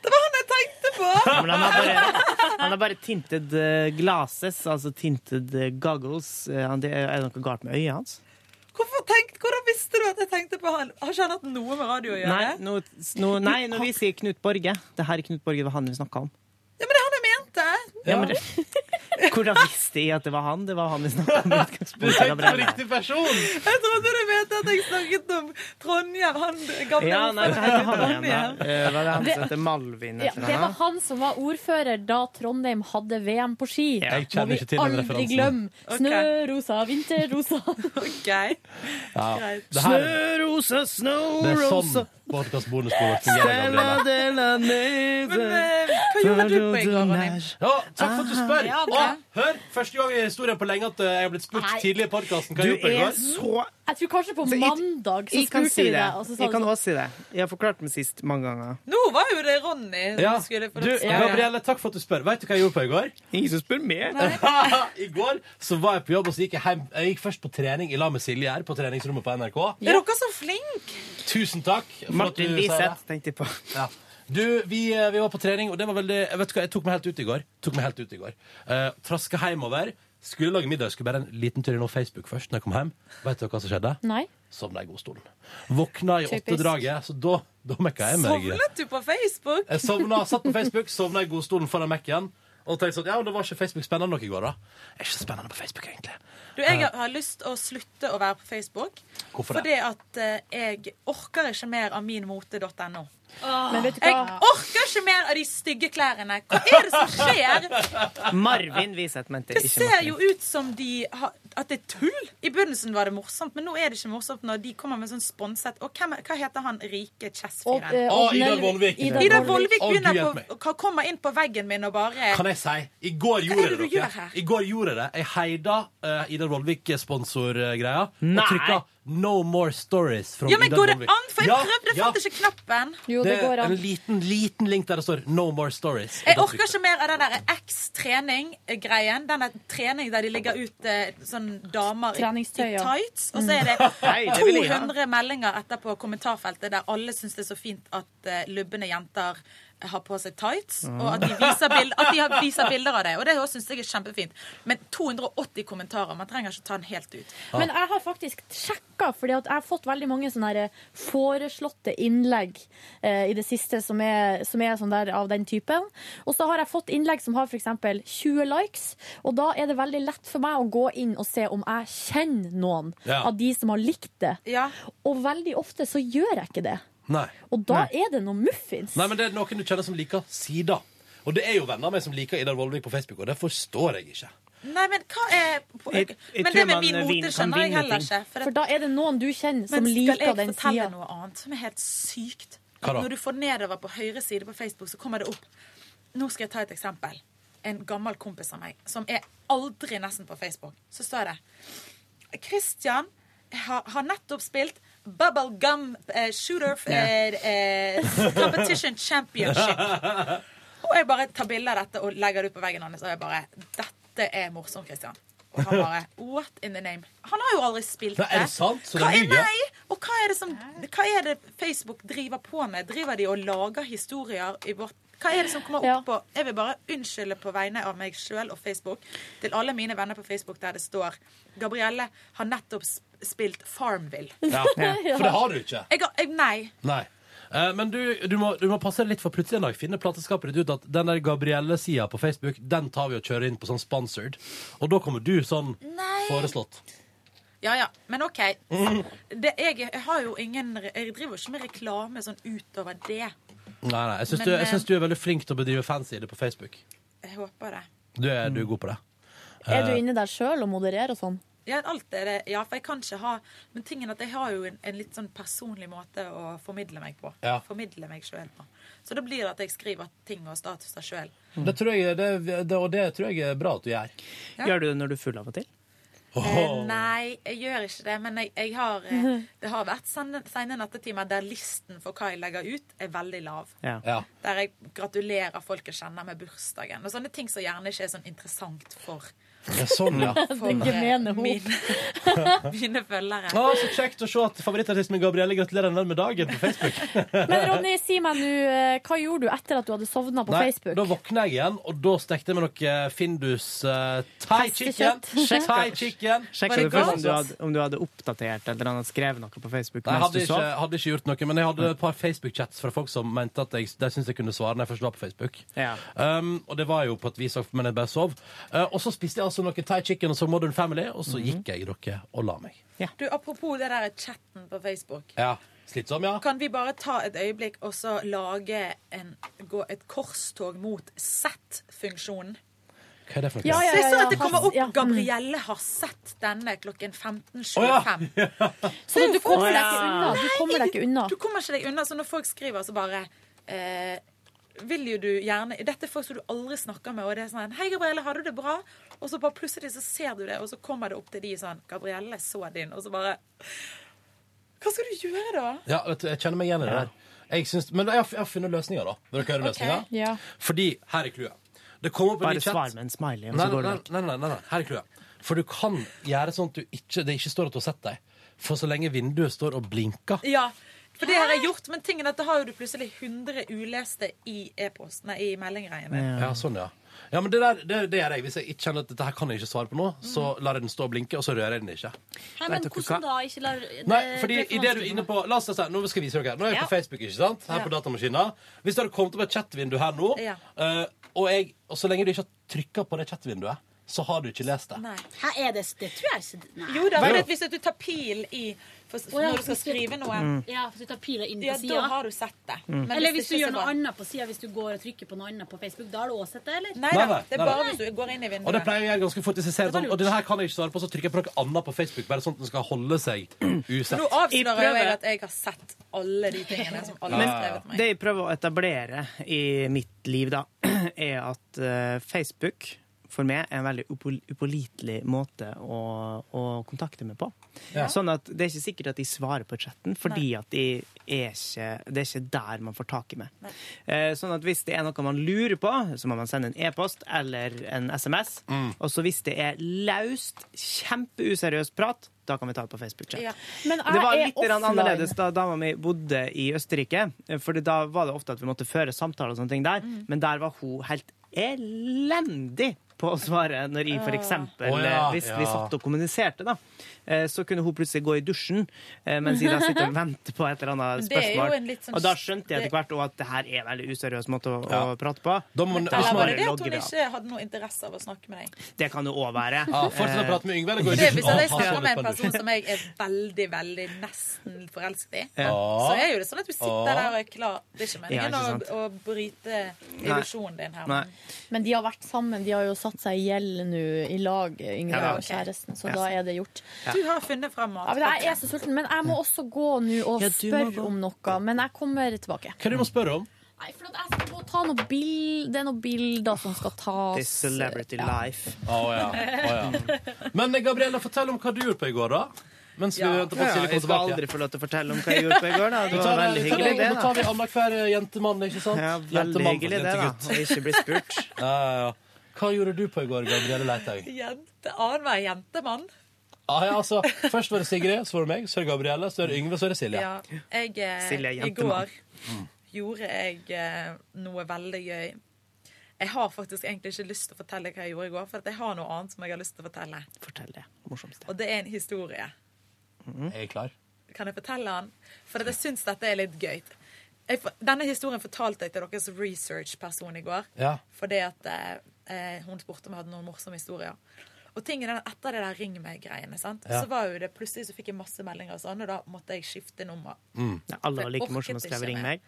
Speaker 4: Det var han jeg tenkte på!
Speaker 3: Ja, men han har bare, han har bare tinted eh, glasses, altså tinted eh, goggles. Eh, han- Det er er det noe galt med øyet hans?
Speaker 4: Hvorfor tenkt, hvordan visste du at jeg tenkte på han? Har ikke han hatt noe med radio å gjøre?
Speaker 3: Nei, nå, nå, nei, når vi sier Knut Borge Det her er Knut Borge, det var han vi snakka om.
Speaker 4: Ja, men det er han jeg mente!
Speaker 3: Ja, men det, hvordan visste jeg at det var han? Det var han vi snakka om. i utgangspunktet, Gabrielle.
Speaker 2: person!
Speaker 4: Jeg trodde du mente at jeg snakket om Trondheim, han gamle
Speaker 3: Ja, nei, hva heter han igjen? da?
Speaker 4: Trondheim.
Speaker 3: Eh, Hva er det han
Speaker 6: Det-
Speaker 3: som heter Malvin?
Speaker 6: Ja,
Speaker 3: et eller
Speaker 6: det var
Speaker 3: annet?
Speaker 6: han som var ordfører da Trondheim hadde VM på ski.
Speaker 3: Jeg kjenner
Speaker 6: Må vi
Speaker 3: ikke til den
Speaker 6: aldri
Speaker 3: referansen.
Speaker 6: glemme. Snørosa, vinterrosa.
Speaker 4: OK.
Speaker 2: Ja.
Speaker 3: Snørosa,
Speaker 2: Det er
Speaker 3: snørosa
Speaker 2: sånn Podcast bonusbordet fungerer
Speaker 5: Stella
Speaker 2: allerede.
Speaker 5: de la
Speaker 3: eh,
Speaker 4: eh, hva gjorde du på i går, Ronny?
Speaker 2: Ja, takk for at du spør.
Speaker 4: Ja, ok.
Speaker 2: Og hør, første gang i historien på lenge at eh, jeg har blitt spurt
Speaker 6: Nei.
Speaker 2: tidlig i podkasten hva jeg
Speaker 3: Du
Speaker 2: gjorde på i
Speaker 3: er
Speaker 2: går.
Speaker 3: så-
Speaker 6: Jeg tror kanskje på
Speaker 3: Så jeg-
Speaker 6: mandag så
Speaker 3: Jeg kan
Speaker 6: spurte
Speaker 3: si
Speaker 6: du
Speaker 3: det.
Speaker 6: deg, og så sa
Speaker 3: Jeg
Speaker 6: du
Speaker 3: kan
Speaker 6: sånn,
Speaker 3: også si det. Jeg har forklart meg sist mange ganger.
Speaker 4: Nå var jo det Ronny som
Speaker 2: Ja.
Speaker 4: skulle få
Speaker 2: Du,
Speaker 4: det svaret.
Speaker 2: Gabrielle, takk for at du spør. Vet du hva jeg gjorde på i går?
Speaker 3: Ingen som spør meg.
Speaker 2: I går så var jeg på jobb, og så gikk jeg hjem. Jeg gikk først på trening i lag med Silje her, på treningsrommet på NRK.
Speaker 4: Er dere så flinke?
Speaker 2: Tusen takk. for at
Speaker 3: Martin
Speaker 2: du sa det.
Speaker 3: Wiseth tenkte jeg på.
Speaker 2: Ja. Du, vi, eh, vi var på trening, og det var veldig jeg Vet du hva, jeg tok meg helt ut i går. Tok meg helt ut i går. Eh, Traska hjemover. Skulle lage middag, skulle bare en liten tur innom Facebook først. Når jeg kom hjem. Vet dere hva som skjedde?
Speaker 6: Nei.
Speaker 2: Sovna i godstolen. Våkna i
Speaker 4: Typisk.
Speaker 2: åttedraget, så da, da mekka jeg meg.
Speaker 4: Sovnet du på Facebook?
Speaker 2: Jeg sovna, satt på Facebook, sovna i godstolen foran Mac-en. Og tenkte sånn, ja, det var ikke Facebook spennende nok i går, da. Det er ikke så spennende på Facebook, egentlig.
Speaker 4: Du, jeg har- har lyst til å slutte å være på Facebook.
Speaker 2: Hvorfor det?
Speaker 4: fordi at eh, jeg orker ikke mer av minmote.no.
Speaker 6: Men vet du
Speaker 4: Jeg
Speaker 6: hva?
Speaker 4: orker ikke mer av de stygge klærne. Hva er det som skjer?
Speaker 3: Marvin Wiseth mente
Speaker 4: Det
Speaker 3: ikke
Speaker 4: ser
Speaker 3: Martin.
Speaker 4: jo ut som de har, at det er tull. I begynnelsen var det morsomt, men nå er det ikke morsomt når de kommer med sånn sponset Og hvem, er- hva heter han rike
Speaker 2: Og, eh,
Speaker 4: chessfyren?
Speaker 2: Å, Ida Odnel- Vollvik. Ida
Speaker 4: Ida
Speaker 2: Vollvik.
Speaker 4: Vollvik
Speaker 2: Å,
Speaker 4: begynner
Speaker 2: Gud hjelpe
Speaker 4: på, kan- kommer inn på veggen min og bare
Speaker 2: Kan jeg si I går
Speaker 4: Hva
Speaker 2: gjorde
Speaker 4: er det
Speaker 2: jeg det,
Speaker 4: du gjør
Speaker 2: dere.
Speaker 4: her?
Speaker 2: I går gjorde jeg det. Jeg heida eh, Ida Rolvik-sponsorgreia.
Speaker 5: Nei.
Speaker 2: Og trykka 'No More Stories' fra
Speaker 4: Ja, men
Speaker 2: Ida
Speaker 4: går det
Speaker 2: Rolvik.
Speaker 4: an? For jeg prøvde, jeg fant ikke knappen.
Speaker 2: er En liten, liten link der det står 'No More Stories'.
Speaker 4: Jeg orker ikke mer av den der X-trening-greien. Den der trening der de legger ut eh, sånn damer i,
Speaker 6: Treningstøy,
Speaker 4: i
Speaker 6: ja. Mm.
Speaker 4: tights. Og så er det
Speaker 6: Nei, det vil jeg ha.
Speaker 4: 200 meldinger etterpå kommentarfeltet der alle syns det er så fint at eh, lubne jenter har på seg tights,
Speaker 6: Mm.
Speaker 4: og at de viser, bild, at de har, viser bilder av det. Og det syns jeg er kjempefint. Men 280 kommentarer. Man trenger ikke ta den helt ut.
Speaker 6: Men jeg har faktisk sjekka, fordi at jeg har fått veldig mange sånne her eh, foreslåtte innlegg eh, i det siste som er, som er sånn der av den typen. Og så har jeg fått innlegg som har f.eks. 20 likes, og da er det veldig lett for meg å gå inn og se om jeg kjenner noen
Speaker 2: Ja.
Speaker 6: av de som har likt det.
Speaker 4: Ja.
Speaker 6: Og veldig ofte så gjør jeg ikke det.
Speaker 2: Nei.
Speaker 6: Og da er det noe muffins.
Speaker 2: Nei, men det er noen du kjenner som liker sida. Og det er jo venner av meg som liker Ida Rolvik på Facebook, og det forstår jeg ikke.
Speaker 4: Nei, men hva er
Speaker 2: Jeg- jeg
Speaker 4: Men
Speaker 2: tror
Speaker 4: det
Speaker 2: man
Speaker 4: med
Speaker 2: eh,
Speaker 4: min mote
Speaker 2: vin- kan
Speaker 4: skjønner jeg
Speaker 2: vinne
Speaker 4: heller
Speaker 2: ting.
Speaker 4: ikke. For,
Speaker 6: For da er det noen du kjenner som
Speaker 4: Men
Speaker 6: liker
Speaker 4: Skal
Speaker 6: den
Speaker 4: jeg fortelle
Speaker 6: sida.
Speaker 4: noe annet som er helt sykt?
Speaker 6: Hva da?
Speaker 4: Når du får nedover på høyre side på Facebook, så kommer det opp Nå skal jeg ta et eksempel. En gammel kompis av meg som er aldri nesten på Facebook. Så står det Christian har, har nettopp spilt Bubble Gum eh, Shooter eh, eh, Competition Championship. Og jeg bare tar bilde av dette og legger det ut på veggen hans, og jeg bare Dette er morsomt, Christian. Og han bare What in the name? Han har jo aldri spilt
Speaker 2: Nei,
Speaker 4: det.
Speaker 2: er det sant? Så
Speaker 4: hva
Speaker 2: det
Speaker 4: er,
Speaker 2: lyver?
Speaker 4: nei, og hva er, det som, hva er det Facebook driver på med? Driver de og lager historier i vårt hva er det som kommer opp på? Jeg vil bare unnskylde på vegne av meg sjøl og Facebook til alle mine venner på Facebook der det står Gabrielle har nettopp sp- spilt Farmville.
Speaker 2: Ja. For det har du ikke.
Speaker 4: Jeg, har- jeg, nei.
Speaker 2: Nei. Eh, men du, du, må, du må passe deg litt, for plutselig en dag finner plateselskapet ditt ut at den der Gabrielle-sida på Facebook, den tar vi og kjører inn på sånn sponsored. Og da kommer du sånn
Speaker 4: Nei.
Speaker 2: foreslått.
Speaker 4: Ja, ja. Men OK.
Speaker 2: Mm.
Speaker 4: Det, jeg, jeg har jo ingen re- Jeg driver jo ikke med reklame sånn utover det.
Speaker 2: Nei, nei, jeg syns
Speaker 4: Men,
Speaker 2: du, jeg
Speaker 4: eh,
Speaker 2: syns du er veldig flink til å bedrive fansider på Facebook.
Speaker 4: Jeg håper det.
Speaker 2: Du er, du er god på det.
Speaker 6: Er du
Speaker 2: Eh,
Speaker 6: inne der sjøl og modererer og sånn?
Speaker 4: Ja, alt er det. Ja, for jeg kan ikke ha Men tingen er at jeg har jo en, en litt sånn personlig måte å formidle meg på.
Speaker 2: Ja.
Speaker 4: Formidle meg sjøl på. Så da blir det at jeg skriver ting og statuser sjøl.
Speaker 2: Mm. det tror jeg, det, det, og det tror jeg er bra at du gjør.
Speaker 4: Ja.
Speaker 3: Gjør du det når du er full av og til?
Speaker 4: Eh, nei, jeg gjør ikke det. Men jeg, jeg har, eh, det har vært sene sene nattetimer der listen for hva jeg legger ut, er veldig lav.
Speaker 3: Ja.
Speaker 4: Der jeg gratulerer folk jeg kjenner med bursdagen. Og sånne ting som gjerne ikke er sånn interessant for
Speaker 2: Ja, sånn, ja.
Speaker 4: For,
Speaker 2: Det gemene
Speaker 4: eh,
Speaker 2: hop.
Speaker 4: mine, mine følgere.
Speaker 2: Å, så kjekt å se at favorittartisten min Gabrielle gratulerer den med dagen på Facebook.
Speaker 6: Men Ronny, si meg nå, eh, hva gjorde du etter at du hadde sovna på
Speaker 2: Nei,
Speaker 6: Facebook?
Speaker 2: Da våkna jeg igjen, og da stekte jeg meg noe Findus eh, thai chicken.
Speaker 6: Hestekjøtt.
Speaker 2: Thai chicken.
Speaker 3: Sjekka du først om du, hadde, om du hadde oppdatert eller annet, skrevet noe på Facebook
Speaker 2: Nei, jeg
Speaker 3: mens
Speaker 2: hadde
Speaker 3: du
Speaker 2: ikke,
Speaker 3: sov?
Speaker 2: hadde ikke gjort noe, men jeg hadde et par Facebook-chats fra folk som mente at jeg, de syntes jeg kunne svare når jeg først var på Facebook. Um, og det var jo på et vis, men jeg bare sov. Eh, og så spiste jeg altså noe thai chicken og så Modern Family, og så gikk jeg dere og la meg.
Speaker 4: Du, Apropos det der chatten på Facebook.
Speaker 2: Ja, Slitsom, ja.
Speaker 4: Kan vi bare ta et øyeblikk og så lage en, gå et korstog mot Z-funksjonen?
Speaker 2: Hva er det for noe?
Speaker 4: Ja, ja, ja,
Speaker 6: ja,
Speaker 4: Så jeg så at det
Speaker 6: ja,
Speaker 4: kommer opp
Speaker 6: ja. Mm.
Speaker 4: Gabrielle har sett denne klokken 15.25.
Speaker 6: Så du kommer deg
Speaker 4: Nei,
Speaker 6: ikke unna. Du kommer deg ikke unna.
Speaker 4: Du kommer ikke deg unna. Så når folk skriver, så bare eh, vil jo du gjerne Dette er folk som du aldri snakker med, og det er sånn 'Hei, Gabrielle, har du det bra?' Og så bare plutselig så ser du det, og så kommer det opp til de sånn 'Gabrielle så din', og så bare Hva skal du gjøre da?
Speaker 2: Ja, vet du, jeg kjenner meg igjen i det der. Jeg syns, men jeg har, jeg har funnet løsninger, da. Vil dere høre løsninga?
Speaker 6: Ja.
Speaker 2: Fordi her er clouet. Det kom opp en
Speaker 3: Bare
Speaker 2: ny chat.
Speaker 3: svar med en smiley, og så
Speaker 2: Nei,
Speaker 3: går
Speaker 2: nei,
Speaker 3: det
Speaker 2: nei, nei, nei, nei. Her er clouet. For du kan gjøre sånn at du ikke, det ikke står at du har sett deg. For så lenge vinduet står og blinker
Speaker 4: Ja, for det har jeg gjort, men tingen er at det har jo du plutselig 100 uleste i e-posten, nei, i meldinggreiene.
Speaker 2: Ja, sånn, ja. Ja, men det, der, det, det gjør jeg. Hvis jeg ikke kjenner at dette her kan jeg ikke svare på nå, så lar jeg den stå og blinke, og så rører jeg den ikke.
Speaker 15: Nei,
Speaker 2: Vet
Speaker 15: men
Speaker 2: dere hva?
Speaker 15: hvordan da? Ikke lar det-
Speaker 2: Nei,
Speaker 4: Eh,
Speaker 2: fordi
Speaker 15: det er for
Speaker 2: i det du er
Speaker 15: vanskelig.
Speaker 2: inne på La oss si, Nå skal jeg vise dere her. Nå er jeg på
Speaker 15: Ja.
Speaker 2: Facebook, ikke sant? Her på
Speaker 15: Ja.
Speaker 2: datamaskinen. Hvis det hadde kommet opp et chat-vindu her nå,
Speaker 15: Ja.
Speaker 2: eh, og, jeg, og så lenge du ikke har trykka på det chat-vinduet, så har du ikke lest det.
Speaker 15: Hæ, er det Det tror jeg ikke Nei.
Speaker 4: Jo da,
Speaker 2: Jo.
Speaker 4: for det, at hvis at du tar pil i for,
Speaker 15: Å, ja,
Speaker 4: når du skal
Speaker 15: hvis du-
Speaker 4: skrive noe,
Speaker 2: Mm.
Speaker 15: Ja, for du tar pila inn på
Speaker 4: ja,
Speaker 15: siden
Speaker 4: da har du sett det.
Speaker 2: Mm.
Speaker 4: Men
Speaker 15: Eller hvis
Speaker 4: hvis det
Speaker 15: du
Speaker 4: ikke
Speaker 15: gjør noe
Speaker 4: så bra.
Speaker 15: annet på sida, hvis du går og trykker på noe annet på Facebook, da har du også sett det, eller?
Speaker 4: Nei
Speaker 2: Nei,
Speaker 4: da,
Speaker 2: nei,
Speaker 4: det er
Speaker 2: nei,
Speaker 4: bare
Speaker 2: nei.
Speaker 4: hvis du går inn i vinduet.
Speaker 2: Og det pleier jeg å gjøre ganske fort. Hvis jeg ser sånn, og denne her kan jeg ikke svare på, så trykker jeg på noe annet på Facebook. Bare sånn at den skal holde seg
Speaker 4: Men Nå
Speaker 2: usett.
Speaker 4: avslører
Speaker 3: Jeg
Speaker 4: jo jeg
Speaker 3: prøver.
Speaker 4: at jeg har sett alle de tingene som alle
Speaker 3: Men
Speaker 4: har skrevet meg.
Speaker 3: det jeg prøver å etablere i mitt liv, da, er at eh, Facebook for meg er en veldig upol- upålitelig måte å, å kontakte meg på.
Speaker 7: Ja.
Speaker 3: Sånn at Det er ikke sikkert at de svarer på chatten, fordi at de er ikke, det er ikke der man får tak i meg. Eh, Sånn at hvis det er noe man lurer på, så må man sende en e-post eller en SMS.
Speaker 6: Mm.
Speaker 3: Og så hvis det er laust, kjempeuseriøs prat, da kan vi ta det på Facebook-chat.
Speaker 6: Ja. Men jeg
Speaker 3: det var
Speaker 6: er
Speaker 3: litt grann
Speaker 6: offline.
Speaker 3: annerledes da dama mi bodde i Østerrike. For da var det ofte at vi måtte føre samtaler og sånne ting der.
Speaker 4: Mm.
Speaker 3: Men der var hun helt elendig på å svare når jeg for eksempel,
Speaker 2: Å ja,
Speaker 3: eh, hvis vi
Speaker 2: ja.
Speaker 3: satt og kommuniserte, da, eh, så kunne hun plutselig gå i dusjen eh, mens jeg da sitter og venter på et eller annet
Speaker 4: Men det er jo
Speaker 3: spørsmål.
Speaker 4: en litt sånn-
Speaker 3: Og da skjønte jeg
Speaker 4: det-
Speaker 3: etter hvert også at det her er en veldig useriøs måte å, å prate på.
Speaker 4: Eller var det det at hun ikke hadde noe interesse av å snakke med deg?
Speaker 3: Det kan det òg være. eh,
Speaker 2: Ja, fortsett å prate med Yngve, eller gå i
Speaker 4: Det er
Speaker 2: dusjen.
Speaker 4: Hvis jeg
Speaker 2: Å, ha
Speaker 4: snakker
Speaker 2: sånn
Speaker 4: med en
Speaker 2: litt
Speaker 4: person
Speaker 2: pandemi.
Speaker 4: som jeg er veldig, veldig nesten forelsket i,
Speaker 2: Ja.
Speaker 4: så er jo det sånn at du
Speaker 2: Ja.
Speaker 4: sitter der og er klar. Det er ikke meningen
Speaker 6: Ja, ikke sant.
Speaker 4: å, å bryte illusjonen din her. men-
Speaker 6: Men de har vært sammen. De har jo satt seg i gjeld nå i lag, Yngve
Speaker 4: Ja,
Speaker 6: og
Speaker 4: ok.
Speaker 6: kjæresten, så
Speaker 4: Ja.
Speaker 6: da er det gjort.
Speaker 4: Du har funnet fram
Speaker 6: Ja, men jeg er så sulten, men jeg må også gå nå og
Speaker 2: Ja, du må
Speaker 6: spørre
Speaker 2: gå.
Speaker 6: om noe. Men jeg kommer tilbake.
Speaker 2: Hva er det du må spørre om?
Speaker 6: Nei, for at jeg skal gå og ta noen bild, Det er noen bilder som skal tas.
Speaker 3: This celebrity life.
Speaker 2: Å ja. Å, ja. Men eh, Gabriella, fortell om hva du gjorde på i går, da. Mens vi venter på at
Speaker 3: Ja,
Speaker 2: Silje
Speaker 3: jeg
Speaker 2: kommer
Speaker 3: skal
Speaker 2: tilbake.
Speaker 3: aldri få lov til å fortelle om hva jeg gjorde på i går. Da. Det
Speaker 2: Vi
Speaker 3: var
Speaker 2: tar-
Speaker 3: veldig
Speaker 2: vi tar-
Speaker 3: hyggelig, det.
Speaker 2: Da
Speaker 3: da.
Speaker 2: tar vi annenhver eh, jentemann, ikke sant?
Speaker 3: Ja, veldig
Speaker 2: Jentemann,
Speaker 3: hyggelig det, da.
Speaker 2: jentegutt.
Speaker 3: Å ikke bli spurt.
Speaker 2: Ja, ja, ja. Hva gjorde du på i går, Gabrielle Leithaug?
Speaker 4: Jente, Annenhver jentemann.
Speaker 2: Ah, ja, altså, først var det Sigrid, så var det meg, så er det Gabrielle, så er det Yngve, så er det Silje.
Speaker 4: Ja. Jeg, eh,
Speaker 2: Silje er
Speaker 4: I
Speaker 2: jentemann.
Speaker 4: går Mm. gjorde jeg eh, noe veldig gøy. Jeg har faktisk egentlig ikke lyst til å fortelle hva jeg gjorde i går, for at jeg har noe annet som jeg har lyst til å fortelle.
Speaker 3: Fortell det. Morsomst.
Speaker 4: Og det er en historie.
Speaker 2: Mm. Er jeg klar?
Speaker 4: Kan jeg fortelle den? For at jeg syns dette er litt gøy. Jeg, for- denne historien fortalte jeg til deres researchperson i går.
Speaker 2: Ja.
Speaker 4: Fordi at eh, eh, hun spurte om jeg hadde noen morsomme historier. Og tingen er at Etter det der ring meg-greiene sant?
Speaker 3: Ja.
Speaker 4: Så var jo det plutselig så fikk jeg masse meldinger, og sånn, og da måtte jeg skifte nummer.
Speaker 3: Ja, alle var like
Speaker 4: Jeg
Speaker 3: morsomme og
Speaker 4: orket
Speaker 3: skrev
Speaker 4: ikke
Speaker 3: 'ring meg'.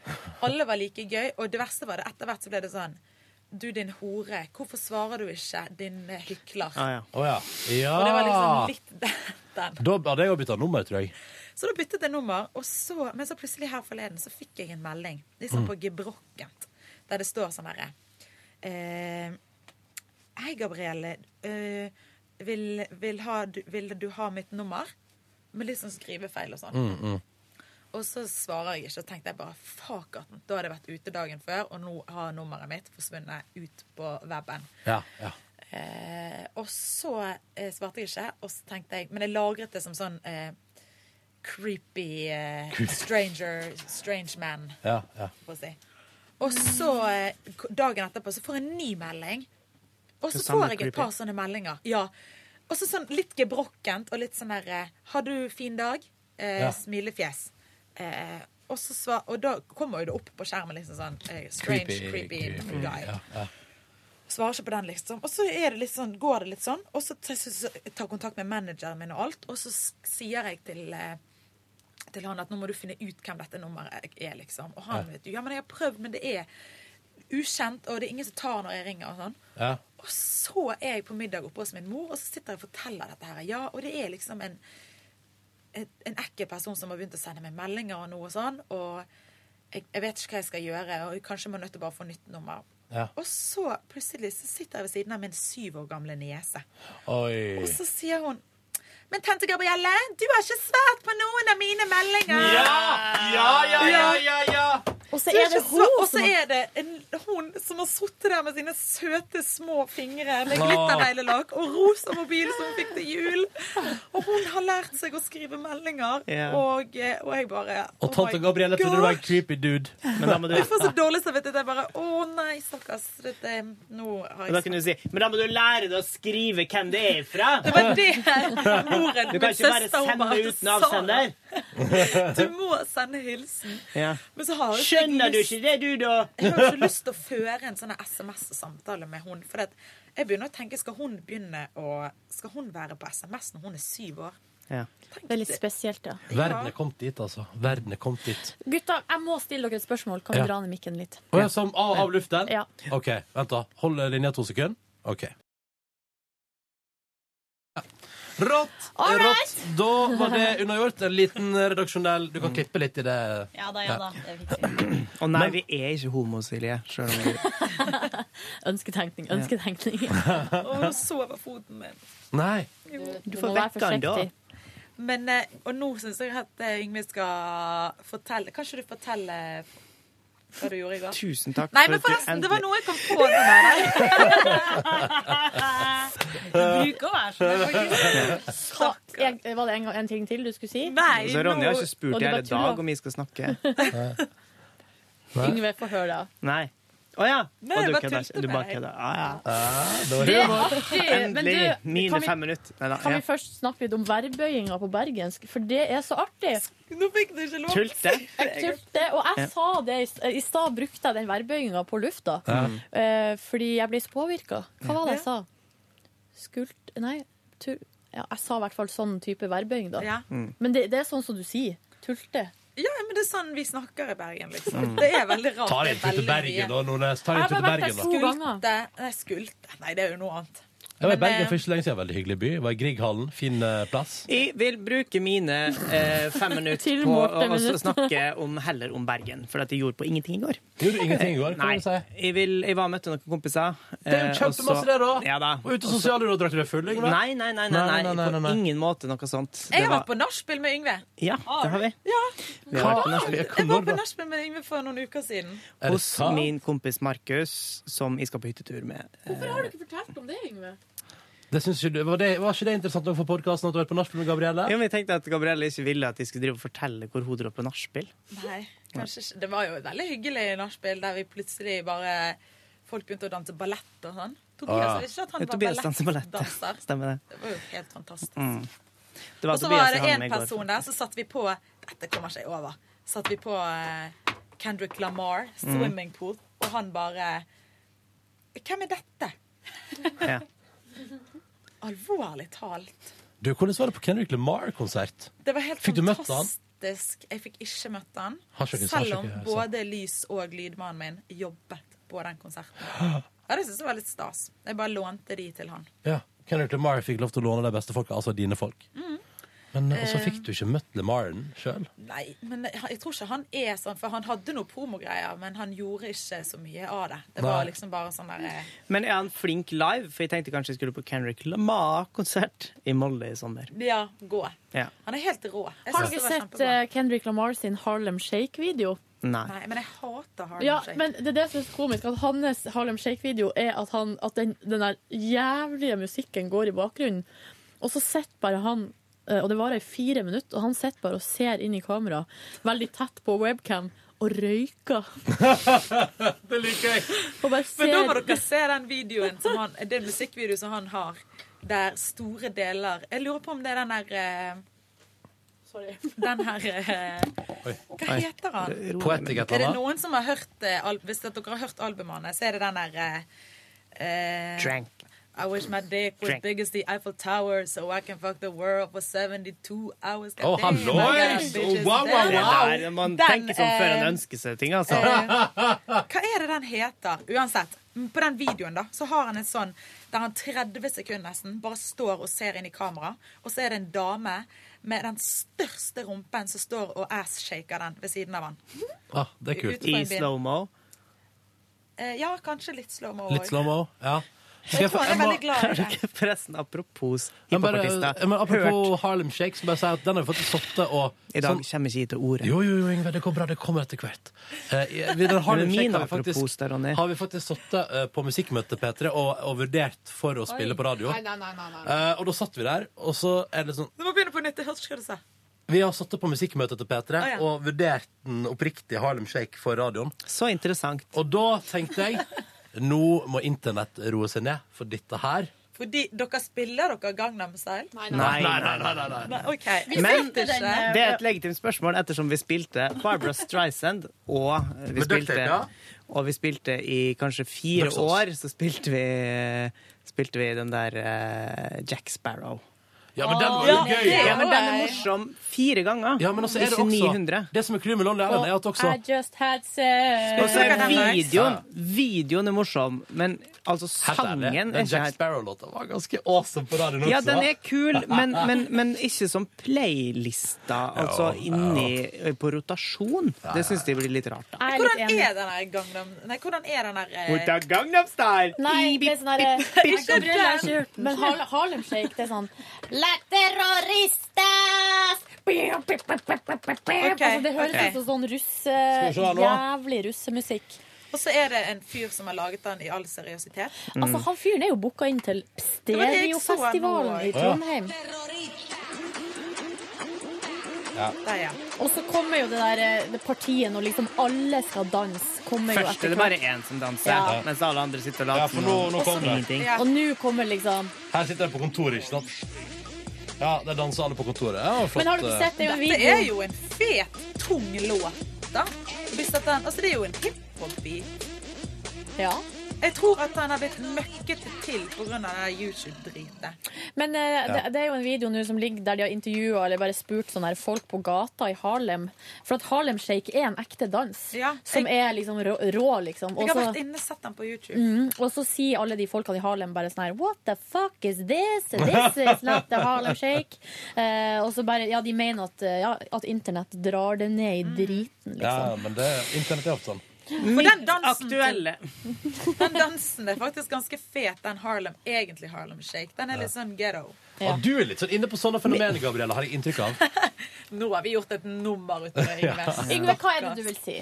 Speaker 4: Alle var like gøy, og det verste var det etter hvert så ble det sånn Du, din hore, hvorfor svarer du ikke, din eh, hykler?
Speaker 2: Å
Speaker 3: Ah,
Speaker 2: ja. Å, ja. ja.
Speaker 4: Og det var
Speaker 2: Ah.
Speaker 4: liksom litt den.
Speaker 2: Da hadde jeg jo bytta nummer, tror jeg.
Speaker 4: Så da byttet jeg nummer, og så, men så plutselig her forleden så fikk jeg en melding.
Speaker 2: Mm.
Speaker 4: Liksom på gebrokkent. Der det står sånn herre eh, Hei, Gabrielle. Eh, vil, vil, ha, du, vil du ha mitt nummer? Med litt sånn skrivefeil og sånn. Og så svarer jeg ikke, og tenkte jeg bare fuck at Da hadde jeg vært ute dagen før, og nå har nummeret mitt forsvunnet ut på weben.
Speaker 2: Ja, ja.
Speaker 4: Eh, og så eh, svarte jeg ikke, og så tenkte jeg Men jeg lagret det som sånn eh, creepy eh, stranger, strange man,
Speaker 2: ja, ja.
Speaker 4: for å si. Og så, eh, k- dagen etterpå, så får jeg en ny melding. Og
Speaker 2: Det
Speaker 4: så
Speaker 2: samme
Speaker 4: får jeg et par sånne meldinger. Ja. Og så sånn litt gebrokkent og litt sånn der eh, 'Har du fin dag?' Eh,
Speaker 2: Ja.
Speaker 4: Smilefjes. Eh, og, så svar, og da kommer jo det opp på skjermen liksom sånn eh, Strange, creepy, guy.
Speaker 2: Ja, ja.
Speaker 4: Svarer ikke på den, liksom. Og så er det litt sånn, går det litt sånn. Og så tar så tar jeg kontakt med manageren min og alt, og så s- sier jeg til, eh, til han at nå må du finne ut hvem dette nummeret er, liksom. Og han
Speaker 2: Ja.
Speaker 4: vet jo, ja, men jeg har prøvd, men det er ukjent, og det er ingen som tar når jeg ringer og sånn.
Speaker 2: Ja.
Speaker 4: Og så er jeg på middag oppe hos min mor, og så sitter jeg og forteller dette her. Ja, og det er liksom en, en, en ekkel person som har begynt å sende meg meldinger og noe sånn, og jeg, jeg vet ikke hva jeg skal gjøre, og jeg kanskje må nødt til bare å få nytt nummer.
Speaker 2: Ja.
Speaker 4: Og så plutselig så sitter jeg ved siden av min syv år gamle niese.
Speaker 2: Oi.
Speaker 4: Og så sier hun Men tante Gabrielle, du har ikke svart på noen av mine meldinger!
Speaker 5: Ja, ja, ja, ja,
Speaker 4: Og
Speaker 16: så er det hun
Speaker 4: Og så
Speaker 16: som har-
Speaker 4: er det en, hun som har sittet der med sine søte, små fingre med
Speaker 16: Åh.
Speaker 4: glitterneglelag og rosa mobil som hun fikk til jul. Og hun har lært seg å skrive meldinger,
Speaker 2: Ja.
Speaker 4: og, eh, og jeg bare
Speaker 2: Og tante
Speaker 3: oh
Speaker 2: Gabrielle trodde du var en creepy dude.
Speaker 3: Men da må du-
Speaker 4: Jeg får så dårlig samvittighet. Jeg bare Å nei, stakkars. Dette, nå har
Speaker 3: Men da
Speaker 4: jeg
Speaker 3: kunne du si Men da må du lære deg å skrive hvem det er ifra!
Speaker 4: Det var det moren
Speaker 3: Du
Speaker 4: min,
Speaker 3: kan ikke bare
Speaker 4: søster, hun
Speaker 3: sende
Speaker 4: bare
Speaker 3: uten
Speaker 4: sa.
Speaker 3: avsender.
Speaker 4: Du må sende hilsen.
Speaker 3: Ja.
Speaker 4: Men så har jeg
Speaker 3: Skjønner du
Speaker 4: lyst-
Speaker 3: ikke det, du, da?
Speaker 4: Jeg har jo ikke lyst til å føre en sånn SMS-samtale med hun. For at jeg begynner å tenke, skal hun begynne å Skal hun være på SMS når hun er syv år?
Speaker 2: Ja.
Speaker 6: Det er litt spesielt, ja.
Speaker 2: Verden er kommet dit, altså. Verden er kommet dit.
Speaker 6: Gutta, jeg må stille dere et spørsmål. Kan du
Speaker 2: Ja.
Speaker 6: dra ned mikken litt?
Speaker 2: Å ja, som av, av luften?
Speaker 6: Ja.
Speaker 2: OK, vent, da. Hold eh, linja to sekunder. OK. Ja. Rått!
Speaker 6: All right.
Speaker 2: Rått! Da var det unnagjort. En liten redaksjonell Du
Speaker 3: Mm.
Speaker 2: kan klippe litt i det.
Speaker 15: Ja da,
Speaker 2: ja
Speaker 15: da.
Speaker 3: Å nei, vi er ikke homofilie, sjøl om vi
Speaker 6: Ønsketenkning,
Speaker 3: Ja.
Speaker 6: ønsketenkning.
Speaker 4: Og nå sover foten min.
Speaker 2: Nei.
Speaker 4: Jo.
Speaker 6: Du får må være vekke han da. forsiktig.
Speaker 4: Men, eh, og nå syns jeg at eh, Yngve skal fortelle Kan ikke du fortelle hva du gjorde i går?
Speaker 3: Tusen takk
Speaker 4: Nei,
Speaker 3: for
Speaker 4: men
Speaker 3: at du
Speaker 4: forresten, det var
Speaker 3: endelig-
Speaker 4: noe jeg kom på med
Speaker 6: Du bruker å være
Speaker 4: sånn,
Speaker 3: faktisk.
Speaker 6: Var det en, gang- en ting til du skulle si?
Speaker 3: Så Ronja har ikke
Speaker 6: Og
Speaker 3: spurt
Speaker 6: du
Speaker 3: i
Speaker 6: bare
Speaker 3: hele
Speaker 6: tror
Speaker 3: dag om vi skal snakke.
Speaker 6: at- Yngve, få høre, da.
Speaker 3: Nei. Å ja!
Speaker 6: Nei,
Speaker 3: Og du
Speaker 6: jeg bare
Speaker 3: kødder
Speaker 6: tulte
Speaker 3: ikke? Du bare
Speaker 6: med
Speaker 3: kødder? Ah, ja.
Speaker 6: var Det er humor. artig, Eh, men du,
Speaker 3: Endelig.
Speaker 6: kan
Speaker 3: Mine
Speaker 6: vi-
Speaker 3: fem minutter. Nei da.
Speaker 6: Kan
Speaker 3: ja.
Speaker 6: vi først snakke litt om verbøyinga på bergensk? For det er så artig.
Speaker 4: Nå fikk du ikke lov.
Speaker 3: Tulte?
Speaker 6: Jeg tulte, og jeg
Speaker 3: Ja.
Speaker 6: sa det i s- i stad, brukte jeg den verbøyinga på lufta.
Speaker 3: Ja.
Speaker 6: eh, fordi jeg ble så påvirka. Hva var det jeg sa? Skult... Nei, tur... Ja, jeg sa i hvert fall sånn type verbøying, da.
Speaker 3: Mm.
Speaker 6: Men det, det er sånn som du sier. Tulte.
Speaker 4: Ja, men det er sånn vi snakker i Bergen, liksom.
Speaker 2: Mm.
Speaker 4: Det er veldig rart.
Speaker 2: Ta deg en tur til
Speaker 4: Det er veldig
Speaker 2: Bergen,
Speaker 4: mye.
Speaker 2: da, Nordnes. Ta deg en tur til Bergen, da.
Speaker 4: Skulte Nei, skulte. Nei, det er jo noe annet.
Speaker 2: Jeg var i
Speaker 4: Men,
Speaker 2: Bergen
Speaker 4: eh,
Speaker 2: for ikke så lenge siden. Veldig hyggelig by. Jeg var i Grieghallen. Fin eh, plass.
Speaker 3: Jeg vil bruke mine eh, fem minutter
Speaker 2: Til
Speaker 3: på
Speaker 2: Morten
Speaker 3: å, å
Speaker 2: minutt.
Speaker 3: snakke om, heller om Bergen, for at jeg gjorde på ingenting i går.
Speaker 2: Gjorde du ingenting i går? Hva
Speaker 3: Nei,
Speaker 2: vil
Speaker 3: Eh,
Speaker 2: du si?
Speaker 3: jeg, vil, jeg var og møtte noen kompiser.
Speaker 2: Det er jo
Speaker 3: eh, og så-
Speaker 2: kjempemasse, det, da.
Speaker 3: Ja, da.
Speaker 2: Og ute sosialråd, drakk du deg full? Yngve?
Speaker 3: Nei, nei, nei, nei, nei, på ingen måte noe sånt.
Speaker 4: Jeg
Speaker 3: Det
Speaker 4: har
Speaker 3: var,
Speaker 4: vært på nachspiel med Yngve.
Speaker 3: ja, det har vi.
Speaker 4: Ja.
Speaker 3: Vi har vært på nachspiel.
Speaker 4: Jeg var på nachspiel med Yngve for noen uker siden.
Speaker 3: Hos min kompis Markus, som jeg skal på hyttetur med.
Speaker 6: Hvorfor har du ikke fortalt om det, Yngve?
Speaker 2: Det synes ikke du, var, det, var ikke det interessant nok for podkasten at du har vært på nachspiel med Gabrielle?
Speaker 3: Ja, men jeg tenkte at Gabrielle ikke ville at jeg skulle drive og fortelle hvor hun drar på nachspiel.
Speaker 4: Nei, kanskje ikke. Det var jo et veldig hyggelig nachspiel der vi plutselig bare Folk begynte å danse ballett og sånn. Tobias
Speaker 3: Ah.
Speaker 4: jeg visste ikke
Speaker 3: Ja,
Speaker 4: at han var
Speaker 3: Tobias danser ballett, ja.
Speaker 4: ballettdanser.
Speaker 3: Stemmer det.
Speaker 4: Det var jo helt fantastisk.
Speaker 3: Mm. Det
Speaker 4: Og
Speaker 3: var
Speaker 4: så
Speaker 3: Tobias
Speaker 4: var
Speaker 3: jeg
Speaker 4: det
Speaker 3: hadde
Speaker 4: en
Speaker 3: med i går.
Speaker 4: person der, så satt vi på Dette kommer ikke jeg over. Satt vi på eh, Kendrick Lamar,
Speaker 3: Mm.
Speaker 4: swimming pool, og han bare Hvem er dette?
Speaker 3: Ja.
Speaker 4: Alvorlig talt.
Speaker 2: Du, Hvordan var det på Kendrick Lamar-konsert?
Speaker 4: Det var helt
Speaker 2: Fikk du møtt han?
Speaker 4: fantastisk. Jeg fikk ikke møtt han.
Speaker 2: Har ikke- har
Speaker 4: selv
Speaker 2: ikke-
Speaker 4: om
Speaker 2: har ikke-
Speaker 4: både lys- og lydmannen min jobbet på den konserten. Ja, det synes jeg var litt stas. Jeg bare lånte de til han.
Speaker 2: Ja, Kendrick Lamar fikk lov til å låne de beste folka, altså dine folk. Men eh, Og så
Speaker 4: Mm. Eh.
Speaker 2: fikk du ikke møtt Lamaren sjøl.
Speaker 4: Nei, men jeg, jeg tror ikke han er sånn, for han hadde noe promogreier, men han gjorde ikke så mye av det. Det var
Speaker 3: Nei.
Speaker 4: liksom bare sånn der eh,
Speaker 3: Men er han flink live? For jeg tenkte kanskje jeg skulle på Kendrick Lamar-konsert i Molde i sommer.
Speaker 4: Ja, gå.
Speaker 3: Ja.
Speaker 4: Han er helt rå. Jeg
Speaker 6: Har
Speaker 4: synes det
Speaker 6: dere
Speaker 4: var
Speaker 6: sett
Speaker 4: kjempebra.
Speaker 6: eh, Kendrick Lamar sin Harlem Shake-video?
Speaker 3: Nei.
Speaker 4: Nei, men jeg hater Harlem
Speaker 6: Ja,
Speaker 4: Shake.
Speaker 6: men det er det som er så komisk, at hans Harlem Shake-video er at, han, at den, den der jævlige musikken går i bakgrunnen, og så sitter bare han eh, og det varer i fire minutter, og han sitter bare og ser inn i kamera, veldig tett på webcam, og røyker.
Speaker 2: det liker jeg.
Speaker 6: Og bare
Speaker 4: Men da må
Speaker 6: ser
Speaker 4: dere se den videoen som han, det musikkvideoen som han har, der store deler Jeg lurer på om det er den der eh,
Speaker 6: Sorry.
Speaker 4: Den her eh, Hva
Speaker 2: Oi.
Speaker 4: heter han?
Speaker 2: Det er rolig, Poetic men- et eller
Speaker 4: Er det
Speaker 2: annet?
Speaker 4: noen som har hørt eh, al- Hvis at dere har hørt albumet hans, så er det den der eh, eh,
Speaker 3: Drank.
Speaker 4: I wish my dick was
Speaker 2: Drink.
Speaker 4: big as the Eiffel Tower, so I can fuck the world for 72 hours.
Speaker 2: Å,
Speaker 4: God damn, I got
Speaker 2: hallois!
Speaker 4: bitches.
Speaker 2: Wow, wow,
Speaker 4: Den-
Speaker 2: wow!
Speaker 3: Det der, man
Speaker 4: den,
Speaker 3: tenker sånn før
Speaker 4: eh,
Speaker 3: en ønsker seg ting, altså.
Speaker 4: Hva er det den heter? Uansett, mm, på den videoen da, så har han en sånn der han 30 sekunder nesten bare står og ser inn i kamera, og så er det en dame med den største rumpen som står og ass-shaker den ved siden av han.
Speaker 2: Ah, det er kult.
Speaker 4: Ut fra en bil.
Speaker 3: slow-mo.
Speaker 4: Eh, ja, kanskje litt slow-mo
Speaker 2: Litt
Speaker 4: også.
Speaker 2: slow-mo. Ja. Skal
Speaker 4: Jeg
Speaker 2: få-
Speaker 4: tror han
Speaker 2: må-
Speaker 4: er veldig glad i det.
Speaker 3: Forresten, apropos
Speaker 2: Men bare,
Speaker 3: hiphopartister.
Speaker 2: ja, men
Speaker 3: Hørt.
Speaker 2: apropos Harlem Shake, så bare si at den har vi fått sotte og
Speaker 3: I dag
Speaker 2: sånn-
Speaker 3: kommer ikke jeg til ordet.
Speaker 2: Jo, jo, jo, Ingve, det går bra. Det kommer etter hvert. Eh, vi- den
Speaker 3: Men
Speaker 2: Harlem Shake
Speaker 3: mine
Speaker 2: har vi
Speaker 3: apropos
Speaker 2: faktisk,
Speaker 3: der, Ronny.
Speaker 2: har vi faktisk sittet eh, på musikkmøtet P3 og, og vurdert for å spille på radio.
Speaker 4: Nei, nei, nei, nei, nei.
Speaker 2: Eh, og da satt vi der, og så er det sånn
Speaker 4: Du må begynne på nytt. Jeg hørte ikke hva du sa.
Speaker 2: Vi har sittet på musikkmøtet til P3
Speaker 4: Å, ja.
Speaker 2: og vurdert den oppriktige Harlem Shake for radioen.
Speaker 3: Så interessant.
Speaker 2: Og da tenkte jeg nå må internett roe seg ned, for dette her
Speaker 4: Fordi dere spiller dere Gangnam Style?
Speaker 3: Nei, nei, nei, nei, nei,
Speaker 4: Nei, OK. Vi
Speaker 3: Men
Speaker 4: vet ikke.
Speaker 3: det er et legitimt spørsmål ettersom vi spilte Barbara Streisand, og
Speaker 2: Med
Speaker 3: vi spilte,
Speaker 2: ducktape, ja.
Speaker 3: og vi spilte i kanskje fire
Speaker 2: Ducksauce.
Speaker 3: år, så spilte vi, spilte vi den der eh, Jack Sparrow.
Speaker 2: Ja, men den var jo gøy! da.
Speaker 3: Ja, men den er morsom fire ganger.
Speaker 2: Ja, men også er det
Speaker 3: Ikke
Speaker 2: også
Speaker 3: 900.
Speaker 2: Det som er clou med Lonely Island, er at også
Speaker 15: I just had sex.
Speaker 3: Og så er Eh, videoen, videoen er morsom, men altså sangen er
Speaker 2: Den
Speaker 3: ikke
Speaker 2: Jack
Speaker 3: helt
Speaker 2: Sparrow-låta var ganske awesome på radioen også.
Speaker 3: Ja, den er kul, men, men, men ikke som playlista, altså inni på rotasjon. Det syns de blir litt rart, da.
Speaker 4: Hvordan er den der Gangnam Nei, hvordan er den der eh,
Speaker 3: Gangnam Style!
Speaker 6: Nei, det er sånn
Speaker 4: bip, bip.
Speaker 6: derre Men Har- Harlem Shake, det er sånn La terroristas! Bip, bip, bip, bip, bip, bip. Altså, det høres
Speaker 4: ok.
Speaker 6: ut som sånn russe...
Speaker 4: Skal vi se her nå?
Speaker 6: Jævlig russemusikk.
Speaker 4: Og så er det en fyr som har laget den i all seriøsitet.
Speaker 6: Altså, han fyren er jo booka inn til
Speaker 4: Mm. Det var det jeg så nå.
Speaker 6: Stereofestivalen i Trondheim.
Speaker 4: Der, ja.
Speaker 6: Og så kommer jo det der eh, det partiet når liksom alle skal danse. Kommer jo
Speaker 3: Først er
Speaker 6: etter
Speaker 3: det bare én som danser,
Speaker 6: Ja.
Speaker 3: mens alle andre sitter og
Speaker 2: Ja,
Speaker 3: later
Speaker 2: for nå- nå
Speaker 3: som
Speaker 2: kommer det.
Speaker 3: ingenting.
Speaker 6: Og nå kommer liksom
Speaker 2: Her sitter jeg på kontoret, ikke sant? Ja, der danser alle på kontoret. Ja, flott.
Speaker 6: Men har dere sett det i
Speaker 4: Dette
Speaker 6: videoen?
Speaker 4: er jo en fet, tung låt, da. Hvis at den, altså, det er jo en hiphop-beat.
Speaker 6: Ja.
Speaker 4: Jeg tror at den har blitt møkket til pga. YouTube-dritet.
Speaker 6: Men eh, det, det er jo en video nå som ligger der de har intervjua eller bare spurt sånne her folk på gata i Harlem. For at Harlem Shake er en ekte dans som er liksom rå, rå liksom.
Speaker 4: Jeg
Speaker 6: Og
Speaker 4: har
Speaker 6: så-
Speaker 4: vært inne og sett den på YouTube.
Speaker 6: Mm, og så sier alle de folkene i Harlem bare sånn her What the fuck is this? This is not the Harlem Shake. Eh, og så bare, ja, De mener at, eh, ja, at internett drar det ned i driten. liksom.
Speaker 2: Ja, men det, internett er ofte sånn.
Speaker 4: For den dansen, til- den dansen er faktisk ganske fet, den Harlem, egentlig Harlem Shake. Den er litt sånn ghetto.
Speaker 2: Ja. du er litt sånn inne på sånne fenomener, Gabrielle, har jeg inntrykk av.
Speaker 4: Nå har vi gjort et nummer ut av det, Yngve.
Speaker 2: Ja.
Speaker 6: Yngve, hva er det du vil si?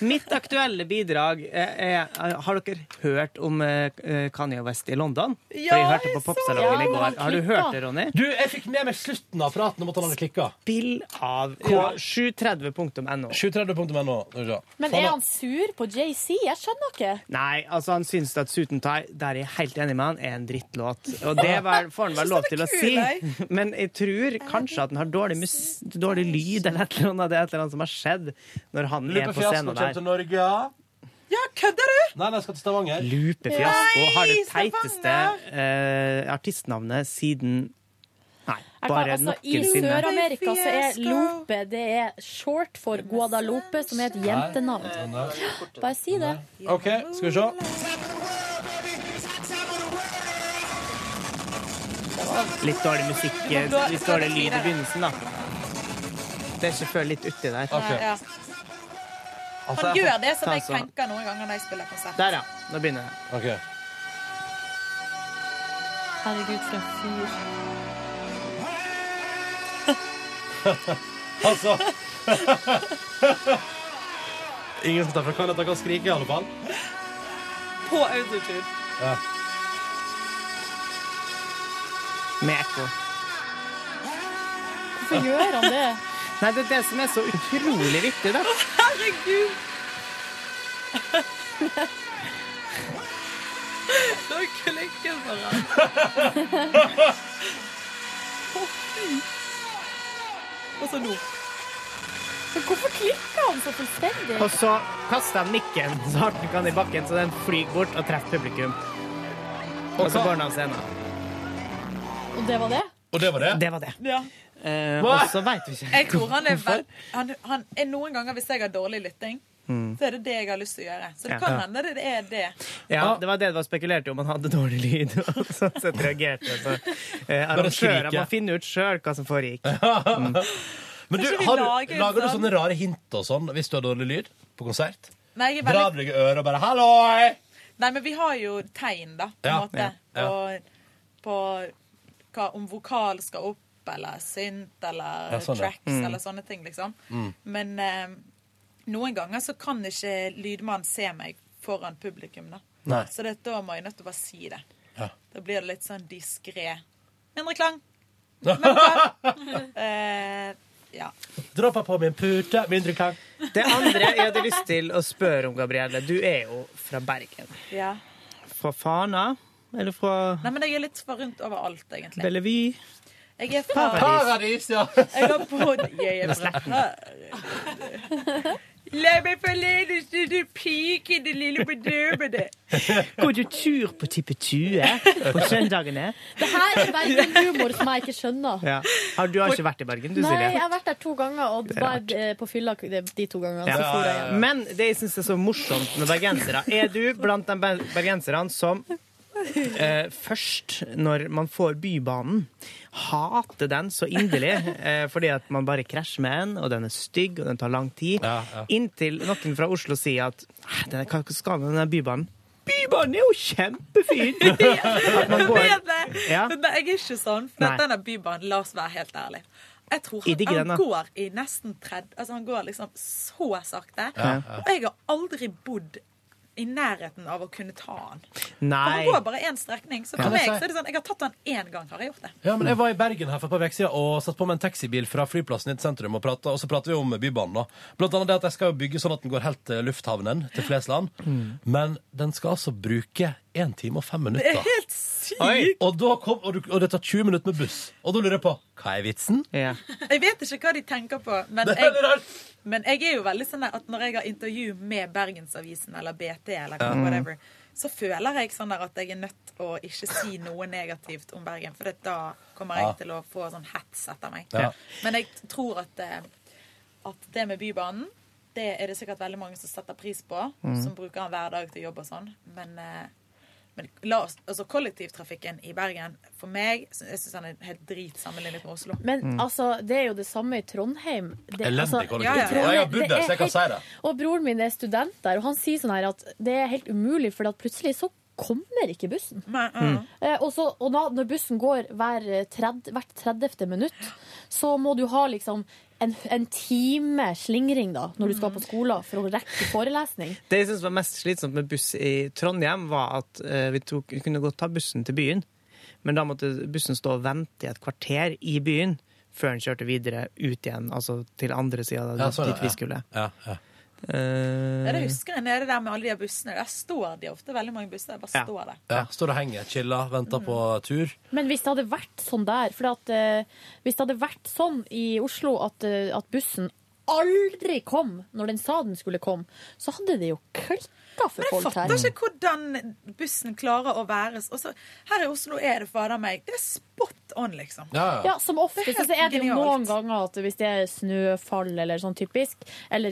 Speaker 3: Mitt aktuelle bidrag eh, er Har dere hørt om eh, Kanye West i London?
Speaker 2: Ja,
Speaker 3: For jeg hørte
Speaker 2: jeg
Speaker 3: på
Speaker 2: så
Speaker 3: Popsalongen
Speaker 2: det.
Speaker 3: i går. Har du hørt det, Ronny?
Speaker 2: Du, jeg fikk med meg slutten av praten om at han hadde klikka.
Speaker 3: Spill av på 730.no.
Speaker 2: 730.no.
Speaker 6: Men er han sur på JC? Jeg skjønner ikke.
Speaker 3: Nei, altså han syns at Suit and Tie, der er jeg helt enig med han, er en drittlåt. Og det var, får han vel lov til å si. Men jeg tror kanskje at den har dårlig, mus dårlig lyd, eller et eller annet. Det er et eller annet som har skjedd når han er
Speaker 2: Lupe
Speaker 3: på
Speaker 2: Fiasko
Speaker 3: scenen
Speaker 2: kommer
Speaker 3: der.
Speaker 2: til Norge.
Speaker 4: Ja, kødder du?!
Speaker 2: Nei, nei, jeg skal til Stavanger.
Speaker 3: Lupe Fiasko har det teiteste eh, artistnavnet siden Nei,
Speaker 6: Jeg kan,
Speaker 3: bare
Speaker 6: altså, I
Speaker 3: noensinne.
Speaker 6: Sør-Amerika så er Lope det er short for Guadalupe, som er et jentenavn. Bare si det.
Speaker 2: OK, skal vi se.
Speaker 3: Litt dårlig musikk, eh, litt dårlig lyd i begynnelsen, da. Det er ikke før litt uti der.
Speaker 4: Ja.
Speaker 3: Altså,
Speaker 4: Han
Speaker 3: jeg
Speaker 4: gjør
Speaker 3: får
Speaker 4: det som
Speaker 3: ta
Speaker 4: jeg
Speaker 3: sånn-
Speaker 4: tenker noen ganger når jeg spiller konsert.
Speaker 3: Der, ja. Nå begynner jeg.
Speaker 6: Herregud, for en fyr.
Speaker 2: altså Ingen som tar fra hverandre at han kan skrike, i alle fall.
Speaker 4: På autotune.
Speaker 2: Ja.
Speaker 3: Med ekko.
Speaker 6: Hvorfor gjør han det?
Speaker 3: Nei, det er det som er så utrolig viktig, da.
Speaker 4: Herregud! Nå klikker bare. Og så nå.
Speaker 6: Men hvorfor klikker han så fullstendig?
Speaker 3: Og så kaster han mikken så hardt han kan i bakken, så den flyr bort og treffer publikum. Og så går han av scenen.
Speaker 6: Og det var det?
Speaker 2: Og det var det?
Speaker 3: Det var det. Eh,
Speaker 4: Hva?
Speaker 3: og så veit vi ikke
Speaker 4: Jeg tror han er
Speaker 3: hvorfor.
Speaker 4: vel- han, han er Noen ganger hvis jeg har dårlig lytting,
Speaker 3: Mm.
Speaker 4: så er det det jeg har lyst til å gjøre. Så det
Speaker 3: Ja.
Speaker 4: kan
Speaker 3: Ja.
Speaker 4: hende det er det.
Speaker 3: Ja, det var det det var spekulert i, om han hadde dårlig lyd. Og så så reagerte så, eh,
Speaker 2: Bare skrike. Eh,
Speaker 3: arrangørene må finne ut sjøl hva som foregikk.
Speaker 2: Men du,
Speaker 4: Kanskje vi
Speaker 2: har,
Speaker 4: lager
Speaker 2: du-
Speaker 4: en
Speaker 2: lager du
Speaker 4: sånn-
Speaker 2: sånne rare hint og sånn hvis du har dårlig lyd på konsert?
Speaker 4: Nei, jeg er
Speaker 2: Drar
Speaker 4: veldig,
Speaker 2: du deg i øret og bare 'halloi'?
Speaker 4: nei, men vi har jo tegn, da, på en
Speaker 2: Ja,
Speaker 4: måte.
Speaker 2: ja, ja.
Speaker 4: Og på hva, om vokal skal opp, eller synt, eller
Speaker 2: Ja, sånn, ja.
Speaker 4: tracks,
Speaker 2: Mm.
Speaker 4: eller sånne ting, liksom.
Speaker 2: Mm.
Speaker 4: Men eh, noen ganger så kan ikke lydmannen se meg foran publikum, da.
Speaker 2: Nei.
Speaker 4: Så det, da må jeg nødt til å bare si det.
Speaker 2: Ja.
Speaker 4: Da blir det litt sånn diskré. Mindre klang. Eh, ja.
Speaker 2: Droppa på min pute, mindre klang.
Speaker 3: Det andre jeg hadde lyst til å spørre om, Gabrielle, du er jo fra Bergen.
Speaker 4: ja.
Speaker 3: Fra Fana? Eller fra
Speaker 4: Nei, men jeg er litt fra rundt overalt, egentlig.
Speaker 3: Bellevue?
Speaker 4: Jeg er fra
Speaker 3: Paradis.
Speaker 2: ja.
Speaker 4: Jeg har bodd Jeg er fra La meg forlede denne piken, det lille bedøvede.
Speaker 3: Går du tur på Tippe Tue på søndagene?
Speaker 6: Det her er Bergen-humor som jeg ikke skjønner.
Speaker 3: Ja. Har, du har ikke vært i Bergen, du,
Speaker 6: Nei, jeg
Speaker 3: Silje?
Speaker 6: har vært der to ganger, og
Speaker 3: Det er
Speaker 6: var eh, på fylla de de to gangene.
Speaker 3: Ja.
Speaker 6: Så for jeg hjem.
Speaker 3: Men det jeg syns er så morsomt med bergensere, er du blant de ber- bergenserne som eh, først, når man får Bybanen, hater den så inderlig eh, fordi at man bare krasjer med den, og den er stygg, og den tar lang tid, inntil noen fra Oslo sier at "Hæ, den- hva skal man med den Bybanen? Bybanen er jo kjempefin! At man går Ja.
Speaker 4: Men jeg er ikke sånn. For
Speaker 3: Nei.
Speaker 4: at denne bybanen, la oss være helt ærlig. Jeg tror
Speaker 3: I de
Speaker 4: han,
Speaker 3: grønne.
Speaker 4: han går i nesten 30 Altså, han går liksom så sakte.
Speaker 3: Ja, ja.
Speaker 4: Og jeg har aldri bodd i nærheten av å kunne ta han. For han
Speaker 2: Nei.
Speaker 4: går bare én strekning. Så
Speaker 2: Ja.
Speaker 4: for meg
Speaker 2: Det er
Speaker 4: så er det sånn Jeg har tatt han én gang, har jeg gjort det.
Speaker 2: Ja, men Jeg var i Bergen her for et par uker siden og satt på med en taxibil fra flyplassen inn til sentrum. Og, pratet, og så prater vi om Bybanen. da. Blant annet det at jeg skal bygge sånn at den går helt til lufthavnen til Flesland. Men den skal altså bruke 1 time og 5
Speaker 4: Det er
Speaker 2: minutter.
Speaker 4: helt sykt.
Speaker 2: Og, da kom, og, du, og det tar 20 minutter med buss. Og da lurer jeg på hva er vitsen?
Speaker 4: Jeg vet ikke hva de tenker på, men
Speaker 2: Det er
Speaker 4: jeg,
Speaker 2: veldig rart.
Speaker 4: men jeg er jo veldig sånn at når jeg har intervju med Bergensavisen eller BT eller hva-
Speaker 2: Ja.
Speaker 4: whatever, så føler jeg sånn der at jeg er nødt å ikke si noe negativt om Bergen, for det- da kommer
Speaker 2: Ja.
Speaker 4: jeg til å få sånn hets etter meg.
Speaker 2: Ja.
Speaker 4: Men jeg tror at, eh, at det med Bybanen, det er det sikkert veldig mange som setter pris på,
Speaker 6: Mm.
Speaker 4: som bruker den hver dag til jobb og sånn, men... eh, Men la oss, altså kollektivtrafikken i Bergen, for meg, så- jeg synes den er helt drit sammenlignet med Oslo.
Speaker 6: Men
Speaker 3: Mm.
Speaker 6: altså, det er jo det samme i Trondheim. Det,
Speaker 4: Elendig
Speaker 6: altså,
Speaker 4: kollektiv.
Speaker 6: i
Speaker 4: Ja, ja.
Speaker 6: Trondheim-
Speaker 4: Jeg har bodd
Speaker 6: det
Speaker 4: der,
Speaker 6: er
Speaker 4: så jeg kan
Speaker 6: helt-
Speaker 4: si det.
Speaker 6: Og broren min er student der, og han sier sånn her at det er helt umulig, for at plutselig så kommer ikke bussen.
Speaker 4: mm.
Speaker 6: Eh, og så, og da, når bussen går hver tredje, hvert 30. minutt, så må du ha liksom en, en time slingring da, når du skal på skolen for å rekke forelesning.
Speaker 3: Det jeg synes var mest slitsomt med buss i Trondheim, var at eh, vi, tok, vi kunne godt ta bussen til byen, men da måtte bussen stå og vente i et kvarter i byen før den kjørte videre ut igjen, altså til andre sida,
Speaker 2: Ja, sånn,
Speaker 3: dit vi
Speaker 2: ja.
Speaker 3: skulle.
Speaker 2: Ja, ja.
Speaker 3: Eh,
Speaker 2: Mm.
Speaker 4: Ja, det husker jeg nede der med alle de bussene. Der står de ofte veldig mange busser. Jeg bare står der.
Speaker 2: Ja, Står og henger, chiller, venter på tur.
Speaker 6: Men hvis det hadde vært sånn der For at, eh, hvis det hadde vært sånn i Oslo at, eh, at bussen aldri kom når den sa den skulle komme, så hadde det jo klikka for
Speaker 4: Jeg
Speaker 6: folk her.
Speaker 4: fatter ikke hvordan bussen klarer å være så- også, Her i Oslo er det fader meg Det er spot on, liksom.
Speaker 6: Ja, som oftest så er det jo
Speaker 4: genialt.
Speaker 6: noen ganger at hvis det er snøfall eller sånn typisk, eller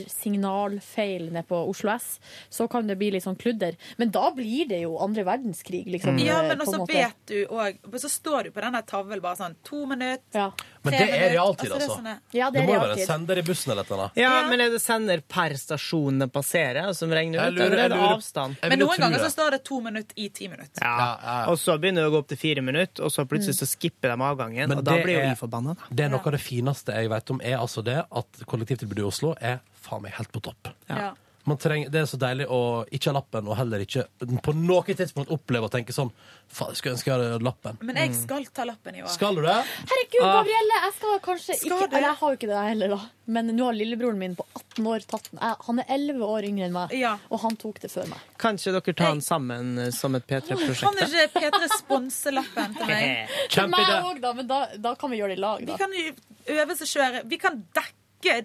Speaker 6: signalfeil nede på Oslo S, så kan det bli litt sånn kludder. Men da blir det jo andre verdenskrig, liksom.
Speaker 2: Mm.
Speaker 4: Ja, men
Speaker 6: eh, på en
Speaker 4: også
Speaker 6: måte.
Speaker 4: vet du òg Så står du på den der tavlen bare sånn to minutter,
Speaker 2: Men
Speaker 4: tre
Speaker 2: det er
Speaker 4: minutter,
Speaker 2: realtid,
Speaker 4: det er
Speaker 2: altså.
Speaker 4: sånne-
Speaker 2: det må jo være en sender i bussen eller et eller annet.
Speaker 3: Eh, ja, men er det sender per stasjon den passerer, altså, som regner
Speaker 2: Jeg
Speaker 3: ut,
Speaker 2: lurer-
Speaker 3: eller
Speaker 2: jeg
Speaker 3: er det
Speaker 2: lurer-
Speaker 3: avstand?
Speaker 4: Men noen ganger så står det to minutter i ti minutter.
Speaker 3: ja. Og så begynner det å gå opp til fire minutter, og så plutselig så skipper de avgangen,
Speaker 2: Men
Speaker 3: og da
Speaker 2: det
Speaker 3: blir jo
Speaker 2: er-
Speaker 3: vi forbanna. da.
Speaker 2: Det er noe av det fineste jeg vet om, er altså det at kollektivtilbudet i Oslo er faen meg helt på topp.
Speaker 4: Ja.
Speaker 2: Man trenger, det er så deilig å ikke ha lappen, og heller ikke på noe tidspunkt oppleve å tenke sånn Faen, jeg skulle ønske jeg hadde lappen.
Speaker 4: Men jeg skal ta lappen i år.
Speaker 2: Mm. Skal du det?
Speaker 6: Herregud,
Speaker 2: Ah.
Speaker 6: Gabrielle, jeg skal kanskje
Speaker 4: Skal
Speaker 6: ikke
Speaker 4: du?
Speaker 6: Eller jeg har jo ikke det heller, da. Men nå har lillebroren min på 18 år tatt den. Jeg- Han er 11 år yngre enn meg, og han tok det før meg.
Speaker 3: Kanskje dere tar den sammen eh, som et
Speaker 4: Kan
Speaker 3: P3-prosjekt? da?
Speaker 4: ikke P3 sponse lappen til
Speaker 3: Eh,
Speaker 4: meg?
Speaker 3: Kjempeidé.
Speaker 6: Meg òg, da, men da, da kan vi gjøre det i lag, da.
Speaker 4: Vi kan jo øvelseskjøre. Vi kan dekke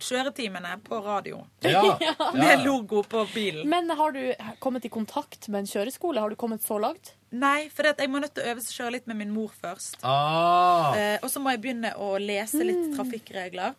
Speaker 4: kjøretimene på radio.
Speaker 6: Ja.
Speaker 4: Med logo på bilen.
Speaker 6: Men har du kommet i kontakt med en kjøreskole? Har du kommet så langt?
Speaker 4: Nei, for jeg må nødt til å øve å kjøre litt med min mor først.
Speaker 2: Ah.
Speaker 4: Eh, og så må jeg begynne å lese
Speaker 6: Mm.
Speaker 4: litt trafikkregler.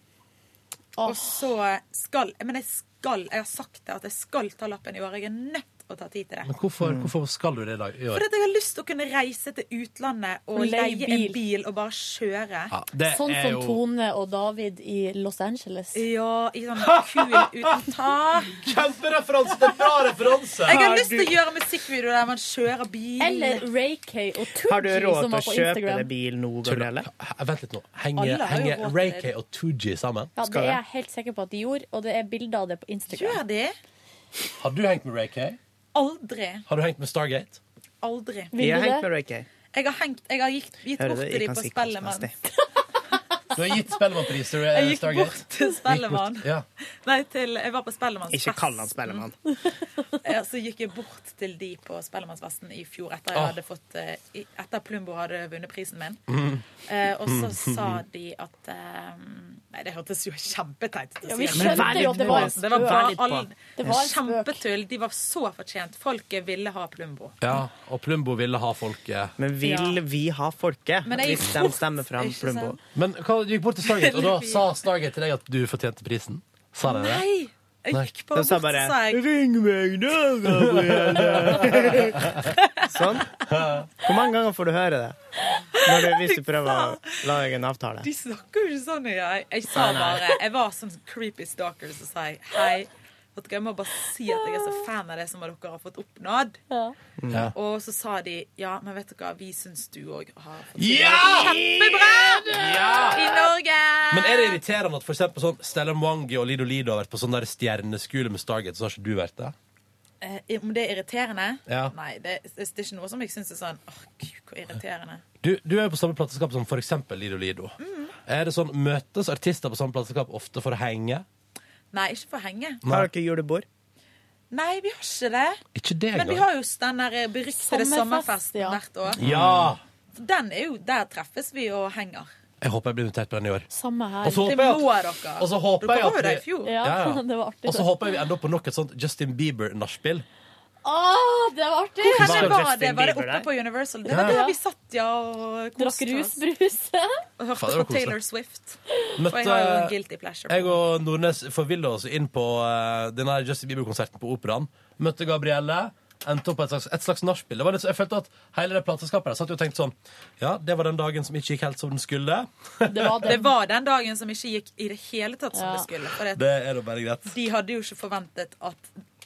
Speaker 4: Og så skal Men jeg skal Jeg har sagt det at jeg skal ta lappen i år. Jeg er nødt å ta tid til det.
Speaker 2: Men hvorfor, hvorfor skal du det i dag? i år?
Speaker 4: Fordi at jeg har lyst til å kunne reise til utlandet og
Speaker 6: Og
Speaker 4: leie
Speaker 6: leie
Speaker 4: en
Speaker 6: bil.
Speaker 4: bil og bare kjøre.
Speaker 2: Ja, det
Speaker 6: sånn
Speaker 2: er
Speaker 6: som
Speaker 2: jo-
Speaker 6: Tone og David i Los Angeles.
Speaker 4: Ja, i sånn kul uten tak.
Speaker 2: Kjempereferanse! Det er bra referanse!
Speaker 4: Jeg har lyst til å gjøre musikkvideo der man kjører bil.
Speaker 6: Eller Raykay og
Speaker 3: Har du
Speaker 6: Tooji
Speaker 3: råd til å
Speaker 6: som var på
Speaker 3: kjøpe
Speaker 6: Instagram.
Speaker 3: deg bil nå, Gabrielle?
Speaker 2: Vent litt nå.
Speaker 6: Alle
Speaker 2: Henger,
Speaker 6: har jo
Speaker 2: henger
Speaker 6: våter.
Speaker 2: Ray-K og Tooji sammen?
Speaker 6: Ja, det er jeg helt sikker på at de gjorde, og det er bilder av det på Instagram.
Speaker 4: Gjør de?
Speaker 2: Har du hengt med Ray-K?
Speaker 4: Aldri.
Speaker 2: Har du hengt med Stargate?
Speaker 4: Aldri.
Speaker 3: Jeg har hengt med Ray Kay.
Speaker 4: Jeg har, hengt, jeg har gitt, gitt
Speaker 3: Hører
Speaker 4: bort
Speaker 3: du,
Speaker 4: til
Speaker 3: jeg
Speaker 4: dem
Speaker 3: kan
Speaker 4: på
Speaker 3: si
Speaker 4: Spellemann.
Speaker 3: konstant
Speaker 2: Du har gitt Spellemannpris til
Speaker 4: Jeg
Speaker 2: eh,
Speaker 4: gikk
Speaker 2: Stargate.
Speaker 4: bort til Spellemann.
Speaker 2: Gikk bort, Ja.
Speaker 4: Nei, til, jeg var på Spellemanns
Speaker 3: Ikke kall han Spellemann.
Speaker 4: Ja, så gikk jeg bort til de på Spellemannsfesten i fjor, etter jeg
Speaker 2: Ah.
Speaker 4: hadde fått eh, i- Etter Plumbo hadde vunnet prisen min.
Speaker 2: Mm.
Speaker 4: Eh, og så
Speaker 2: Mm.
Speaker 4: sa de at eh, Nei, det hørtes jo kjempeteit ut. å
Speaker 6: Ja,
Speaker 4: si
Speaker 6: vi
Speaker 4: det.
Speaker 6: skjønte Men vær litt jo at det var en på.
Speaker 4: Det var
Speaker 6: spøk.
Speaker 4: bare
Speaker 6: Vær litt på.
Speaker 4: all-
Speaker 6: Det var en
Speaker 4: Kjempetull. De var så fortjent. Folket ville ha Plumbo.
Speaker 2: ja. Og Plumbo ville ha folket.
Speaker 3: Men vil vi ha folket
Speaker 4: Men jeg gikk
Speaker 3: hvis de
Speaker 4: fort,
Speaker 3: stemmer fram
Speaker 4: ikke sånn.
Speaker 3: Plumbo?
Speaker 4: sant?
Speaker 2: Men hva, du gikk bort til Stargate, og da sa Stargate til deg at du fortjente prisen? Sa de det?
Speaker 4: Nei! Jeg
Speaker 2: Nei.
Speaker 4: gikk på
Speaker 2: De sa
Speaker 4: bort,
Speaker 2: bare,
Speaker 4: så sa jeg-
Speaker 3: Ring meg nå, Gabrielle! Sånn. Hvor mange ganger får du høre det? Når du, hvis du prøver å lage en avtale.
Speaker 4: De snakker jo ikke sånn. Jeg, jeg sa
Speaker 3: Nei, nei.
Speaker 4: bare Jeg var sånn creepy stalker som sa jeg, hei. Vet dere, jeg må bare si at jeg er så fan av det som dere har fått oppnådd.
Speaker 2: Ja.
Speaker 4: Og så sa de ja, men vet dere, vi syns du òg har fått til
Speaker 2: Ja!
Speaker 4: det kjempebra
Speaker 2: Ja!
Speaker 4: i Norge.
Speaker 2: Men er det irriterende at for eksempel sånn Stella Mwangi og Lido Lido har vært på sånn der stjerneskole med Stargate, så har ikke du vært det?
Speaker 4: Eh, om det er irriterende?
Speaker 2: Ja.
Speaker 4: Nei, det, det er ikke noe som jeg syns er sånn åh, gud, hvor irriterende.
Speaker 2: Du, du er jo på samme plateselskap som for eksempel Lido Lido.
Speaker 4: Mm.
Speaker 2: Er det sånn, Møtes artister på samme plateselskap ofte for å henge?
Speaker 4: Nei, ikke for å henge.
Speaker 3: Har dere julebord?
Speaker 4: Nei, vi har ikke det.
Speaker 2: Ikke det
Speaker 4: Men vi
Speaker 2: engang.
Speaker 4: har jo den der beryktede
Speaker 6: Sommerfest,
Speaker 4: sommerfesten hvert år.
Speaker 2: Ja!
Speaker 4: Den er jo, der treffes vi og henger.
Speaker 2: Jeg håper jeg blir invitert på den i år.
Speaker 6: Samme her.
Speaker 2: Og så håper
Speaker 4: Det
Speaker 2: jeg
Speaker 4: må
Speaker 2: at,
Speaker 4: dere.
Speaker 2: og så håper
Speaker 4: Dere
Speaker 2: jeg
Speaker 4: var jo
Speaker 2: at
Speaker 4: der i
Speaker 2: vi,
Speaker 4: fjor.
Speaker 6: Ja, det var artig,
Speaker 2: Og så
Speaker 6: det.
Speaker 2: håper jeg vi ender opp på nok et sånt Justin Bieber-nachspiel.
Speaker 6: Åh, det var artig!
Speaker 4: Hvor
Speaker 2: Var
Speaker 4: henne var
Speaker 2: Justin
Speaker 4: det? Var det
Speaker 2: Bieber
Speaker 4: oppe
Speaker 2: der?
Speaker 4: på Universal? Det
Speaker 2: Ja.
Speaker 4: var
Speaker 2: Ja.
Speaker 4: der vi satt ja og koste
Speaker 6: Drakk
Speaker 4: oss.
Speaker 6: rusbrus.
Speaker 4: Og
Speaker 2: Faen, det
Speaker 4: hørte
Speaker 2: var
Speaker 4: på Taylor
Speaker 2: koselig.
Speaker 4: Swift.
Speaker 2: Møtte-
Speaker 4: For jeg har jo en guilty pleasure.
Speaker 2: Jeg og Nordnes forvilla oss inn på eh, denne her Justin Bieber-konserten på Operaen. Møtte Gabrielle. Endte opp på et slags, et slags nachspiel. Det var litt så- Jeg følte at hele det plateselskapet der satt jo og tenkte sånn Ja, det var den dagen som ikke gikk helt som den skulle.
Speaker 4: Det var, den. det var den dagen som ikke gikk i det hele tatt som
Speaker 2: Ja.
Speaker 4: det skulle. For det,
Speaker 2: Det er da bare greit.
Speaker 4: de hadde jo ikke forventet at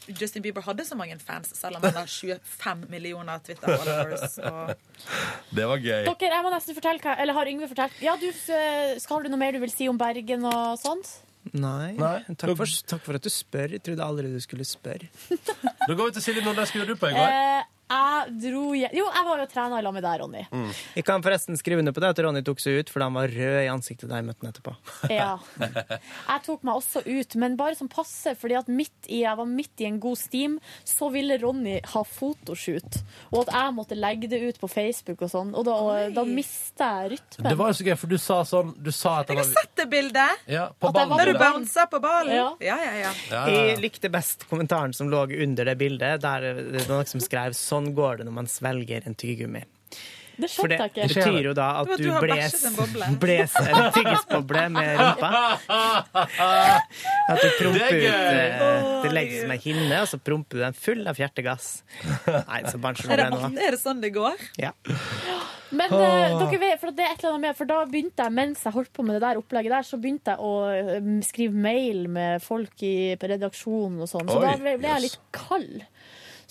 Speaker 4: Justin Bieber hadde så mange fans, selv om han har 25 millioner Twitter-followers. og-
Speaker 2: Det var gøy.
Speaker 6: Dere, jeg må nesten fortelle hva Eller har Yngve fortalt Ja, du, eh, skal du noe mer du vil si om Bergen og sånt?
Speaker 16: Nei. Takk, for, takk for at du spør. Jeg trodde aldri du skulle spørre.
Speaker 2: Da går vi til Silje Nordnes. Skulle du på i går?
Speaker 6: Eh, jeg dro hjem Jo, jeg var jo og trena i lag med deg, Ronny.
Speaker 16: Jeg kan forresten skrive under på det at Ronny tok seg ut, for han var rød i ansiktet da jeg møtte han etterpå.
Speaker 6: Ja. Jeg tok meg også ut, men bare som passe, fordi at midt i, jeg var midt i en god steam, så ville Ronny ha fotoshoot, og at jeg måtte legge det ut på Facebook og sånn, og da, da mista jeg rytmen.
Speaker 2: Det var jo så gøy, for du sa sånn Du sa at det var
Speaker 4: Dette bildet!
Speaker 2: Ja, på
Speaker 6: At
Speaker 2: ballen.
Speaker 6: jeg var-
Speaker 4: Der du
Speaker 2: det der.
Speaker 4: bouncer på ballen.
Speaker 6: Ja.
Speaker 4: Ja, ja, ja.
Speaker 2: Ja, Ah, ja, ja.
Speaker 16: Jeg likte best kommentaren som lå under det bildet, der det var noen som skrev 'Sånn går det når man svelger en tyggegummi'.
Speaker 6: Det
Speaker 16: For det
Speaker 6: skjønte jeg ikke.
Speaker 16: betyr jo da at
Speaker 6: Det var at
Speaker 16: du
Speaker 6: du har
Speaker 16: bles,
Speaker 6: bæsjet en boble.
Speaker 16: bles en tyggisboble med rumpa. At du promper
Speaker 2: Det er
Speaker 16: ut
Speaker 2: gøy.
Speaker 16: eh, Det legges som ei hinne, og så promper du den full av fjertegass. Nei, så barnslig
Speaker 4: Er,
Speaker 16: ble
Speaker 4: det,
Speaker 16: det nå. da.
Speaker 4: er det sånn det går?
Speaker 16: Ja.
Speaker 6: Men eh,
Speaker 16: Åh.
Speaker 6: dere vet, for det er et eller annet med For da begynte jeg, mens jeg holdt på med det der opplegget der, så begynte jeg å eh, skrive mail med folk i på redaksjonen og sånn. Så
Speaker 17: Oi,
Speaker 6: da ble, ble jeg
Speaker 17: jøss.
Speaker 6: litt kald.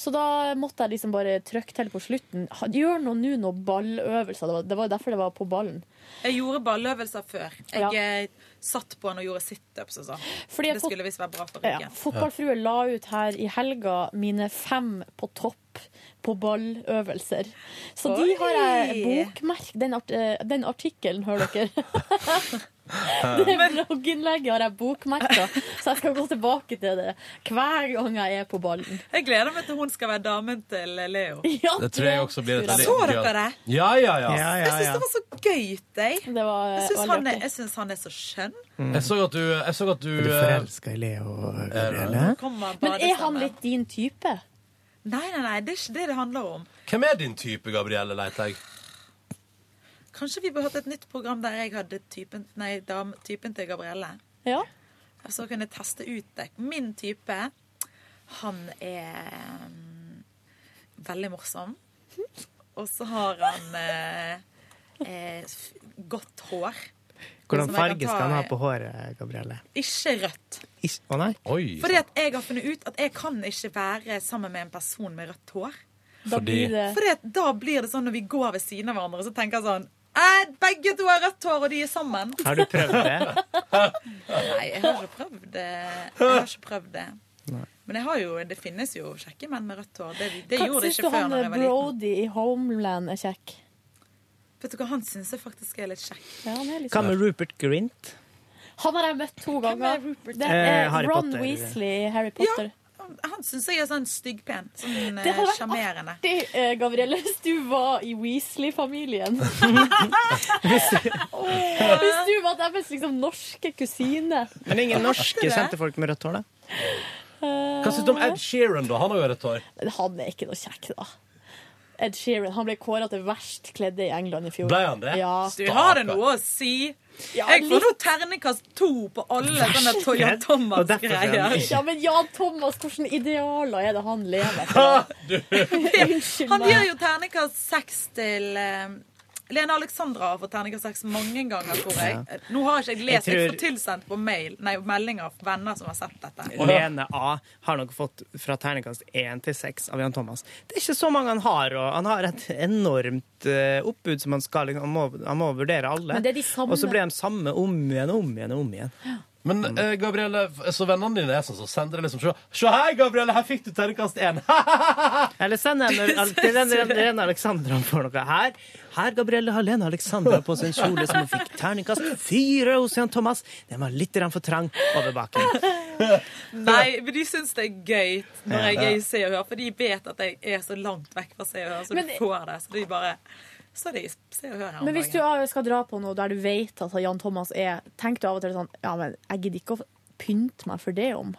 Speaker 6: Så da måtte jeg liksom bare trykke til på slutten. Ha- Gjør nå nå noen balløvelser. Det var, det var derfor det var på ballen.
Speaker 4: Jeg gjorde balløvelser før. Jeg eh, satt på den og gjorde situps og sånn.
Speaker 6: Fordi jeg
Speaker 4: Det
Speaker 6: fot-
Speaker 4: skulle visst være bra for
Speaker 6: Ja,
Speaker 4: ryggen.
Speaker 6: Fotballfrue la ut her i helga mine fem på topp på balløvelser. Så de
Speaker 4: Oi!
Speaker 6: har jeg bokmerk. Den, art eh, den artikkelen, hører dere. Det blogginnlegget har jeg bokmerka, så jeg skal gå tilbake til det hver gang jeg er på ballen.
Speaker 4: Jeg gleder meg til hun skal være damen til eh, Leo.
Speaker 6: Ja,
Speaker 2: Det tror jeg også blir et veldig
Speaker 4: Så
Speaker 2: gøy-
Speaker 4: dere det?
Speaker 2: Ja, ja, ja.
Speaker 4: Jeg syns det var så gøy, jeg. Jeg syns
Speaker 6: veldig
Speaker 4: han,
Speaker 6: artig.
Speaker 4: er- jeg synes han er så skjønn.
Speaker 2: Jeg så at du Jeg så at du
Speaker 3: Er du
Speaker 2: eh,
Speaker 3: forelska i Leo? Gabrielle?
Speaker 6: Men er han litt din type?
Speaker 4: Nei, nei, nei, det er ikke det det handler om.
Speaker 2: eh, Hvem er din type, Gabrielle Leiteig?
Speaker 4: Kanskje vi burde hatt et nytt program der jeg hadde typen, nei, dam, typen til Gabrielle.
Speaker 6: Ja.
Speaker 4: Så kunne jeg teste ut det. Min type, han er mm, veldig morsom. Og så har han eh, eh, f- godt hår.
Speaker 3: Hvordan
Speaker 4: Som jeg kan
Speaker 3: farge
Speaker 4: ta
Speaker 3: skal han ha
Speaker 4: i-
Speaker 3: på håret, Gabrielle?
Speaker 4: Ikke rødt.
Speaker 3: Ikke- Å nei?
Speaker 4: Fordi at jeg har funnet ut at jeg kan ikke være sammen med en person med rødt hår.
Speaker 3: Da blir det-
Speaker 4: Fordi at da blir det sånn når vi går ved siden av hverandre, så tenker jeg sånn «Eh, Begge to har rødt hår, og de er sammen.
Speaker 3: Har du prøvd det?
Speaker 4: Nei, jeg har ikke prøvd det. Jeg har ikke prøvd det. Men jeg har jo, det finnes jo kjekke menn med rødt hår. Det, det
Speaker 6: Hva
Speaker 4: gjorde det
Speaker 6: Syns du
Speaker 4: ikke før
Speaker 6: han
Speaker 4: når jeg var liten.
Speaker 6: Brody i Homeland er kjekk?
Speaker 4: Vet du hva, Han syns jeg faktisk er litt kjekk.
Speaker 6: Ja, han, er litt
Speaker 3: Hva med
Speaker 6: kjekk.
Speaker 3: Rupert Grint?
Speaker 6: han har jeg møtt to ganger. Det
Speaker 3: Eh,
Speaker 6: er
Speaker 3: Harry
Speaker 6: Ron
Speaker 3: Potter.
Speaker 6: Weasley i Harry Potter.
Speaker 4: Han syns jeg er sånn styggpen. Sånn
Speaker 6: Det hadde
Speaker 4: eh,
Speaker 6: vært
Speaker 4: sjarmerende.
Speaker 6: artig, eh, Gabrielle, hvis du var i Weasley-familien. Åh, hvis du var deres liksom, norske kusine.
Speaker 3: Men det er ingen norske
Speaker 6: Det er
Speaker 3: kjente
Speaker 6: det.
Speaker 3: folk med rødt hår, da?
Speaker 6: Eh,
Speaker 2: Hva syns du om Ed Sheeran, da? Han har jo rødt hår.
Speaker 6: Han er ikke noe kjekk, da. Ed Sheeran han ble kåra til verst kledde i England i fjor.
Speaker 2: Ble han det?
Speaker 6: Ja.
Speaker 4: Du har det noe å si. jeg får nå terningkast to på alle sånne Toya
Speaker 6: Verst.
Speaker 3: Og derfor er han
Speaker 4: Thomas-greier.
Speaker 3: ikke-
Speaker 6: Ja, men Jan Thomas, hvilke idealer er det han lever etter? Unnskyld
Speaker 4: Han
Speaker 6: meg.
Speaker 4: gir jo terningkast seks til eh, Lene Alexandra har fått terningkast seks mange ganger, tror jeg.
Speaker 3: Ja.
Speaker 4: Nå har ikke jeg lest,
Speaker 3: Jeg tror-
Speaker 4: jeg, får tilsendt på mail, nei, meldinger fra venner som har sett dette.
Speaker 3: Lene A har nok fått fra terningkast 1 til 6 av Jan Thomas. Det er ikke så mange han har, og han har et enormt eh, oppbud som han skal liksom, Han må, han må vurdere alle.
Speaker 6: Men det er de samme.
Speaker 3: Og så blir de samme om igjen og om igjen og om igjen.
Speaker 2: Men eh, Gabrielle, f- så vennene dine er sånn som sender det liksom Se se her, Gabrielle, her fikk du terningkast én!
Speaker 3: Eller send en al- til den Ren- Rene Alexandra for noe her. Her, Gabrielle, har Lene Alexandra på sin kjole som hun fikk terningkast fire hos Jan Thomas. Den var litt grann for trang over baken.
Speaker 4: Nei, men de syns det er gøy når jeg
Speaker 3: Ja.
Speaker 4: er i Se og Hør, for de vet at jeg er så langt vekk fra Se og Hør, så
Speaker 6: Men-
Speaker 4: de får det. Så de bare Så er det i Se og Hør her om
Speaker 6: Men hvis du
Speaker 4: dagen.
Speaker 6: skal dra på noe der du vet at Jan Thomas er Tenk du av og til sånn Ja, men jeg gidder ikke å pynte meg for det om.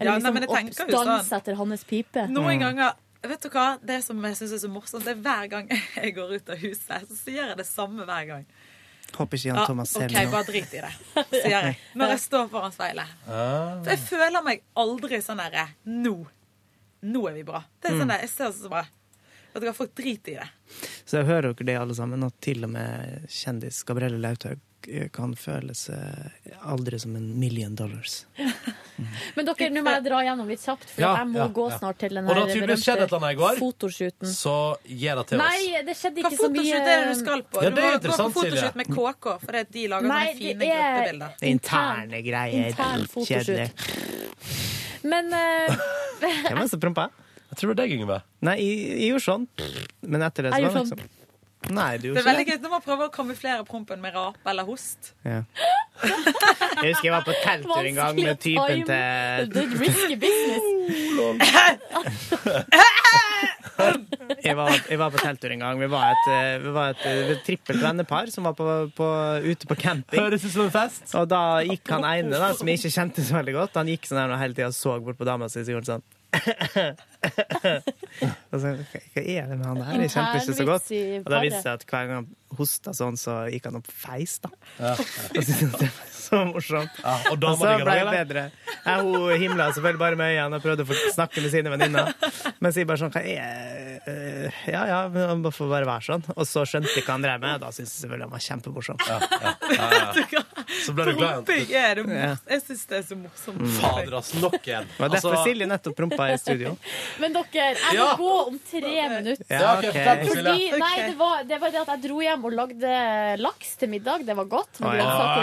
Speaker 6: Eller
Speaker 4: Ja, nei, men jeg
Speaker 6: liksom
Speaker 4: tenker
Speaker 6: å
Speaker 4: jo
Speaker 6: danse
Speaker 4: sånn.
Speaker 6: etter hans pipe.
Speaker 4: Noen ganger Vet du hva? Det som jeg syns er så morsomt, det er hver gang jeg går ut av huset, så sier jeg det samme hver gang.
Speaker 3: Håper ikke Jan Thomas ser
Speaker 4: OK,
Speaker 3: meg nå.
Speaker 4: bare drit i det, sier jeg. Når jeg står foran speilet.
Speaker 3: Ah.
Speaker 4: For jeg føler meg aldri sånn derre Nå. Nå er vi bra. Det er sånn der, Jeg ser så bra. Vet du hva, folk driter i det.
Speaker 3: Så hører dere det, alle sammen, at til og med kjendis Gabrielle Lauthaug eh, kan føle seg aldri som en million dollars.
Speaker 6: Men dere, nå må jeg dra gjennom litt kjapt, for
Speaker 2: Ja,
Speaker 6: jeg må
Speaker 2: ja,
Speaker 6: gå
Speaker 2: ja.
Speaker 6: snart til den
Speaker 2: Og det har tydeligvis skjedd et eller annet i går.
Speaker 6: fotoshooten.
Speaker 2: Så gi det til oss.
Speaker 6: Nei, det skjedde
Speaker 4: Hva
Speaker 6: ikke så mye
Speaker 4: fotoshoot er det du skal på?
Speaker 2: Ja,
Speaker 4: du
Speaker 2: det er
Speaker 4: må gå på
Speaker 2: interessant, Silje.
Speaker 4: fotoshoot med KK, for de lager
Speaker 6: Nei,
Speaker 4: sånne fine
Speaker 6: det er-
Speaker 4: gruppebilder.
Speaker 3: Interne greier.
Speaker 6: intern fotoshoot.
Speaker 3: Kjedelig.
Speaker 6: Men eh,
Speaker 3: Hvem var det som prompa?
Speaker 2: Jeg tror det var deg, Yngve.
Speaker 3: Nei, jeg, jeg gjorde sånn. Men etter det så var
Speaker 6: Jeg
Speaker 3: det
Speaker 6: gjorde
Speaker 3: liksom Nei, du
Speaker 4: Det er
Speaker 3: gjorde
Speaker 4: veldig
Speaker 3: ikke det.
Speaker 4: gøy når man prøver å kamuflere prompen med rap eller host.
Speaker 3: Ja. Jeg husker jeg var på telttur en gang med typen til
Speaker 6: risky business.
Speaker 3: jeg var, jeg var på telttur en gang. Vi var et, eh, vi var et, eh, trippelt vennepar som var på, på, ute på camping.
Speaker 2: Høres ut som en fest.
Speaker 3: Og da gikk han ene, da, som jeg ikke kjente så veldig godt, han gikk sånn her og hele tida så bort på dama si og så gjorde han sånn. Og så, hva hva er det med han der? Jeg kjente ikke så godt.
Speaker 6: Internvits i
Speaker 3: Og da viste det
Speaker 6: paret.
Speaker 3: seg at hver gang han hosta sånn, så gikk han opp feis, da.
Speaker 2: Ja.
Speaker 3: Og så syntes jeg det var så morsomt.
Speaker 2: Ja, og dama
Speaker 3: og så
Speaker 2: digga
Speaker 3: ble
Speaker 2: det,
Speaker 3: jeg
Speaker 2: eller?
Speaker 3: bedre. Jeg, hun himla selvfølgelig bare med øynene og prøvde å få snakke med sine venninner. Men sier bare sånn Hva er eh, Ja ja, men han bare får bare være sånn. Og så skjønte jeg hva han drev med. Da syntes jeg selvfølgelig han var kjempemorsom.
Speaker 2: Så ble du Mm. glad igjen.
Speaker 4: Promping er det
Speaker 3: Ja.
Speaker 4: mors- Jeg syns det er så morsomt.
Speaker 2: Fader, ass. Nok en.
Speaker 3: Det var derfor
Speaker 2: Altså-
Speaker 3: Silje nettopp prompa i studio.
Speaker 6: Men dere, jeg må
Speaker 2: Ja.
Speaker 6: gå om tre minutter.
Speaker 3: Ja, ok. Fortell,
Speaker 6: Fordi,
Speaker 3: Cecilie.
Speaker 6: nei, det var, det var det at jeg dro hjem og lagde laks til middag. Det var godt.
Speaker 3: Oi.
Speaker 6: Med grønnsaker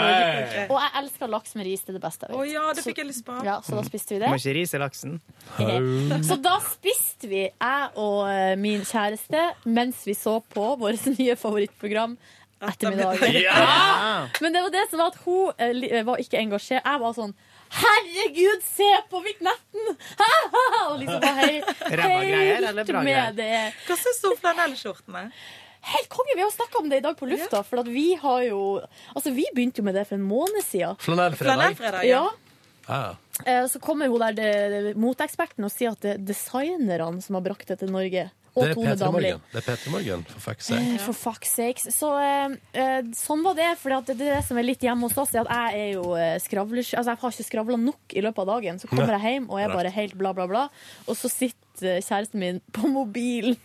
Speaker 3: Oi.
Speaker 6: og, og jeg elsker laks med ris. Det er det beste jeg vet.
Speaker 4: Å ja, det fikk jeg lyst på.
Speaker 6: Ja, så da spiste vi
Speaker 3: Må
Speaker 6: det.
Speaker 3: ikke rise laksen.
Speaker 6: Så da spiste vi, jeg og eh, min kjæreste, mens vi så på vårt nye favorittprogram ettermiddag.
Speaker 2: Ja!
Speaker 6: Men det var det som var at hun eh, li- eh, var ikke engasjert. Jeg var sånn Herregud, se på vignetten! Og liksom var hei,
Speaker 4: Ræva greier, eller
Speaker 6: helt
Speaker 4: bra greier?
Speaker 6: med det.
Speaker 4: Hva syns du om flanellskjortene?
Speaker 6: Helt konge! Vi har snakka om det i dag på lufta, for at vi har jo Altså, vi begynte jo med det for en måned siden.
Speaker 2: Flanellfredag. Flanellfredag, ja.
Speaker 6: ja.
Speaker 2: Ja.
Speaker 6: Eh, Så kommer hun der det- det- moteeksperten og sier at det er designerne som har brakt det til Norge. Og
Speaker 2: Det er
Speaker 6: Tone
Speaker 2: Peter
Speaker 6: Damli.
Speaker 2: Morgen. Det er Peter Morgen, for fuck's
Speaker 6: Eh,
Speaker 2: sake.
Speaker 6: For fuck's sakes. Så eh, eh, sånn var det. For det, er det som er litt hjemme hos oss, er at jeg er jo eh, skravlesky. Altså, jeg har ikke skravla nok i løpet av dagen. Så kommer
Speaker 2: Nei.
Speaker 6: jeg hjem og er bare helt bla, bla, bla. Og så sitter eh, kjæresten min på mobilen.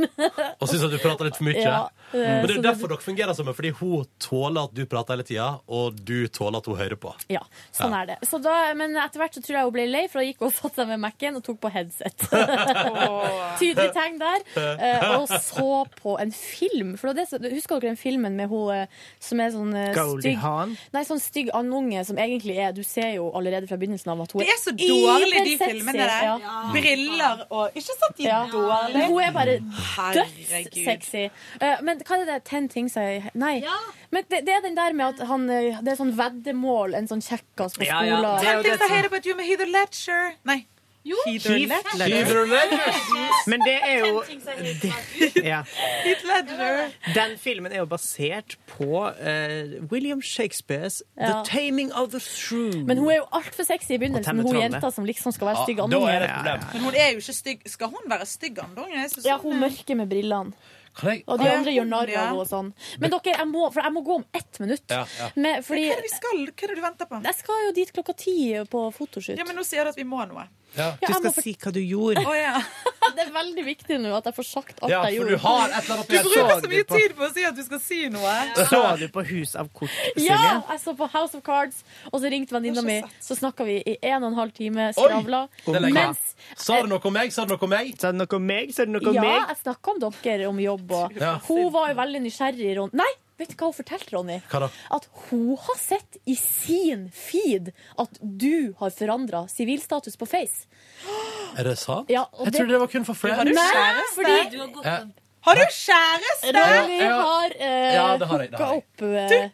Speaker 2: Og syns at du prater litt for mye.
Speaker 6: Ja, eh,
Speaker 2: Men det er
Speaker 6: så
Speaker 2: jo
Speaker 6: det-
Speaker 2: derfor dere fungerer sammen, fordi hun tåler at du prater hele tida, og du tåler at hun hører på.
Speaker 6: Ja, sånn
Speaker 2: Ja.
Speaker 6: er det. Så da, men etter hvert så tror jeg hun ble lei, for hun gikk og satte seg med Mac-en og tok på headset. Tydelig tegn der. Eh, Og så på en film. For det, var det som- husker dere den filmen med hun eh, som er sånn eh,
Speaker 16: Goldie
Speaker 6: stygg
Speaker 16: Hawn?
Speaker 6: Nei, sånn stygg andunge som egentlig er Du ser jo allerede fra begynnelsen av at hun
Speaker 4: Det er så
Speaker 6: oversexy.
Speaker 4: dårlig, de filmene der.
Speaker 6: Ja.
Speaker 4: Briller og Ikke sant de er dårlige?
Speaker 6: Hun er bare
Speaker 4: Herregud.
Speaker 6: dødssexy. Eh, men hva er det der Ten Things I Nei. Men det, det er den der med at han eh, Det er sånn veddemål, en sånn kjekkas på skolen.
Speaker 4: Ja, ja. Ten Things I Hate About You med Heather Ledger. Nei. Heather
Speaker 16: Heath
Speaker 4: Ledger.
Speaker 16: Ledger. Heather Ledger. Men det er jo- Ja.
Speaker 4: Heath Ledger.
Speaker 16: Den filmen er jo basert på eh, William Shakespeares
Speaker 6: Ja.
Speaker 16: The Taming of the Shrew.
Speaker 6: Men hun er jo altfor sexy i begynnelsen,
Speaker 16: Og
Speaker 6: hun
Speaker 16: temmetrollet.
Speaker 6: jenta som liksom skal være
Speaker 16: Ja,
Speaker 6: stygg
Speaker 16: da
Speaker 6: andunge.
Speaker 16: er det et problem.
Speaker 4: Men hun er jo ikke stygg. Skal hun være stygg andunge? Jeg synes
Speaker 6: Ja, hun mørke med brillene.
Speaker 2: Kan jeg
Speaker 6: Og de andre gjør narr av
Speaker 4: Ja.
Speaker 6: henne og sånn. Men dere, jeg må, for jeg må gå om ett minutt.
Speaker 2: Ja, ja.
Speaker 6: Men fordi,
Speaker 4: Hva er det vi skal? Hva er det du venter på?
Speaker 6: Jeg skal jo dit klokka ti på fotoshoot.
Speaker 4: Ja, men nå sier du at vi må noe.
Speaker 16: Du skal si hva du gjorde.
Speaker 6: Det er veldig viktig nå at jeg får sagt alt
Speaker 16: Ja,
Speaker 6: jeg
Speaker 16: for
Speaker 6: gjorde.
Speaker 16: du har et eller annet
Speaker 4: Du
Speaker 16: Jeg
Speaker 4: bruker
Speaker 16: så
Speaker 4: så
Speaker 16: det
Speaker 4: mye
Speaker 16: på-
Speaker 4: tid på å si at du skal si noe.
Speaker 16: Så du på Hus av kort, Silje?
Speaker 6: Ja! Jeg så på House of Cards, og så ringte venninna mi. Så snakka vi i en og en halv time, skravla.
Speaker 2: Det er lenge.
Speaker 6: Mens
Speaker 2: Sa du noe om meg? Sa du noe om meg?
Speaker 16: Sa du noe om meg? Sa du
Speaker 6: Ja, jeg snakka om dere, om jobb og
Speaker 2: Ja.
Speaker 6: Hun var jo veldig nysgjerrig, Ronny. Nei, vet du hva hun fortalte, Ronny?
Speaker 2: Hva da?
Speaker 6: At hun har sett i sin feed at du har forandra sivilstatus på Face.
Speaker 2: Er det sant?
Speaker 6: Ja, og
Speaker 2: jeg
Speaker 6: det-
Speaker 2: trodde det var kun for friends.
Speaker 6: Har du Nei, kjæreste? fordi- Du har
Speaker 2: Ja.
Speaker 4: Har du kjæreste?
Speaker 6: Ronny
Speaker 2: Ja, ja.
Speaker 6: har eh,
Speaker 2: Ja, det har jeg, det
Speaker 6: hooka
Speaker 2: har jeg.
Speaker 6: opp eh,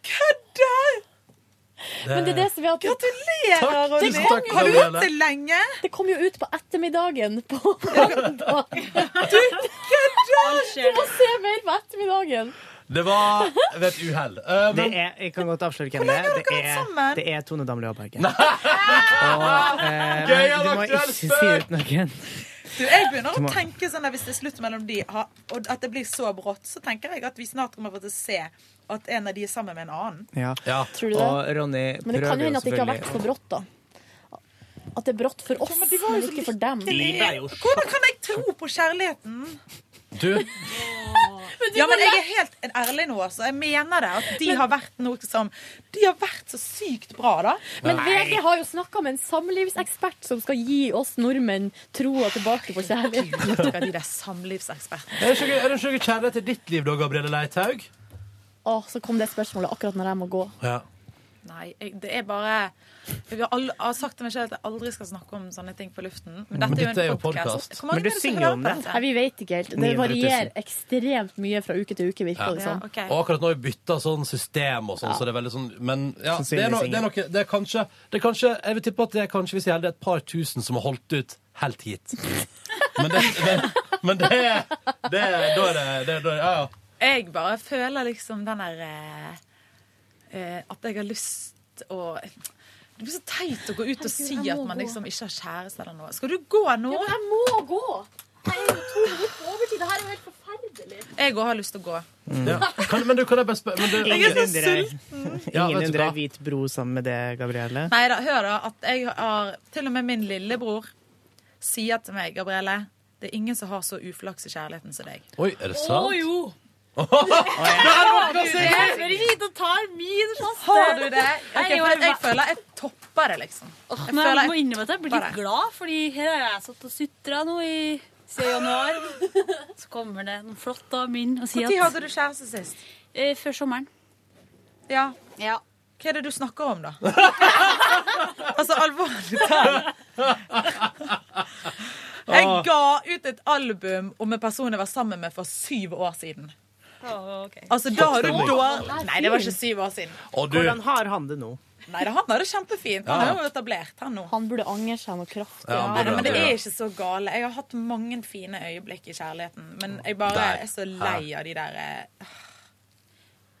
Speaker 6: Men det er det som er at
Speaker 4: Gratulerer,
Speaker 6: Takk,
Speaker 4: Ronny.
Speaker 6: tusen takk,
Speaker 4: Har du
Speaker 6: Gabrielle.
Speaker 4: hatt det lenge?
Speaker 6: Det kom jo ut på ettermiddagen på mandag. Du må se mer på ettermiddagen.
Speaker 2: Det var ved et uhell. Eh,
Speaker 16: Det
Speaker 2: men-
Speaker 16: er, jeg kan godt avsløre hvem det er. Det er, det er Tone Damli Aaberge. Og, eh,
Speaker 4: Gøy,
Speaker 16: men du må ikke
Speaker 4: aktuell
Speaker 16: si
Speaker 4: spøk!
Speaker 16: ut noen.
Speaker 4: Du, jeg begynner
Speaker 16: Du
Speaker 4: å
Speaker 16: må-
Speaker 4: tenke sånn at Hvis det er slutt mellom de, ha- og at det blir så brått, så tenker jeg at vi snart kommer til å se at en av de er sammen med en annen.
Speaker 16: Ja.
Speaker 6: du det?
Speaker 16: Og Ronny
Speaker 6: Men det
Speaker 16: prøver
Speaker 6: kan jo
Speaker 16: jo
Speaker 6: hende at det ikke har vært for
Speaker 16: selvfølgelig
Speaker 6: brått, da. At det er brått for oss, men ikke for dem.
Speaker 4: Livet er jo Hvordan kan jeg tro på kjærligheten?
Speaker 2: Du,
Speaker 4: Ja, men jeg er helt en ærlig nå, altså. Jeg mener det. At de har vært noe som De har vært så sykt bra, da.
Speaker 6: Men VG har jo snakka med en samlivsekspert som skal gi oss nordmenn troa tilbake på kjærligheten.
Speaker 4: de der samlivsekspertene.
Speaker 2: er det ikke er det ikke noe kjærlighet i ditt liv da, Gabrielle Leithaug?
Speaker 6: Å, så kom det spørsmålet akkurat når jeg må gå.
Speaker 2: Ja.
Speaker 4: Nei, jeg, det er bare jeg har, al- jeg har sagt til meg selv at jeg aldri skal snakke om sånne ting på luften. Men dette er jo en podcast. Hvor mange er det som hører på dette?
Speaker 6: Nei, vi vet ikke helt. Det
Speaker 2: 900 000.
Speaker 6: varierer ekstremt mye fra uke til uke, virker det
Speaker 4: Ja,
Speaker 6: som.
Speaker 4: ok.
Speaker 2: Og akkurat nå har vi bytta sånn system og sånn, så det er veldig sånn Men ja, det er, no, det er noe Det er kanskje, det er kanskje Jeg vil tippe at det er kanskje, hvis jeg er heldig, et par tusen som har holdt ut helt hit. Men det, men, men det, det Da er det, det, da er det Ja, ja.
Speaker 4: Jeg bare føler liksom den der eh, eh, At jeg har lyst å Det blir så teit å gå ut og si
Speaker 6: jeg
Speaker 4: at
Speaker 6: må
Speaker 4: man
Speaker 6: gå.
Speaker 4: liksom ikke har kjæreste eller noe. Skal du gå nå?
Speaker 6: Ja, men jeg må gå! Jeg er jo to minutter på overtid. Det her er jo helt forferdelig.
Speaker 4: Jeg òg har lyst til å gå.
Speaker 2: ja. Kan, men du, kan jeg bare spørre men du,
Speaker 16: Ingen undrer
Speaker 2: Ja, vet
Speaker 16: Ingen
Speaker 2: du
Speaker 16: undrer
Speaker 2: hva?
Speaker 16: Hvit bro sammen med det, Gabrielle.
Speaker 4: Nei da, hør da. At jeg har Til og med min lillebror sier til meg, Gabrielle det er ingen som har så uflaks i kjærligheten som deg.
Speaker 2: Oi, er det sant?
Speaker 4: Å,
Speaker 6: jo.
Speaker 4: Har du det?
Speaker 6: hit og tar min sjanse.
Speaker 4: Har du det?
Speaker 15: Jeg
Speaker 4: Ok,
Speaker 15: er jo
Speaker 4: for jeg
Speaker 15: en-
Speaker 4: føler jeg topper det, liksom.
Speaker 15: Åh,
Speaker 4: Jeg
Speaker 15: men
Speaker 4: føler
Speaker 15: jeg
Speaker 4: jeg
Speaker 15: må innrømme at jeg blir litt
Speaker 4: bare-
Speaker 15: glad, Fordi her har jeg satt og sutra nå i siden januar. Så kommer det noen flotte av min og sier
Speaker 4: Når hadde du kjæreste sist?
Speaker 15: Eh, før sommeren.
Speaker 4: Ja. Hva er det du snakker om, da? altså, alvorlig talt. Jeg ga ut et album om en person jeg var sammen med for syv år siden. Altså, da har du
Speaker 16: Toppstemning.
Speaker 4: dår... Nei, det var ikke syv år siden.
Speaker 2: Og du-
Speaker 16: Hvordan har han det nå?
Speaker 4: Nei, det- han har det kjempefint. Han
Speaker 16: Ja.
Speaker 4: er jo etablert, han nå.
Speaker 6: Han burde angre seg noe kraftig.
Speaker 16: Ja, han
Speaker 4: Ja,
Speaker 16: burde
Speaker 4: men det
Speaker 16: det,
Speaker 4: er
Speaker 16: ja.
Speaker 4: ikke så gale. Jeg har hatt mange fine øyeblikk i kjærligheten, men jeg bare
Speaker 15: Der.
Speaker 4: er så lei av de der eh,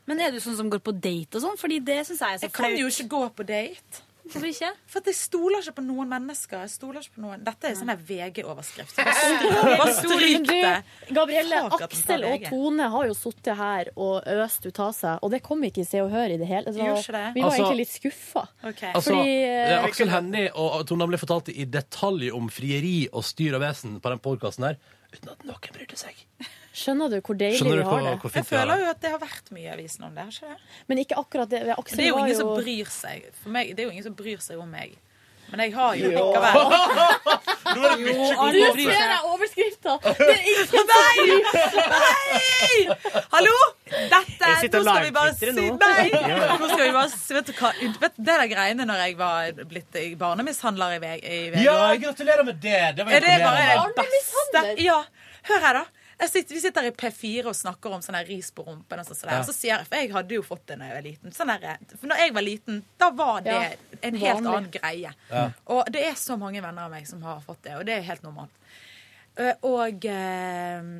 Speaker 15: Men er du sånn som går på date og sånn? Fordi det syns jeg er så
Speaker 4: Jeg kan jo ikke gå på date.
Speaker 15: Hvorfor ikke?
Speaker 4: For at jeg stoler ikke på noen mennesker. Jeg stoler ikke på noen. Dette er sånn her VG-overskrift. Bare
Speaker 6: Men
Speaker 4: stryk
Speaker 6: du,
Speaker 4: det.
Speaker 6: Gabrielle,
Speaker 4: Fuck at den
Speaker 6: Aksel
Speaker 4: tar
Speaker 6: og
Speaker 4: VG.
Speaker 6: Tone har jo sittet her og øst ut av seg, og det kom ikke i Se og Hør i det hele
Speaker 4: Det gjorde ikke det.
Speaker 6: Vi var
Speaker 2: Altså-
Speaker 6: egentlig litt skuffa.
Speaker 2: Altså,
Speaker 6: Fordi
Speaker 2: eh, Aksel Hennie og Tone Damli fortalte i detalj om frieri og styr og vesen på den podkasten her. Uten at noen brydde seg.
Speaker 6: Skjønner du hvor deilig
Speaker 2: Skjønner du
Speaker 6: vi har
Speaker 2: hvor-
Speaker 6: det?
Speaker 2: hvor fint Jeg vi har føler det?
Speaker 4: jo at det har vært mye i avisen om det. har ikke det?
Speaker 6: Men ikke akkurat det.
Speaker 4: Men
Speaker 6: Aksel
Speaker 4: Det er jo
Speaker 6: var
Speaker 4: ingen
Speaker 6: jo
Speaker 4: som bryr seg. For meg, det er jo ingen som bryr seg om meg. Men jeg har jo
Speaker 6: Jo.
Speaker 4: likevel
Speaker 6: Nå er det mye god Nå ser jeg overskrifta! Det er ingen som bryr seg.
Speaker 4: Nei! Hallo! Dette
Speaker 6: Jeg sitter
Speaker 4: Nå
Speaker 6: og
Speaker 4: skal vi bare si
Speaker 6: larmtwittrer nå.
Speaker 4: nei!
Speaker 6: Ja.
Speaker 4: Nå skal vi bare si, vet du hva, vet du, det der greiene når jeg var blitt eh, barnemishandler i VG i VG
Speaker 2: Ja,
Speaker 4: også.
Speaker 2: gratulerer med det! Det var
Speaker 4: Er det bare
Speaker 2: imponerende.
Speaker 4: det beste? Ja. Hør her, da. Jeg sitter, vi sitter i P4 og snakker om sånn her ris på rumpen. Og sånn der.
Speaker 2: Ja.
Speaker 4: Og så sier jeg, For jeg hadde jo fått det da jeg var liten. Sånn der, for når jeg var liten, da var det
Speaker 6: Ja,
Speaker 4: en helt
Speaker 6: vanlig.
Speaker 4: annen greie.
Speaker 6: Ja.
Speaker 4: Og det er så mange venner av meg som har fått det, og det er helt normalt. Eh, Og eh,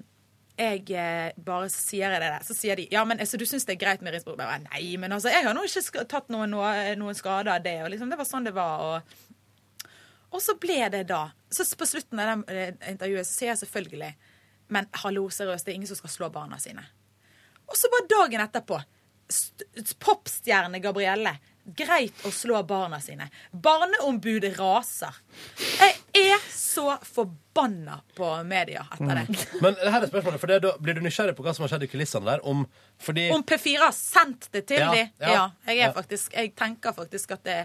Speaker 4: jeg eh, bare sier jeg det der. Så sier de ja, men altså, du syns det er greit med ris på rumpen. Jeg bare, Nei, men altså, jeg har nå ikke sk- tatt noen, noe- noen skade av det. Og liksom, det var sånn det var. og... Og så ble det da. Så på slutten av det eh, intervjuet så sier jeg selvfølgelig Men hallo, seriøst, det er ingen som skal slå barna sine. Og så bare dagen etterpå. st- Popstjerne Gabrielle. Greit å slå barna sine. Barneombudet raser. Jeg er så forbanna på media etter det.
Speaker 2: Men her er spørsmålet, for det, er da blir du nysgjerrig på hva som har skjedd i kulissene der? Om, fordi
Speaker 4: Om P4 har sendt det til
Speaker 2: Ja,
Speaker 4: de.
Speaker 2: ja,
Speaker 4: Ja, jeg,
Speaker 2: ja.
Speaker 4: er faktisk, jeg tenker faktisk at det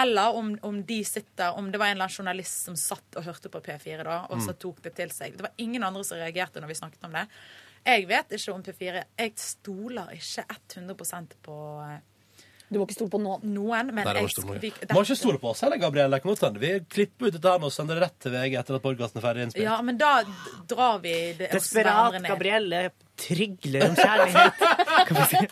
Speaker 4: Eller om, om de sitter Om det var en eller annen journalist som satt og hørte på P4 da, og så
Speaker 6: Mm.
Speaker 4: tok det til seg. Det var ingen andre som reagerte når vi snakket om det. Jeg vet ikke om P4. Jeg stoler ikke 100 på eh,
Speaker 6: Du må ikke stole på noen.
Speaker 4: men
Speaker 2: Nei, det var ikke
Speaker 4: jeg,
Speaker 2: stor-
Speaker 4: vi-
Speaker 2: Må ikke stole på oss heller, Gabrielle. Nå sender Vi klipper ut dette her nå og sender det rett til VG etter at podkasten er ferdig innspilt.
Speaker 4: Ja, men da d- drar vi det oss
Speaker 16: Desperat
Speaker 4: hverandre ned.
Speaker 16: Gabrielle trygler om kjærlighet.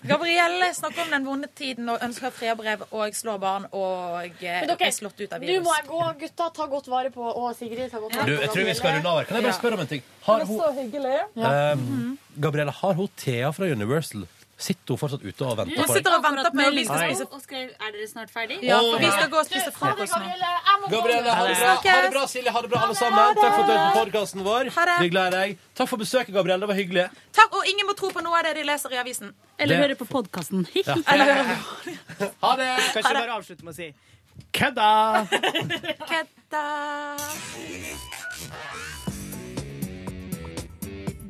Speaker 4: Gabrielle snakker om den vonde tiden og ønsker fredbrev og slår barn og eh,
Speaker 6: Men dere,
Speaker 4: er slått ut av
Speaker 6: Nå
Speaker 4: virus.
Speaker 6: må jeg gå, gutta. Ta godt vare på Og Sigrid, ta godt vare på
Speaker 2: Du, jeg tror vi skal
Speaker 6: Gabrielle.
Speaker 2: runde av her. Kan jeg bare
Speaker 6: Ja.
Speaker 2: spørre om en ting? Har hun,
Speaker 6: hyggelig.
Speaker 2: eh, Gabrielle, har hun Thea fra Universal Sitter hun fortsatt ute og venter
Speaker 15: Hun
Speaker 2: på deg?
Speaker 15: sitter og venter på meg, og vi skal
Speaker 2: Nei.
Speaker 15: spise Og skrev, er dere snart ferdig?
Speaker 2: Ja, for vi skal
Speaker 4: gå og spise
Speaker 15: frokost nå.
Speaker 2: Gabrielle, ha det bra, ha det bra Silje. Ha det bra, alle sammen. Takk for at du hørte på podkasten vår.
Speaker 4: Ha det.
Speaker 2: Vi er glad i deg. Takk for besøket, Gabrielle. Det var hyggelig.
Speaker 4: Takk, og ingen må tro på noe av det de leser i avisen.
Speaker 16: Eller Det- hører
Speaker 4: på podkasten.
Speaker 16: Ja.
Speaker 2: Ha det!
Speaker 16: Kan ikke bare avslutte med å si kødda!